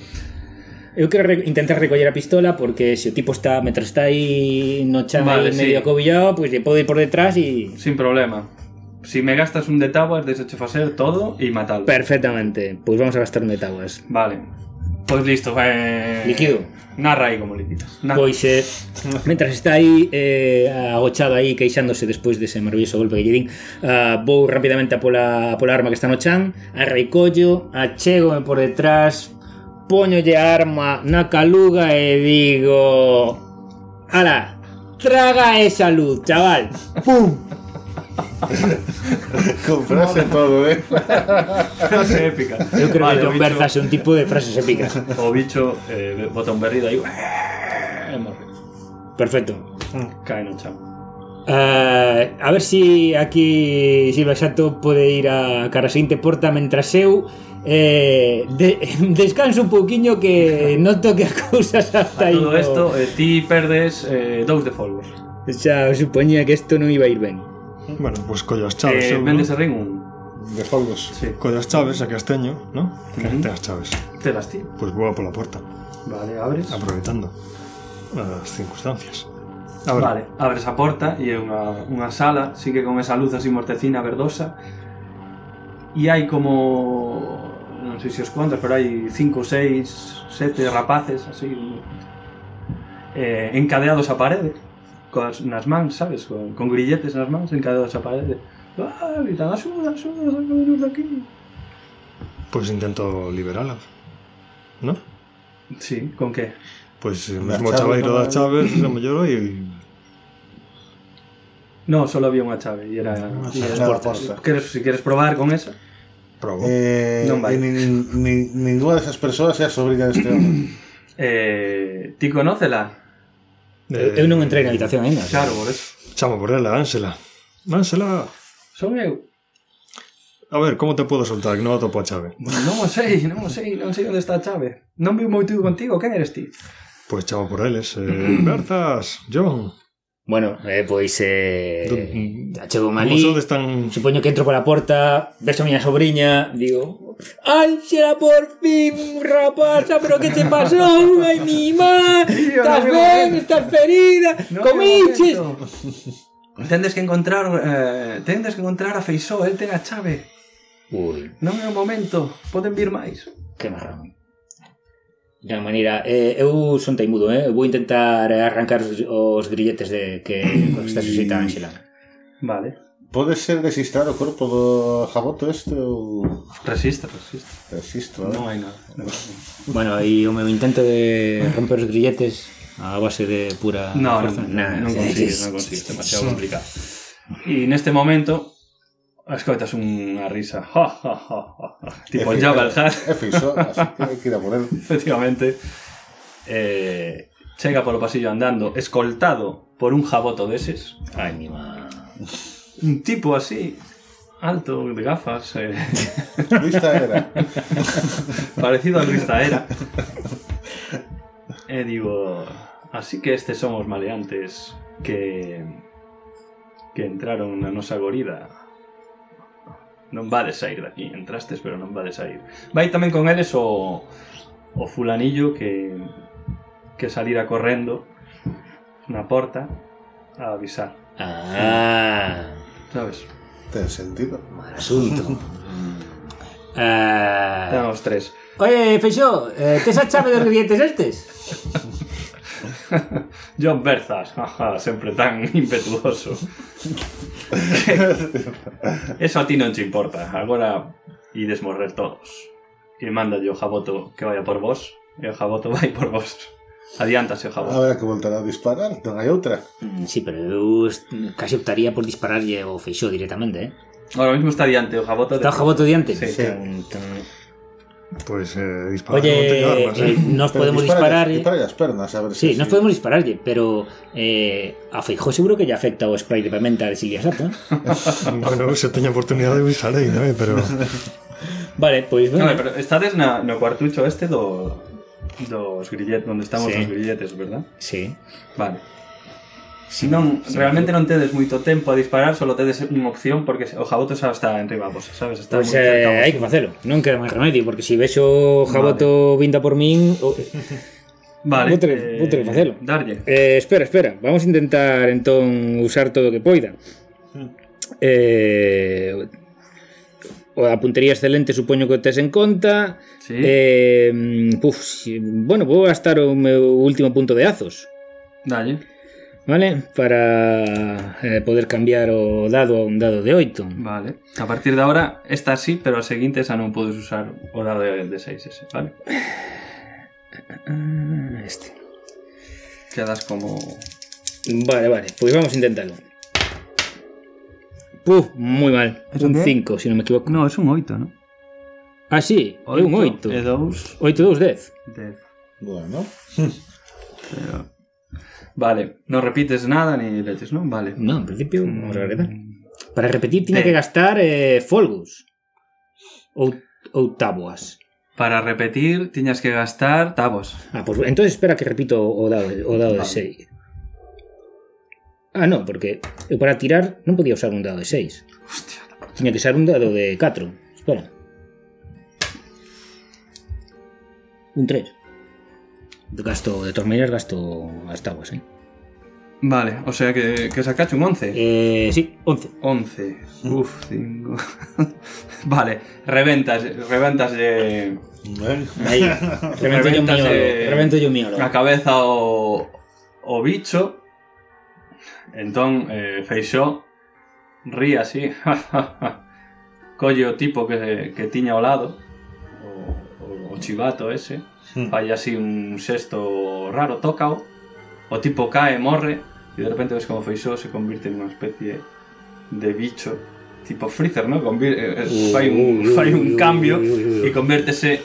S4: eu quero re- intentar recoller a pistola porque se o tipo está metro está aí no chan
S1: Vale,
S4: vale,
S1: sí.
S4: medio acobillado pois pues, lle podo ir por detrás e
S1: Sin problema. Si me gastas un de tabuas, desecho facer todo y matalo.
S4: perfectamente pois pues vamos a gastar un de taguas
S1: Vale. Pues listo. Eh...
S4: Líquido.
S1: Narra aí como liquidas. Na-
S4: Pois, eh, mentras está aí eh, agochado aí queixándose despois dese maravilloso golpe que lle din ah, vou rapidamente a pola, a pola arma que está no chan arrecollo, achégome por detrás poñolle a arma na caluga e digo ala, traga esa luz, chaval pum
S2: Con frase todo, ¿eh?
S1: Frase épica.
S4: Yo creo
S1: Vale,
S4: que
S1: o
S4: John
S1: bicho-
S4: Berzas es un tipo de frases épicas.
S1: O bicho, eh, botón berrida y... Hemos reído.
S4: Perfecto.
S1: Cae en un chamo.
S4: Eh, a ver si aquí Silva Xato pode ir a cara seguinte porta mentras eu eh, de, descanso un pouquiño que noto que a cousas
S1: A
S4: hasta aí
S1: todo
S4: no-
S1: esto, eh, ti perdes eh, dous de folgos.
S4: xa supoñía que isto non iba a ir ben
S3: Bueno, pues collas chaves,
S1: Eh,
S3: seguro.
S1: Vendes a ring un...
S2: De folgos.
S1: Sí.
S3: Collas chaves a casteño, ¿no?
S1: Ujú.
S3: Te las chaves.
S1: Te las tiro.
S3: Pues voy a por la puerta,
S1: Vale, abres.
S3: aproveitando as circunstancias. A ver,
S1: Vale, abres a porta e é unha, unha sala, sí que con esa luz así mortecina verdosa. E hai como non sei se os contas, pero hai cinco, seis, sete rapaces así eh, encadeados á parede coas, nas mans, sabes? Con, con grilletes nas mans encadeados á parede. Ah, gritan, axuda, axuda, saca de aquí.
S3: pues intento liberalas, ¿no?
S1: Sí, con que?
S3: Pues el
S2: Las
S3: mismo
S2: chaves,
S3: chaveiro
S2: ¿no?
S3: das chaves, se me lloro y
S1: No, solo había unha chave e era... e era-
S2: Nada, porta.
S1: Queres, si queres probar con esa?
S3: probo.
S2: Eh,
S1: Non vai.
S2: e nin- nin- ninguna de esas personas sea sobrina de este hombre.
S1: Eh, ti conócela?
S3: Eh,
S4: eu non entrei na habitación ainda
S1: Claro, por eso.
S3: Chamo por ela, dánsela. Dánsela.
S1: Son eu.
S3: A ver, como te puedo soltar? Que non atopo a chave.
S1: Non o sei, non o sei, non sei onde está a chave. Non viu moito contigo, quen eres ti?
S3: Pois chamo por eles. Eh, Berzas, John.
S4: bueno, eh, pois eh,
S3: Don-
S4: achego
S3: Como
S4: malí
S3: sodes tan...
S4: Supoño que entro pola porta, vexo a miña sobrinha, digo Ánxela, por fin, rapaza, pero que te pasou? Ai, mi má,
S1: Tío,
S4: estás
S1: no me momento.
S4: ben, estás ferida,
S1: No
S4: comiches
S1: Tendes que encontrar eh, Tendes que encontrar a Feisó, el ten a chave
S4: Ui,
S1: Non é o momento, poden vir máis
S4: que marrón De maneira, eh, eu son taimudo, eh? vou intentar arrancar os, os grilletes de que está suscita Ánxela
S1: Vale
S2: Pode ser desistar o corpo do jaboto este ou...
S1: Resiste, resiste
S2: Resisto,
S1: Non hai
S2: eh?
S1: nada
S4: Bueno, e o meu intento de romper os grilletes a base de pura...
S1: No, no,
S4: forza.
S1: no,
S4: Nah,
S1: non
S4: sí.
S1: consigues, non consigues, demasiado complicado. E neste momento escoitas unha risa. Ja, ja, ja, ja, ja. Tipo
S2: É
S1: Jabal
S2: fixo-
S1: Hat,
S2: É fixo, eh, así que hai que ir a por él.
S1: efectivamente. Eh, chega polo pasillo andando, escoltado por un jaboto deses.
S4: Ai, mi má...
S1: Un tipo así, alto, de gafas, eh,
S2: Lista era.
S1: parecido al Ristaera. E digo, así que estes son os maleantes que que entraron na nosa gorida. Non vades sair daqui, entrastes pero non vades sair. Vai tamén con eles o o fulanillo que que salira correndo na porta a avisar,
S4: Ah,
S1: sabes?
S2: Ten sentido.
S4: mal asunto.
S1: Están
S4: Ah.
S1: os tres.
S4: Oye, Feixó, eh, tes a chave dos grilletes estes?
S1: John Berzas, jaja, sempre tan impetuoso. Eso a ti non te importa. Agora ides morrer todos. E manda o Jaboto que vaya por vos. E o Jaboto vai por vos. Adiántase o Jaboto.
S2: Habrá que voltar a disparar, non hai outra.
S4: Mm, Sí, pero eu est- casi optaría por dispararlle ao Feixó directamente, eh?
S1: Ahora mismo está adiante o Jaboto.
S4: Está o jaboto diante?
S1: Sí, sí.
S4: Tan, tan-
S3: Pois eh, disparar
S4: Oye,
S3: non teño armas,
S4: eh,
S3: eh.
S4: nos
S2: Pero
S4: podemos disparar... eh.
S2: dispárale- dispárale as pernas, a ver
S4: Sí,
S2: se...
S4: nos podemos dispararlle, pero eh, a Feijó seguro que lle afecta o spray de pementa de Silvia Sato. eh?
S3: Bueno, se teño oportunidade de salei, non é? Eh, Pero...
S4: Vale, pois
S1: No,
S4: bueno.
S1: pero estades na, no cuartucho este do dos grilletes, onde estamos
S4: Sí.
S1: os grilletes, verdad?
S4: Sí.
S1: Vale. Si non, realmente non tedes moito tempo a disparar, solo tedes unha opción porque o Jaboto xa está enriba vos, sabes? Está moi
S4: Pois
S1: cerca a
S4: eh,
S1: vos.
S4: hai que facelo, non queda máis remedio, porque se vexo Jaboto vinda por min, o-
S1: Vale. eh,
S4: Vou ter- vou ter que facelo.
S1: Darlle.
S4: Eh, espera, espera. Vamos a intentar entón usar todo o que poida. Hmm. Eh, o a puntería excelente supoño que o tes en conta.
S1: Sí.
S4: Eh, mm, puf, si- bueno, vou gastar o meu último punto de azos,
S1: Dalle.
S4: vale? Para eh, poder cambiar o dado a un dado de 8.
S1: Vale. A partir de ahora, esta sí, pero a seguinte xa non podes usar o dado de, de 6 ese, vale?
S4: Ah, Este.
S1: Quedas como...
S4: Vale, vale, pois vamos a intentalo. Puf, moi mal.
S5: Es
S4: un
S5: un qué?
S4: 5, se non me equivoco.
S5: No, es un 8, ¿no?
S4: Ah, sí, é un 8.
S5: E 2,
S4: 8, 2, 10.
S5: 10.
S2: Bueno,
S1: Vale, no repites nada ni leches, ¿no? Vale. Mm,
S4: No, en principio, vamos a ver Para repetir, tiña que gastar eh, folgos. Ou, ou tabuas.
S1: Para repetir, tiñas que gastar tabos.
S4: Ah, pues entonces espera que repito o dado, de- o dado de 6. Ah, no, porque eu para tirar non podía usar un dado de 6. Tiña que usar un dado de 4. Espera. Un 3. Gasto, de todas maneiras gasto as tabuas, eh?
S1: Vale, o sea que, que sacaste un 11.
S4: Eh, sí, 11.
S1: 11. Uf, 5. vale, eh, reventas, reventas de
S2: bueno.
S4: Aí, revento yo
S1: Reventas
S4: miolo.
S1: de-
S4: Revento yo miolo.
S1: a cabeza o, o bicho. Entón, eh, Feixó rí así. Colle o tipo que, que tiña ao lado, o, o, o chivato ese. fai así un xesto raro, tócao, o tipo cae, morre, e de repente ves como Feixó se convirte en unha especie de bicho, tipo Freezer, ¿no? Convir eh, eh, fai un,
S4: Ui, ui,
S1: fai
S4: ui,
S1: un
S4: ui,
S1: cambio
S4: ui, ui,
S1: e
S4: ui.
S1: convértese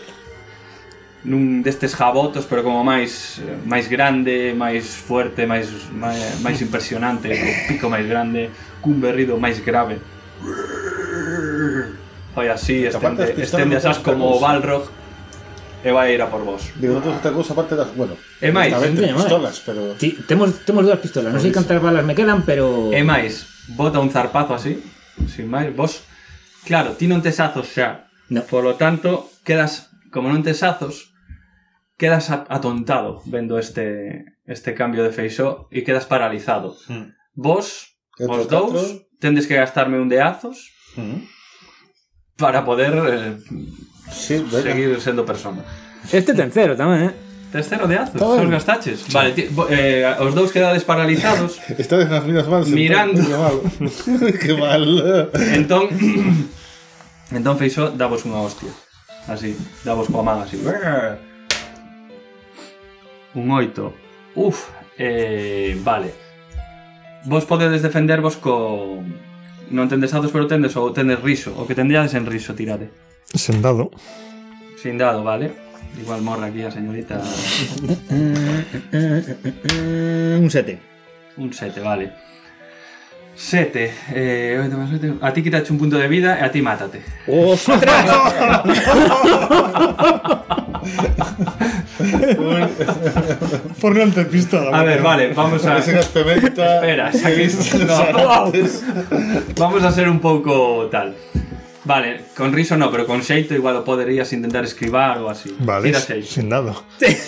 S1: nun destes jabotos, pero como máis eh, máis grande, máis fuerte, máis máis, máis impresionante, co pico máis grande, cun berrido máis grave. Fai así,
S2: Porque aparte
S1: estende,
S2: as pistolas
S1: estende
S2: non
S1: as as
S2: son
S1: como
S2: pelusa.
S1: Balrog e vai ir a por vos.
S2: Digo, no tengo otra cosa aparte de las. Bueno,
S1: E máis,
S2: esta vez
S4: non
S2: de
S4: teño máis.
S2: pistolas, pero.
S4: Ti, temos, temos dúas pistolas, non sei cantas balas me quedan, pero...
S1: E máis, bota un zarpazo así, sin máis, vos... Claro, ti non tes azos xa.
S4: No.
S1: Por lo tanto, quedas, como non tes azos, quedas a- atontado vendo este este cambio de feixó e quedas paralizado.
S2: Mm.
S1: Vos,
S2: Que
S1: os
S2: outro catro.
S1: dous, tendes que gastarme un de azos
S2: Mm.
S1: para poder eh,
S2: Sí, venga.
S1: seguir sendo persona.
S4: Este ten cero tamén, eh?
S1: Tes cero de azos,
S2: Todo
S1: os
S2: ben.
S1: gastaches. Vale, ti, bo- eh, os dous quedades paralizados
S2: Estás en las minas mal. sentado,
S1: Mirando.
S2: Qué mal. qué mal.
S1: Entón Entón Feixó davos unha hostia Así, davos coa man así Un oito Uf, eh, vale Vos podedes defendervos co... Non tendes dados, pero tendes ou tendes riso O que tendríades en riso, tirade
S3: Sentado.
S1: Sin dado, vale Igual morra aquí a señorita
S4: Un 7.
S1: Un sete, vale Sete eh, oito máis oito. A ti quitache un punto de vida e a ti mátate
S4: ¡Ostras!
S3: Por no te pistola.
S1: A ver, vale, vamos a...
S2: Ese gas pimenta.
S1: Espera, xa que-
S2: Esas
S1: no.
S2: artes.
S1: Vamos a ser un pouco tal. Vale, con riso no, pero con xeito igual o poderías intentar escribar ou así.
S3: Vale,
S1: Tira xeito.
S3: sin dado.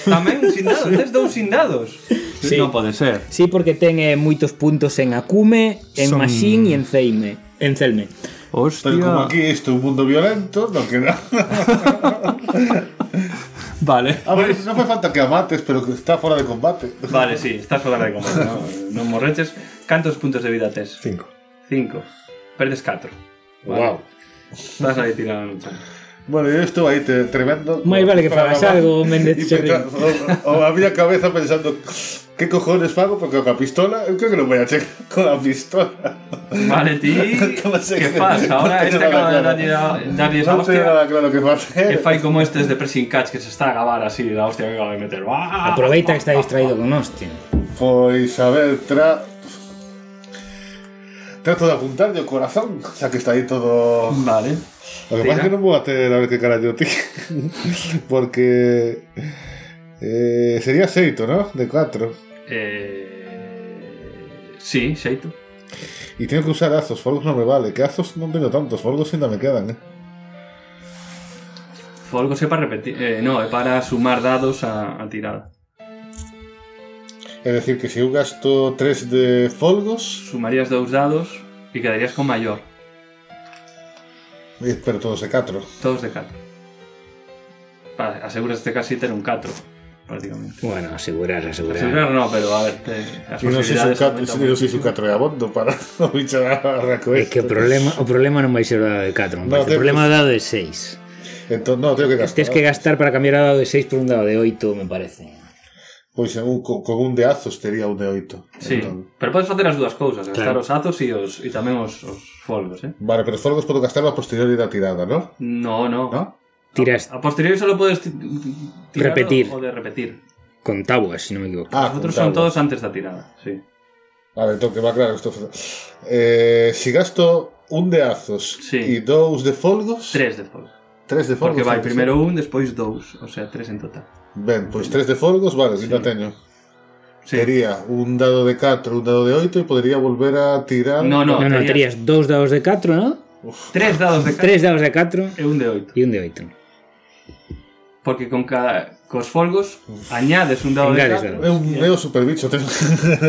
S1: Tamén sin dados, tes dous sin dados.
S4: Sí.
S1: Non pode ser.
S4: Sí, porque ten eh, moitos puntos en Akume, en
S3: Son-
S4: Machine e en Zeime. En Zelme.
S2: Pero
S1: Hostia.
S2: como aquí esto es un mundo violento, no queda.
S1: Vale.
S2: A ver, no hace falta que amates, pero que está fuera de combate.
S1: Vale, sí, estás fora de combate, non no morreches. Cantos puntos de vida tes?
S3: Cinco.
S1: Cinco. Perdes 4.
S2: Guau.
S1: Estás aí tirado no chan.
S2: Bueno, yo estuve ahí te- tremendo.
S4: Máis vale que
S2: Para
S4: fagas
S2: la-
S4: algo,
S2: y
S4: Méndez Cherrín.
S2: pensando- o, o había cabeza pensando, ¿qué cojones fago? Porque con la pistola, yo creo que lo voy a hacer con la pistola.
S1: Vale, ti...
S2: Como se-
S1: que faz? Ahora
S2: No
S1: este
S2: tengo nada
S1: acaba de
S2: claro.
S1: darlle a- darlle esa
S2: No tengo
S1: hostia.
S2: nada claro que va a hacer.
S1: Que fai como estes de pressing catch que se está a gravar así da hostia que acaba de meter. ¡Ah!
S4: Aproveita que está distraído con nós, tío.
S2: Pois, Pues, a ver, tra... Trato de apuntarlle o corazón, xa que está aí todo...
S1: Vale.
S2: O que pasa
S1: Tira.
S2: é que non vou a ter a ver que carallo ti. Porque... Eh, sería xeito, ¿no? De 4.
S1: Eh... Sí, xeito.
S2: E teño que usar azos, folgos non me vale. Que azos non teño tantos, folgos ainda me quedan, eh?
S1: Folgos é para repetir. Eh, no, é para sumar dados a, a tirada.
S2: É decir, que se eu gasto 3 de folgos,
S1: Sumarías dous dados e quedarías con maior.
S2: eh, pero todos de 4.
S1: Todos de 4. Vale, aseguraste casi ter un 4, prácticamente.
S4: Bueno, asegurar, asegurar.
S1: Asegurar no, pero a ver, te, as
S2: E non sei se o
S1: posibilidades...
S2: 4
S1: aumentan moito.
S2: é abondo para o bicho a raco
S4: É que o problema, o problema non vai ser o dado de 4,
S2: No,
S4: no, o
S2: temos-
S4: problema é o dado de 6.
S2: Entón, non, teño que gastar.
S4: Tens que gastar para cambiar o dado de 6 por un dado de 8, me parece.
S2: pois en un, co- con un de azos tería un de oito.
S1: Sí,
S2: Entón,
S1: pero podes facer as dúas cousas, gastar
S4: Claro.
S1: os azos e, os, e tamén os, os folgos, eh?
S2: Vale, pero os folgos podo gastar a posteriori da tirada, non?
S1: No, no.
S2: ¿No?
S4: Tiras
S1: A posteriori solo podes ti- tirar
S4: Repetir.
S1: o de repetir.
S4: con tabuas, si no me equivoco.
S2: Ah,
S1: Os outros son
S2: contado.
S1: todos antes da tirada, sí.
S2: Vale, entón que va claro isto. Eh, si gasto un de azos
S1: Sí.
S2: e dous de folgos,
S1: Tres de folgos.
S2: tres de folgos.
S1: Porque vai
S2: antes,
S1: primeiro un, despois dous, o sea, tres en total.
S2: eh? Ben, pois tres de folgos, vale, sí. non teño.
S1: Sí.
S2: Tería un dado de 4, un dado de 8 e podería volver a tirar.
S1: No, Ah, no,
S4: No, no,
S1: terías
S4: terías dos dados de 4, ¿no?
S1: tres dados de
S4: Tres dados de 4
S1: e un de oito.
S4: y un de 8.
S1: Porque con cada cos folgos añades un dado de
S4: Engades
S1: catro.
S4: dados.
S2: É un meu superbicho, teño,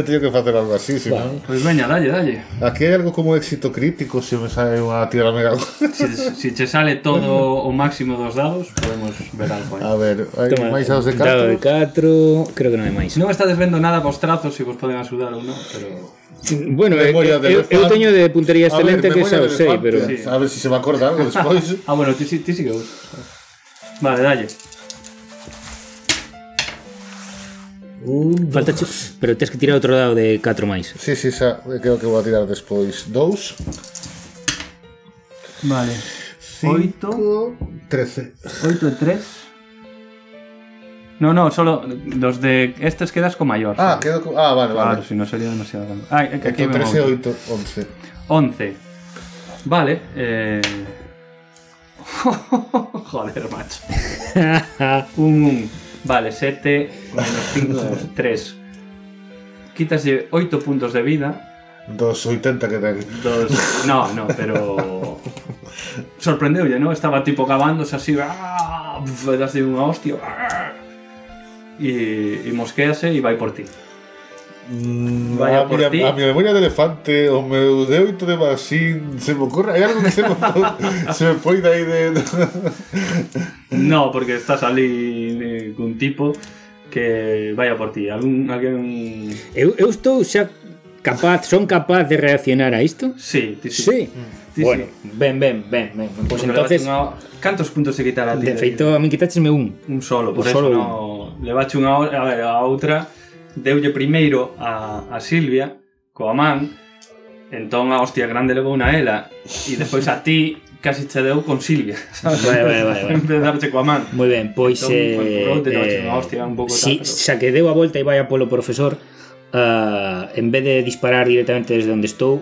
S2: teño que facer algo así, si non.
S1: Pois veña, dalle, dalle.
S2: Aquí hai algo como éxito crítico se me sae unha tirada mega.
S1: Se, se che sale todo o máximo dos dados, podemos ver algo aí.
S2: A ver, hai
S4: Toma,
S2: máis dados de
S4: Dado de
S2: 4.
S4: 4, creo que non hai máis.
S1: Non estades vendo nada vos trazos se vos poden axudar ou non, pero...
S4: Bueno, eh,
S2: Memoria de
S4: eu, eu
S2: elefante.
S4: teño de
S2: A
S4: puntería
S2: ver,
S4: excelente que
S2: memoria
S4: xa o
S2: de
S4: sei,
S2: elefante.
S4: pero
S1: Sí.
S2: A ver se si se me acorda algo despois.
S1: Ah, bueno, ti, si- ti sí que vos. Vale, dalle.
S4: falta che- pero tes que tirar outro dado de 4 máis.
S2: Sí, sí, xa, creo que vou a tirar despois. 2,
S5: Vale.
S2: 5, 13.
S5: 8 de 3.
S1: No, no, solo los de estes quedas con mayor.
S2: Ah,
S1: ¿sabes?
S2: quedo co... Ah, vale,
S1: Claro,
S2: vale.
S1: si no sería demasiado grande. Ah, que aquí
S2: Entón,
S1: vemos
S2: 13, 8, 11.
S1: 11. Vale, eh... Joder, macho. Un, un. Vale, 7 menos 5, 3. Quítaslle 8 puntos de vida.
S2: Dos 80 que ten.
S1: Dos... No, no, pero... Sorprendeulle, ¿no? Estaba tipo cavándose así... ¡ah! Pf, Das de unha hostia... ¡ah! E, e mosquease e vai por ti.
S2: Mm,
S1: Vaya
S2: a,
S1: por
S2: miña,
S1: ti.
S2: a miña memoria de elefante, o meu de 8 de masín, se me ocurre, hai algo que se me, po- se me foi dai de...
S1: No, porque estás ali eh, cun tipo que vaya por ti. Algún, algún...
S4: Eu, eu estou xa capaz, son capaz de reaccionar a isto?
S1: Sí, ti sí.
S4: Sí.
S1: Ti sí.
S4: bueno, ben, ben, ben, ben. Pois pues
S1: Porque
S4: entonces,
S1: levache unha- Cantos puntos se quitará a ti?
S4: de feito, a min quitáchesme un.
S1: Un solo, por
S4: Un
S1: eso
S4: solo
S1: no... Levache unha hora, a ver, a outra deulle primeiro a, a Silvia coa man entón a hostia grande levou na ela e despois a ti casi che deu con Silvia sabes?
S4: Vale, vale, vale, vale.
S1: en vez de darche coa man
S4: Moi ben, pois
S1: Entón, foi por outro, te levaste unha hostia un pouco
S4: si,
S1: tal, pero-
S4: xa que deu a volta e vai a polo profesor, ah, en vez de disparar directamente desde onde estou,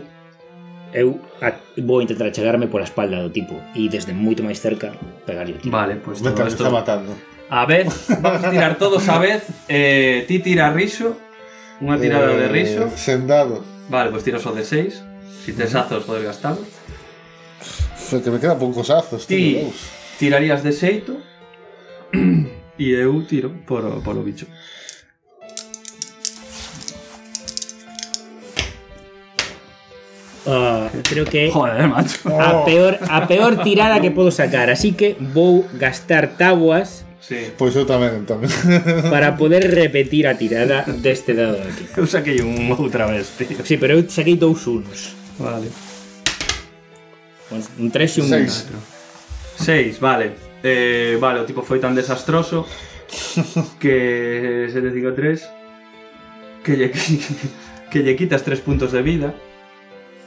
S4: eu a, vou intentar chegarme pola espalda do tipo e desde moito máis cerca pegarlle o tiro.
S1: Vale, pois pues,
S2: Meta, me está matando.
S1: A vez, vamos a tirar todos a vez. Eh, ti tira riso, unha tirada de
S2: Eh,
S1: riso.
S2: Sendado.
S1: Vale, pois tiras o de 6. Si tes azos podes gastalo.
S2: Fe, que me quedan poucos azos,
S1: Ti
S2: tío. dous.
S1: tirarías de xeito e eu tiro por, o- por o bicho.
S4: Ah, creo que
S1: Joder, macho.
S4: a peor a peor tirada que podo sacar, así que vou gastar tabuas
S1: Sí.
S2: Pois eu tamén, tamén.
S4: para poder repetir a tirada deste dado de aquí.
S1: Eu saquei un outra vez, tío.
S4: Sí, pero eu saquei dous unos.
S1: Vale.
S4: Un 3 e un
S2: Seis.
S1: 6,
S4: 1.
S1: vale. Eh, vale, o tipo foi tan desastroso que 753 que lle, que lle quitas 3 puntos de vida.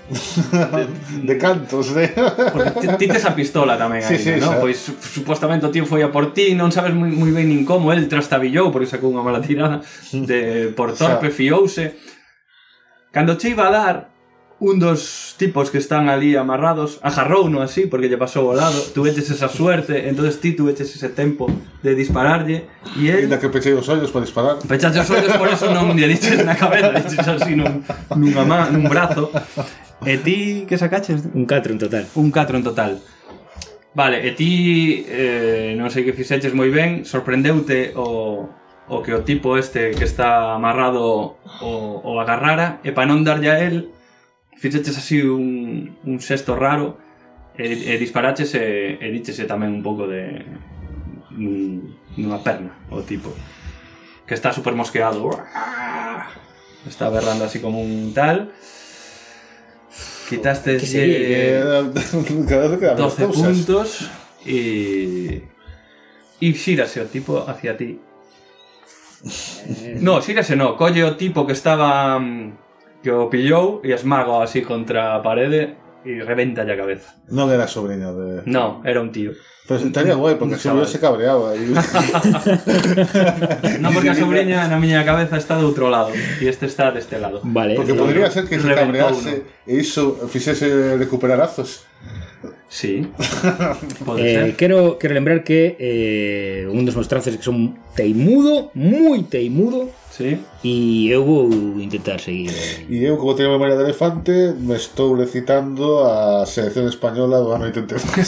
S2: De cantos, de...
S1: Porque ti- ti tes a pistola tamén aí,
S2: Sí, sí,
S1: non?
S2: xa.
S1: Pois su- supostamente o tío foi a por ti, non sabes moi, moi ben nin como, el trastabillou porque sacou unha mala tirada de por
S2: Xa.
S1: torpe, fiouse. Cando che iba a dar, un dos tipos que están ali amarrados agarrou no así porque lle pasou ao lado, tuveches esa suerte, entonces ti tuveches ese tempo de dispararlle e el
S2: Ainda que pechei os ollos para disparar.
S1: Pechaste os ollos, por eso non lle diches na cabeza, diches así nun, nunha man, nun brazo. E ti, que sacaches?
S4: Un 4 en total.
S1: Un 4 en total. Vale, e ti eh, non sei que fixeches moi ben, sorprendeute o, o que o tipo este que está amarrado o, o agarrara e para non darlle a el fixeches así un, un sexto raro e, e disparaches e, e dichese tamén un pouco de nun- nunha perna o tipo que está super mosqueado está berrando así como un tal quitaste
S4: Que sería,
S2: Eh, cada vez que dan
S1: 12
S2: cousas.
S1: puntos e... E xírase o tipo hacia ti. No, sírase no, colle o tipo que estaba mm, que o pillou e esmaga así contra a parede e reventa a cabeza.
S2: No era sobrino de.
S1: No, era un tío.
S2: Pero
S1: Mm,
S2: estaría guay porque se
S1: chaval.
S2: se cabreaba. Y...
S1: Non porque a sobrinha na miña cabeza está do outro lado e este está deste lado.
S4: Vale.
S2: Porque
S4: eh,
S2: podría ser que se
S1: Reventó
S2: cabrease e hizo, fixese recuperadazos.
S1: Sí. Pode
S4: eh,
S1: ser.
S4: quero, quero lembrar que eh, un dos meus trazos é que son teimudo, moi teimudo,
S1: Sí.
S4: e eu vou intentar seguir. eh,
S2: E eu, como teño memoria de elefante, me estou recitando a selección española do ano 83.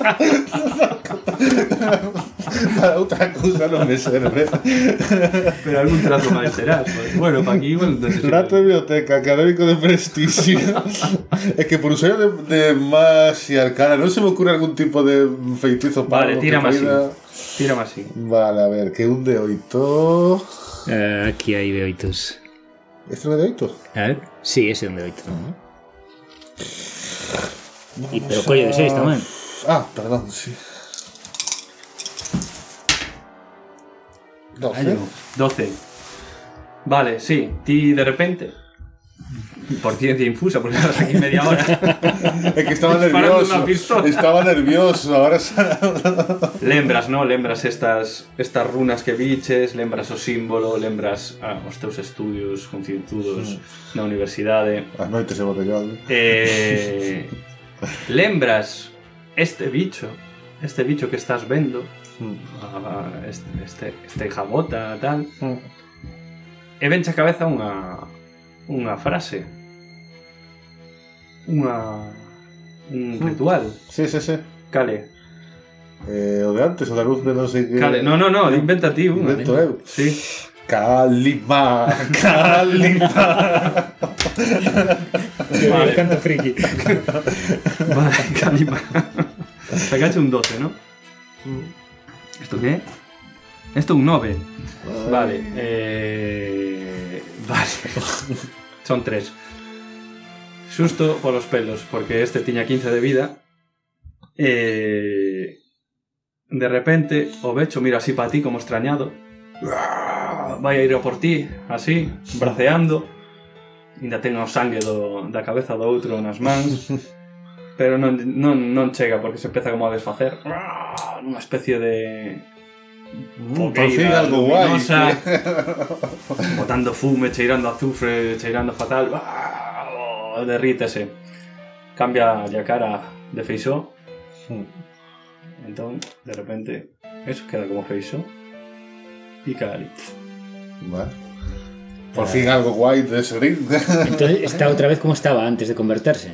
S2: Para outra cousa non me serve.
S1: Pero algún trazo máis terás. Pues. Bueno, pa aquí igual non sei se-
S2: Rato de biblioteca, académico de prestixio. é que por usuario de, de más y arcana non se me ocurre algún tipo de feitizo para
S1: Vale, tira máis. Tira máis.
S2: Vale, a ver, que un de oito...
S4: Eh, aquí hai de oitos.
S2: Este non é de oito?
S1: Eh?
S4: A ver. Sí, ese é un de oito. ¿no? E, pero collo de seis tamén.
S2: Ah, perdón, sí. Doce.
S1: 12. Vale, sí, ti de repente por ciencia infusa, porque estás aquí media hora.
S2: É que estaba
S1: Disparando
S2: nervioso.
S1: una pistola.
S2: Estaba nervioso, ahora sa-
S1: lembras, ¿no? Lembras estas estas runas que biches, lembras o símbolo, lembras ah, os teus estudios concienzudos na universidade.
S2: As noites de botellón.
S1: Eh, lembras este bicho, este bicho que estás vendo,
S2: Hmm.
S1: a- a- este, este, este jabota, tal. E venche a cabeza unha unha frase. Unha un ritual.
S2: Sí, sí, sí.
S1: Cale,
S2: Eh, o de antes, o da luz de non sei que...
S1: cale. No, no, no, inventa ti unha.
S2: Eh, Invento eh. eu.
S1: Sí.
S2: Calima, calima.
S1: Vale.
S4: Canto friki.
S1: Vale, calima. Sacache un 12, ¿no?
S5: ¿Esto qué? Esto un 9.
S1: Vale. Eh... Vale. Son tres. Susto por los pelos, porque este tiña 15 de vida. Eh... De repente, o Becho mira así para ti como extrañado. Vai a ir a por ti, así, braceando. Ainda ten o sangue do, da cabeza do outro nas mans. Pero non, non, non chega porque se empeza como a desfacer. Unha especie de,
S2: Hmm, Uh, Por fin
S1: Poqueira
S2: algo guai.
S1: luminosa, Botando fume, cheirando azufre, cheirando fatal. Ah, oh, Derrítese. Cambia a cara de feisó.
S2: Hmm,
S1: Entón, de repente, eso queda como feisó. E cali.
S2: Vale. Por
S1: Eh.
S2: fin algo guay de ese ring.
S4: Entón está outra vez como estaba antes de converterse.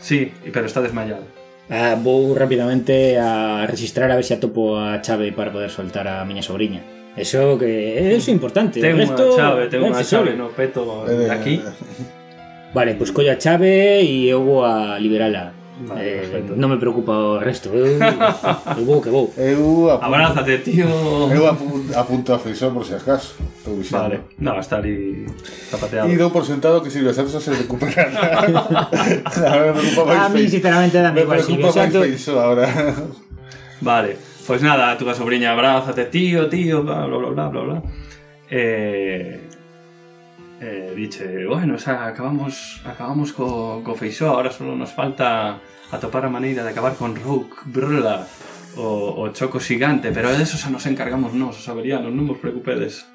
S1: Sí, pero está desmayado.
S4: Ah, vou rapidamente a registrar a ver se atopo a chave para poder soltar a miña sobrinha. Eso que eso é importante.
S1: Ten
S4: o
S1: unha
S4: resto
S1: chave, ten
S4: é
S1: unha chave
S4: accesorio.
S1: no peto
S2: Eh,
S1: aquí.
S4: Vale, pois collo a chave e eu vou a liberala.
S1: Vale,
S4: eh,
S1: perfecto.
S4: non me preocupa o resto. Eu, eu vou que vou.
S2: Eh, Eu
S1: Ah.
S2: apunto,
S1: Abrázate, tío.
S2: eu apunto, apunto a Frisón por si acaso. Estou vixando.
S1: Vale, no, está ali zapateado.
S2: E dou por sentado que Silvia Santos se recuperará. Ahora me preocupa máis
S4: A mí,
S2: Fei-
S4: sinceramente, dame
S2: Me
S4: igual
S2: preocupa
S4: Silvia
S2: máis
S4: Santos. Eh,
S2: Feixó ahora.
S1: Vale, pois nada, a túa sobrinha abrázate, tío, tío, bla, bla, bla, bla, bla, bla. Eh, eh, diche, bueno, xa, acabamos, acabamos co, co Feixó, ahora solo nos falta atopar a maneira de acabar con Rogue Brla, o, o choco xigante, pero de eso xa nos encargamos nós, os averianos, non vos preocupedes.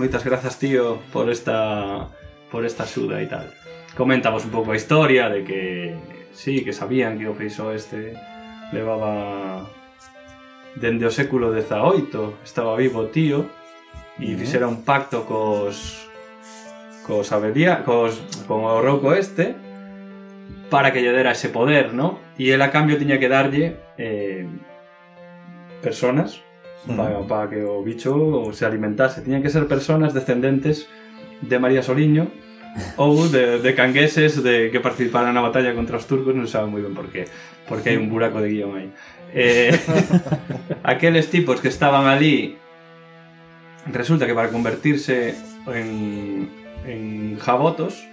S1: Moitas grazas, tío, por esta por esta axuda e tal. Coméntavos un pouco a historia de que sí, que sabían que o Feixó este levaba dende o século XVIII estaba vivo o tío e fixera un pacto cos cos abería, cos con o rouco este para que lle dera ese poder, ¿no? E el a cambio tiña que darlle eh, personas para, para que o bicho se alimentase. Tiñan que ser personas descendentes de María Soliño ou de, de cangueses de, que participaran na batalla contra os turcos, non saben moi ben por qué, porque hai un buraco de guión aí. Eh, aqueles tipos que estaban ali resulta que para convertirse en, en jabotos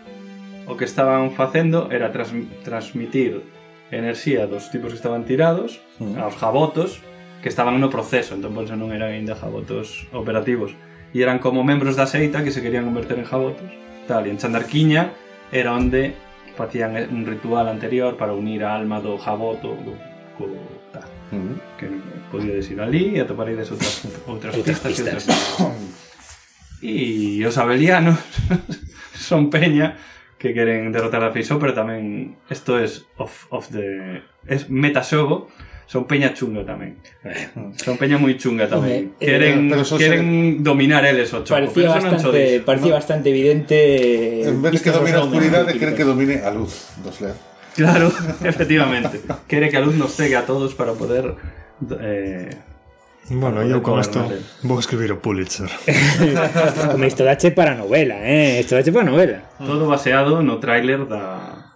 S1: o que estaban facendo era tras, transmitir enerxía dos tipos que estaban tirados pois, aos jabotos que estaban no proceso, entón por eso non eran ainda jabotos operativos. E e eran como membros da seita que se querían converter en jabotos. Tal, e en Chandarquiña era onde facían eh, un ritual anterior para unir a alma do jaboto co, co tal. Que podíades ir ali e atoparedes outras, outras,
S4: Outras
S1: pistas, E,
S4: pistas.
S1: outras... e os abelianos son peña que queren derrotar a Feixó, pero tamén isto es off, off the... es metaxogo, son peña chunga tamén. Son peña moi chunga tamén.
S4: Home, eh,
S1: Queren,
S2: pero eso se-
S1: queren dominar eles o choco.
S4: Parecía,
S1: pero eso non cho
S4: bastante,
S1: dixo,
S4: parecía
S1: non?
S4: bastante evidente.
S2: En vez de que
S4: vistos os
S2: domine a
S4: datos
S2: oscuridade,
S4: científicos.
S2: quere que domine a luz, dos lea.
S1: Claro, efectivamente. Quere que a luz nos cegue a todos para poder... Eh,
S3: Bueno, yo con esto
S1: Vale.
S3: voy a escribir o Pulitzer.
S4: Como isto dache para novela, eh? Isto dache para novela.
S1: todo baseado no tráiler da
S2: Ah.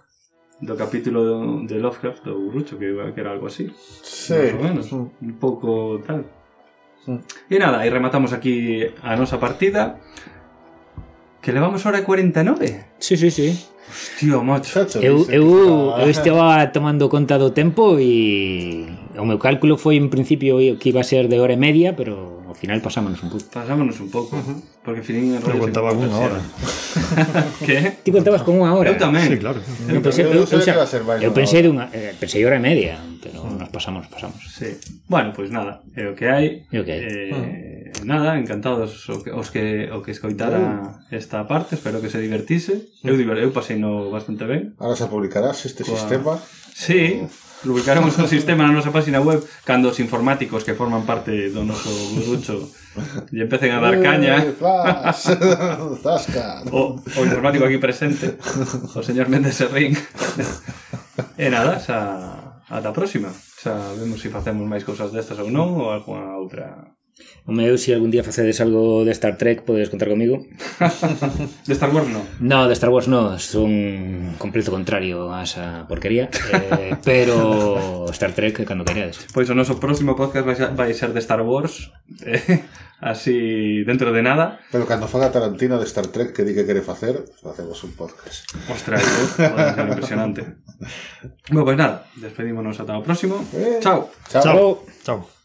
S1: do capítulo do- de Lovecraft do Urrucho, que, iba- que era algo así.
S2: Sí.
S1: Más o menos. Un pouco tal. E nada, e rematamos aquí a nosa partida. Que levamos hora e 49.
S4: Sí, sí, sí.
S1: Tío, macho.
S2: Chacho, dice "Ah,
S4: Eu,
S2: que
S4: eu,
S2: está-
S4: eu estaba tomando conta do tempo e o meu cálculo foi en principio que iba a ser de hora e media, pero ao final pasámonos un pouco.
S1: Pasámonos un pouco. Porque fin en
S3: Pero contaba con una hora.
S1: Que?
S4: Ti contabas con unha
S1: Eu
S4: hora.
S1: tamén.
S3: Sí, claro.
S4: Eu pensei,
S2: Eu
S4: eu, eu,
S2: sabía que
S4: xa-
S2: iba a ser Mm. máis
S4: eu
S2: dunha
S4: pensei
S2: hora.
S4: dunha, eh, pensei hora e media, pero nos pasamos, nos pasamos.
S1: Sí. Bueno, pois pues nada, é o que hai.
S4: É o que hai.
S1: Eh, Nada, encantados o que, os que o que escoitara esta parte, espero que se divertise. Eu diver- eu pasei no bastante ben.
S2: Ahora se publicarás este
S1: Coa-
S2: sistema.
S1: Sí, publicaremos un sistema na nosa página web cando os informáticos que forman parte do noso grucho lle empecen a dar
S2: Eh,
S1: caña.
S2: flash, Zasca.
S1: O, o informático aquí presente, o señor Méndez Serrín. E nada, xa ata a próxima. Xa vemos se facemos máis cousas destas ou non, ou alguna outra
S4: O meu, se algún día facedes algo de Star Trek, podedes contar comigo.
S1: De Star Wars no.
S4: No, de Star Wars no, son completo contrario a esa porquería, eh, pero Star Trek cando querades.
S1: Pois o noso Pues próximo podcast vai, ser- vai ser de Star Wars eh, Así dentro de nada
S2: Pero cando faga Tarantino de Star Trek que di que quere facer, facemos un podcast.
S1: Ostras, eh, pode ser pues impresionante Bueno, pois nada, despedímonos ata o próximo
S2: Eh.
S1: Chao
S3: Chao. Chao.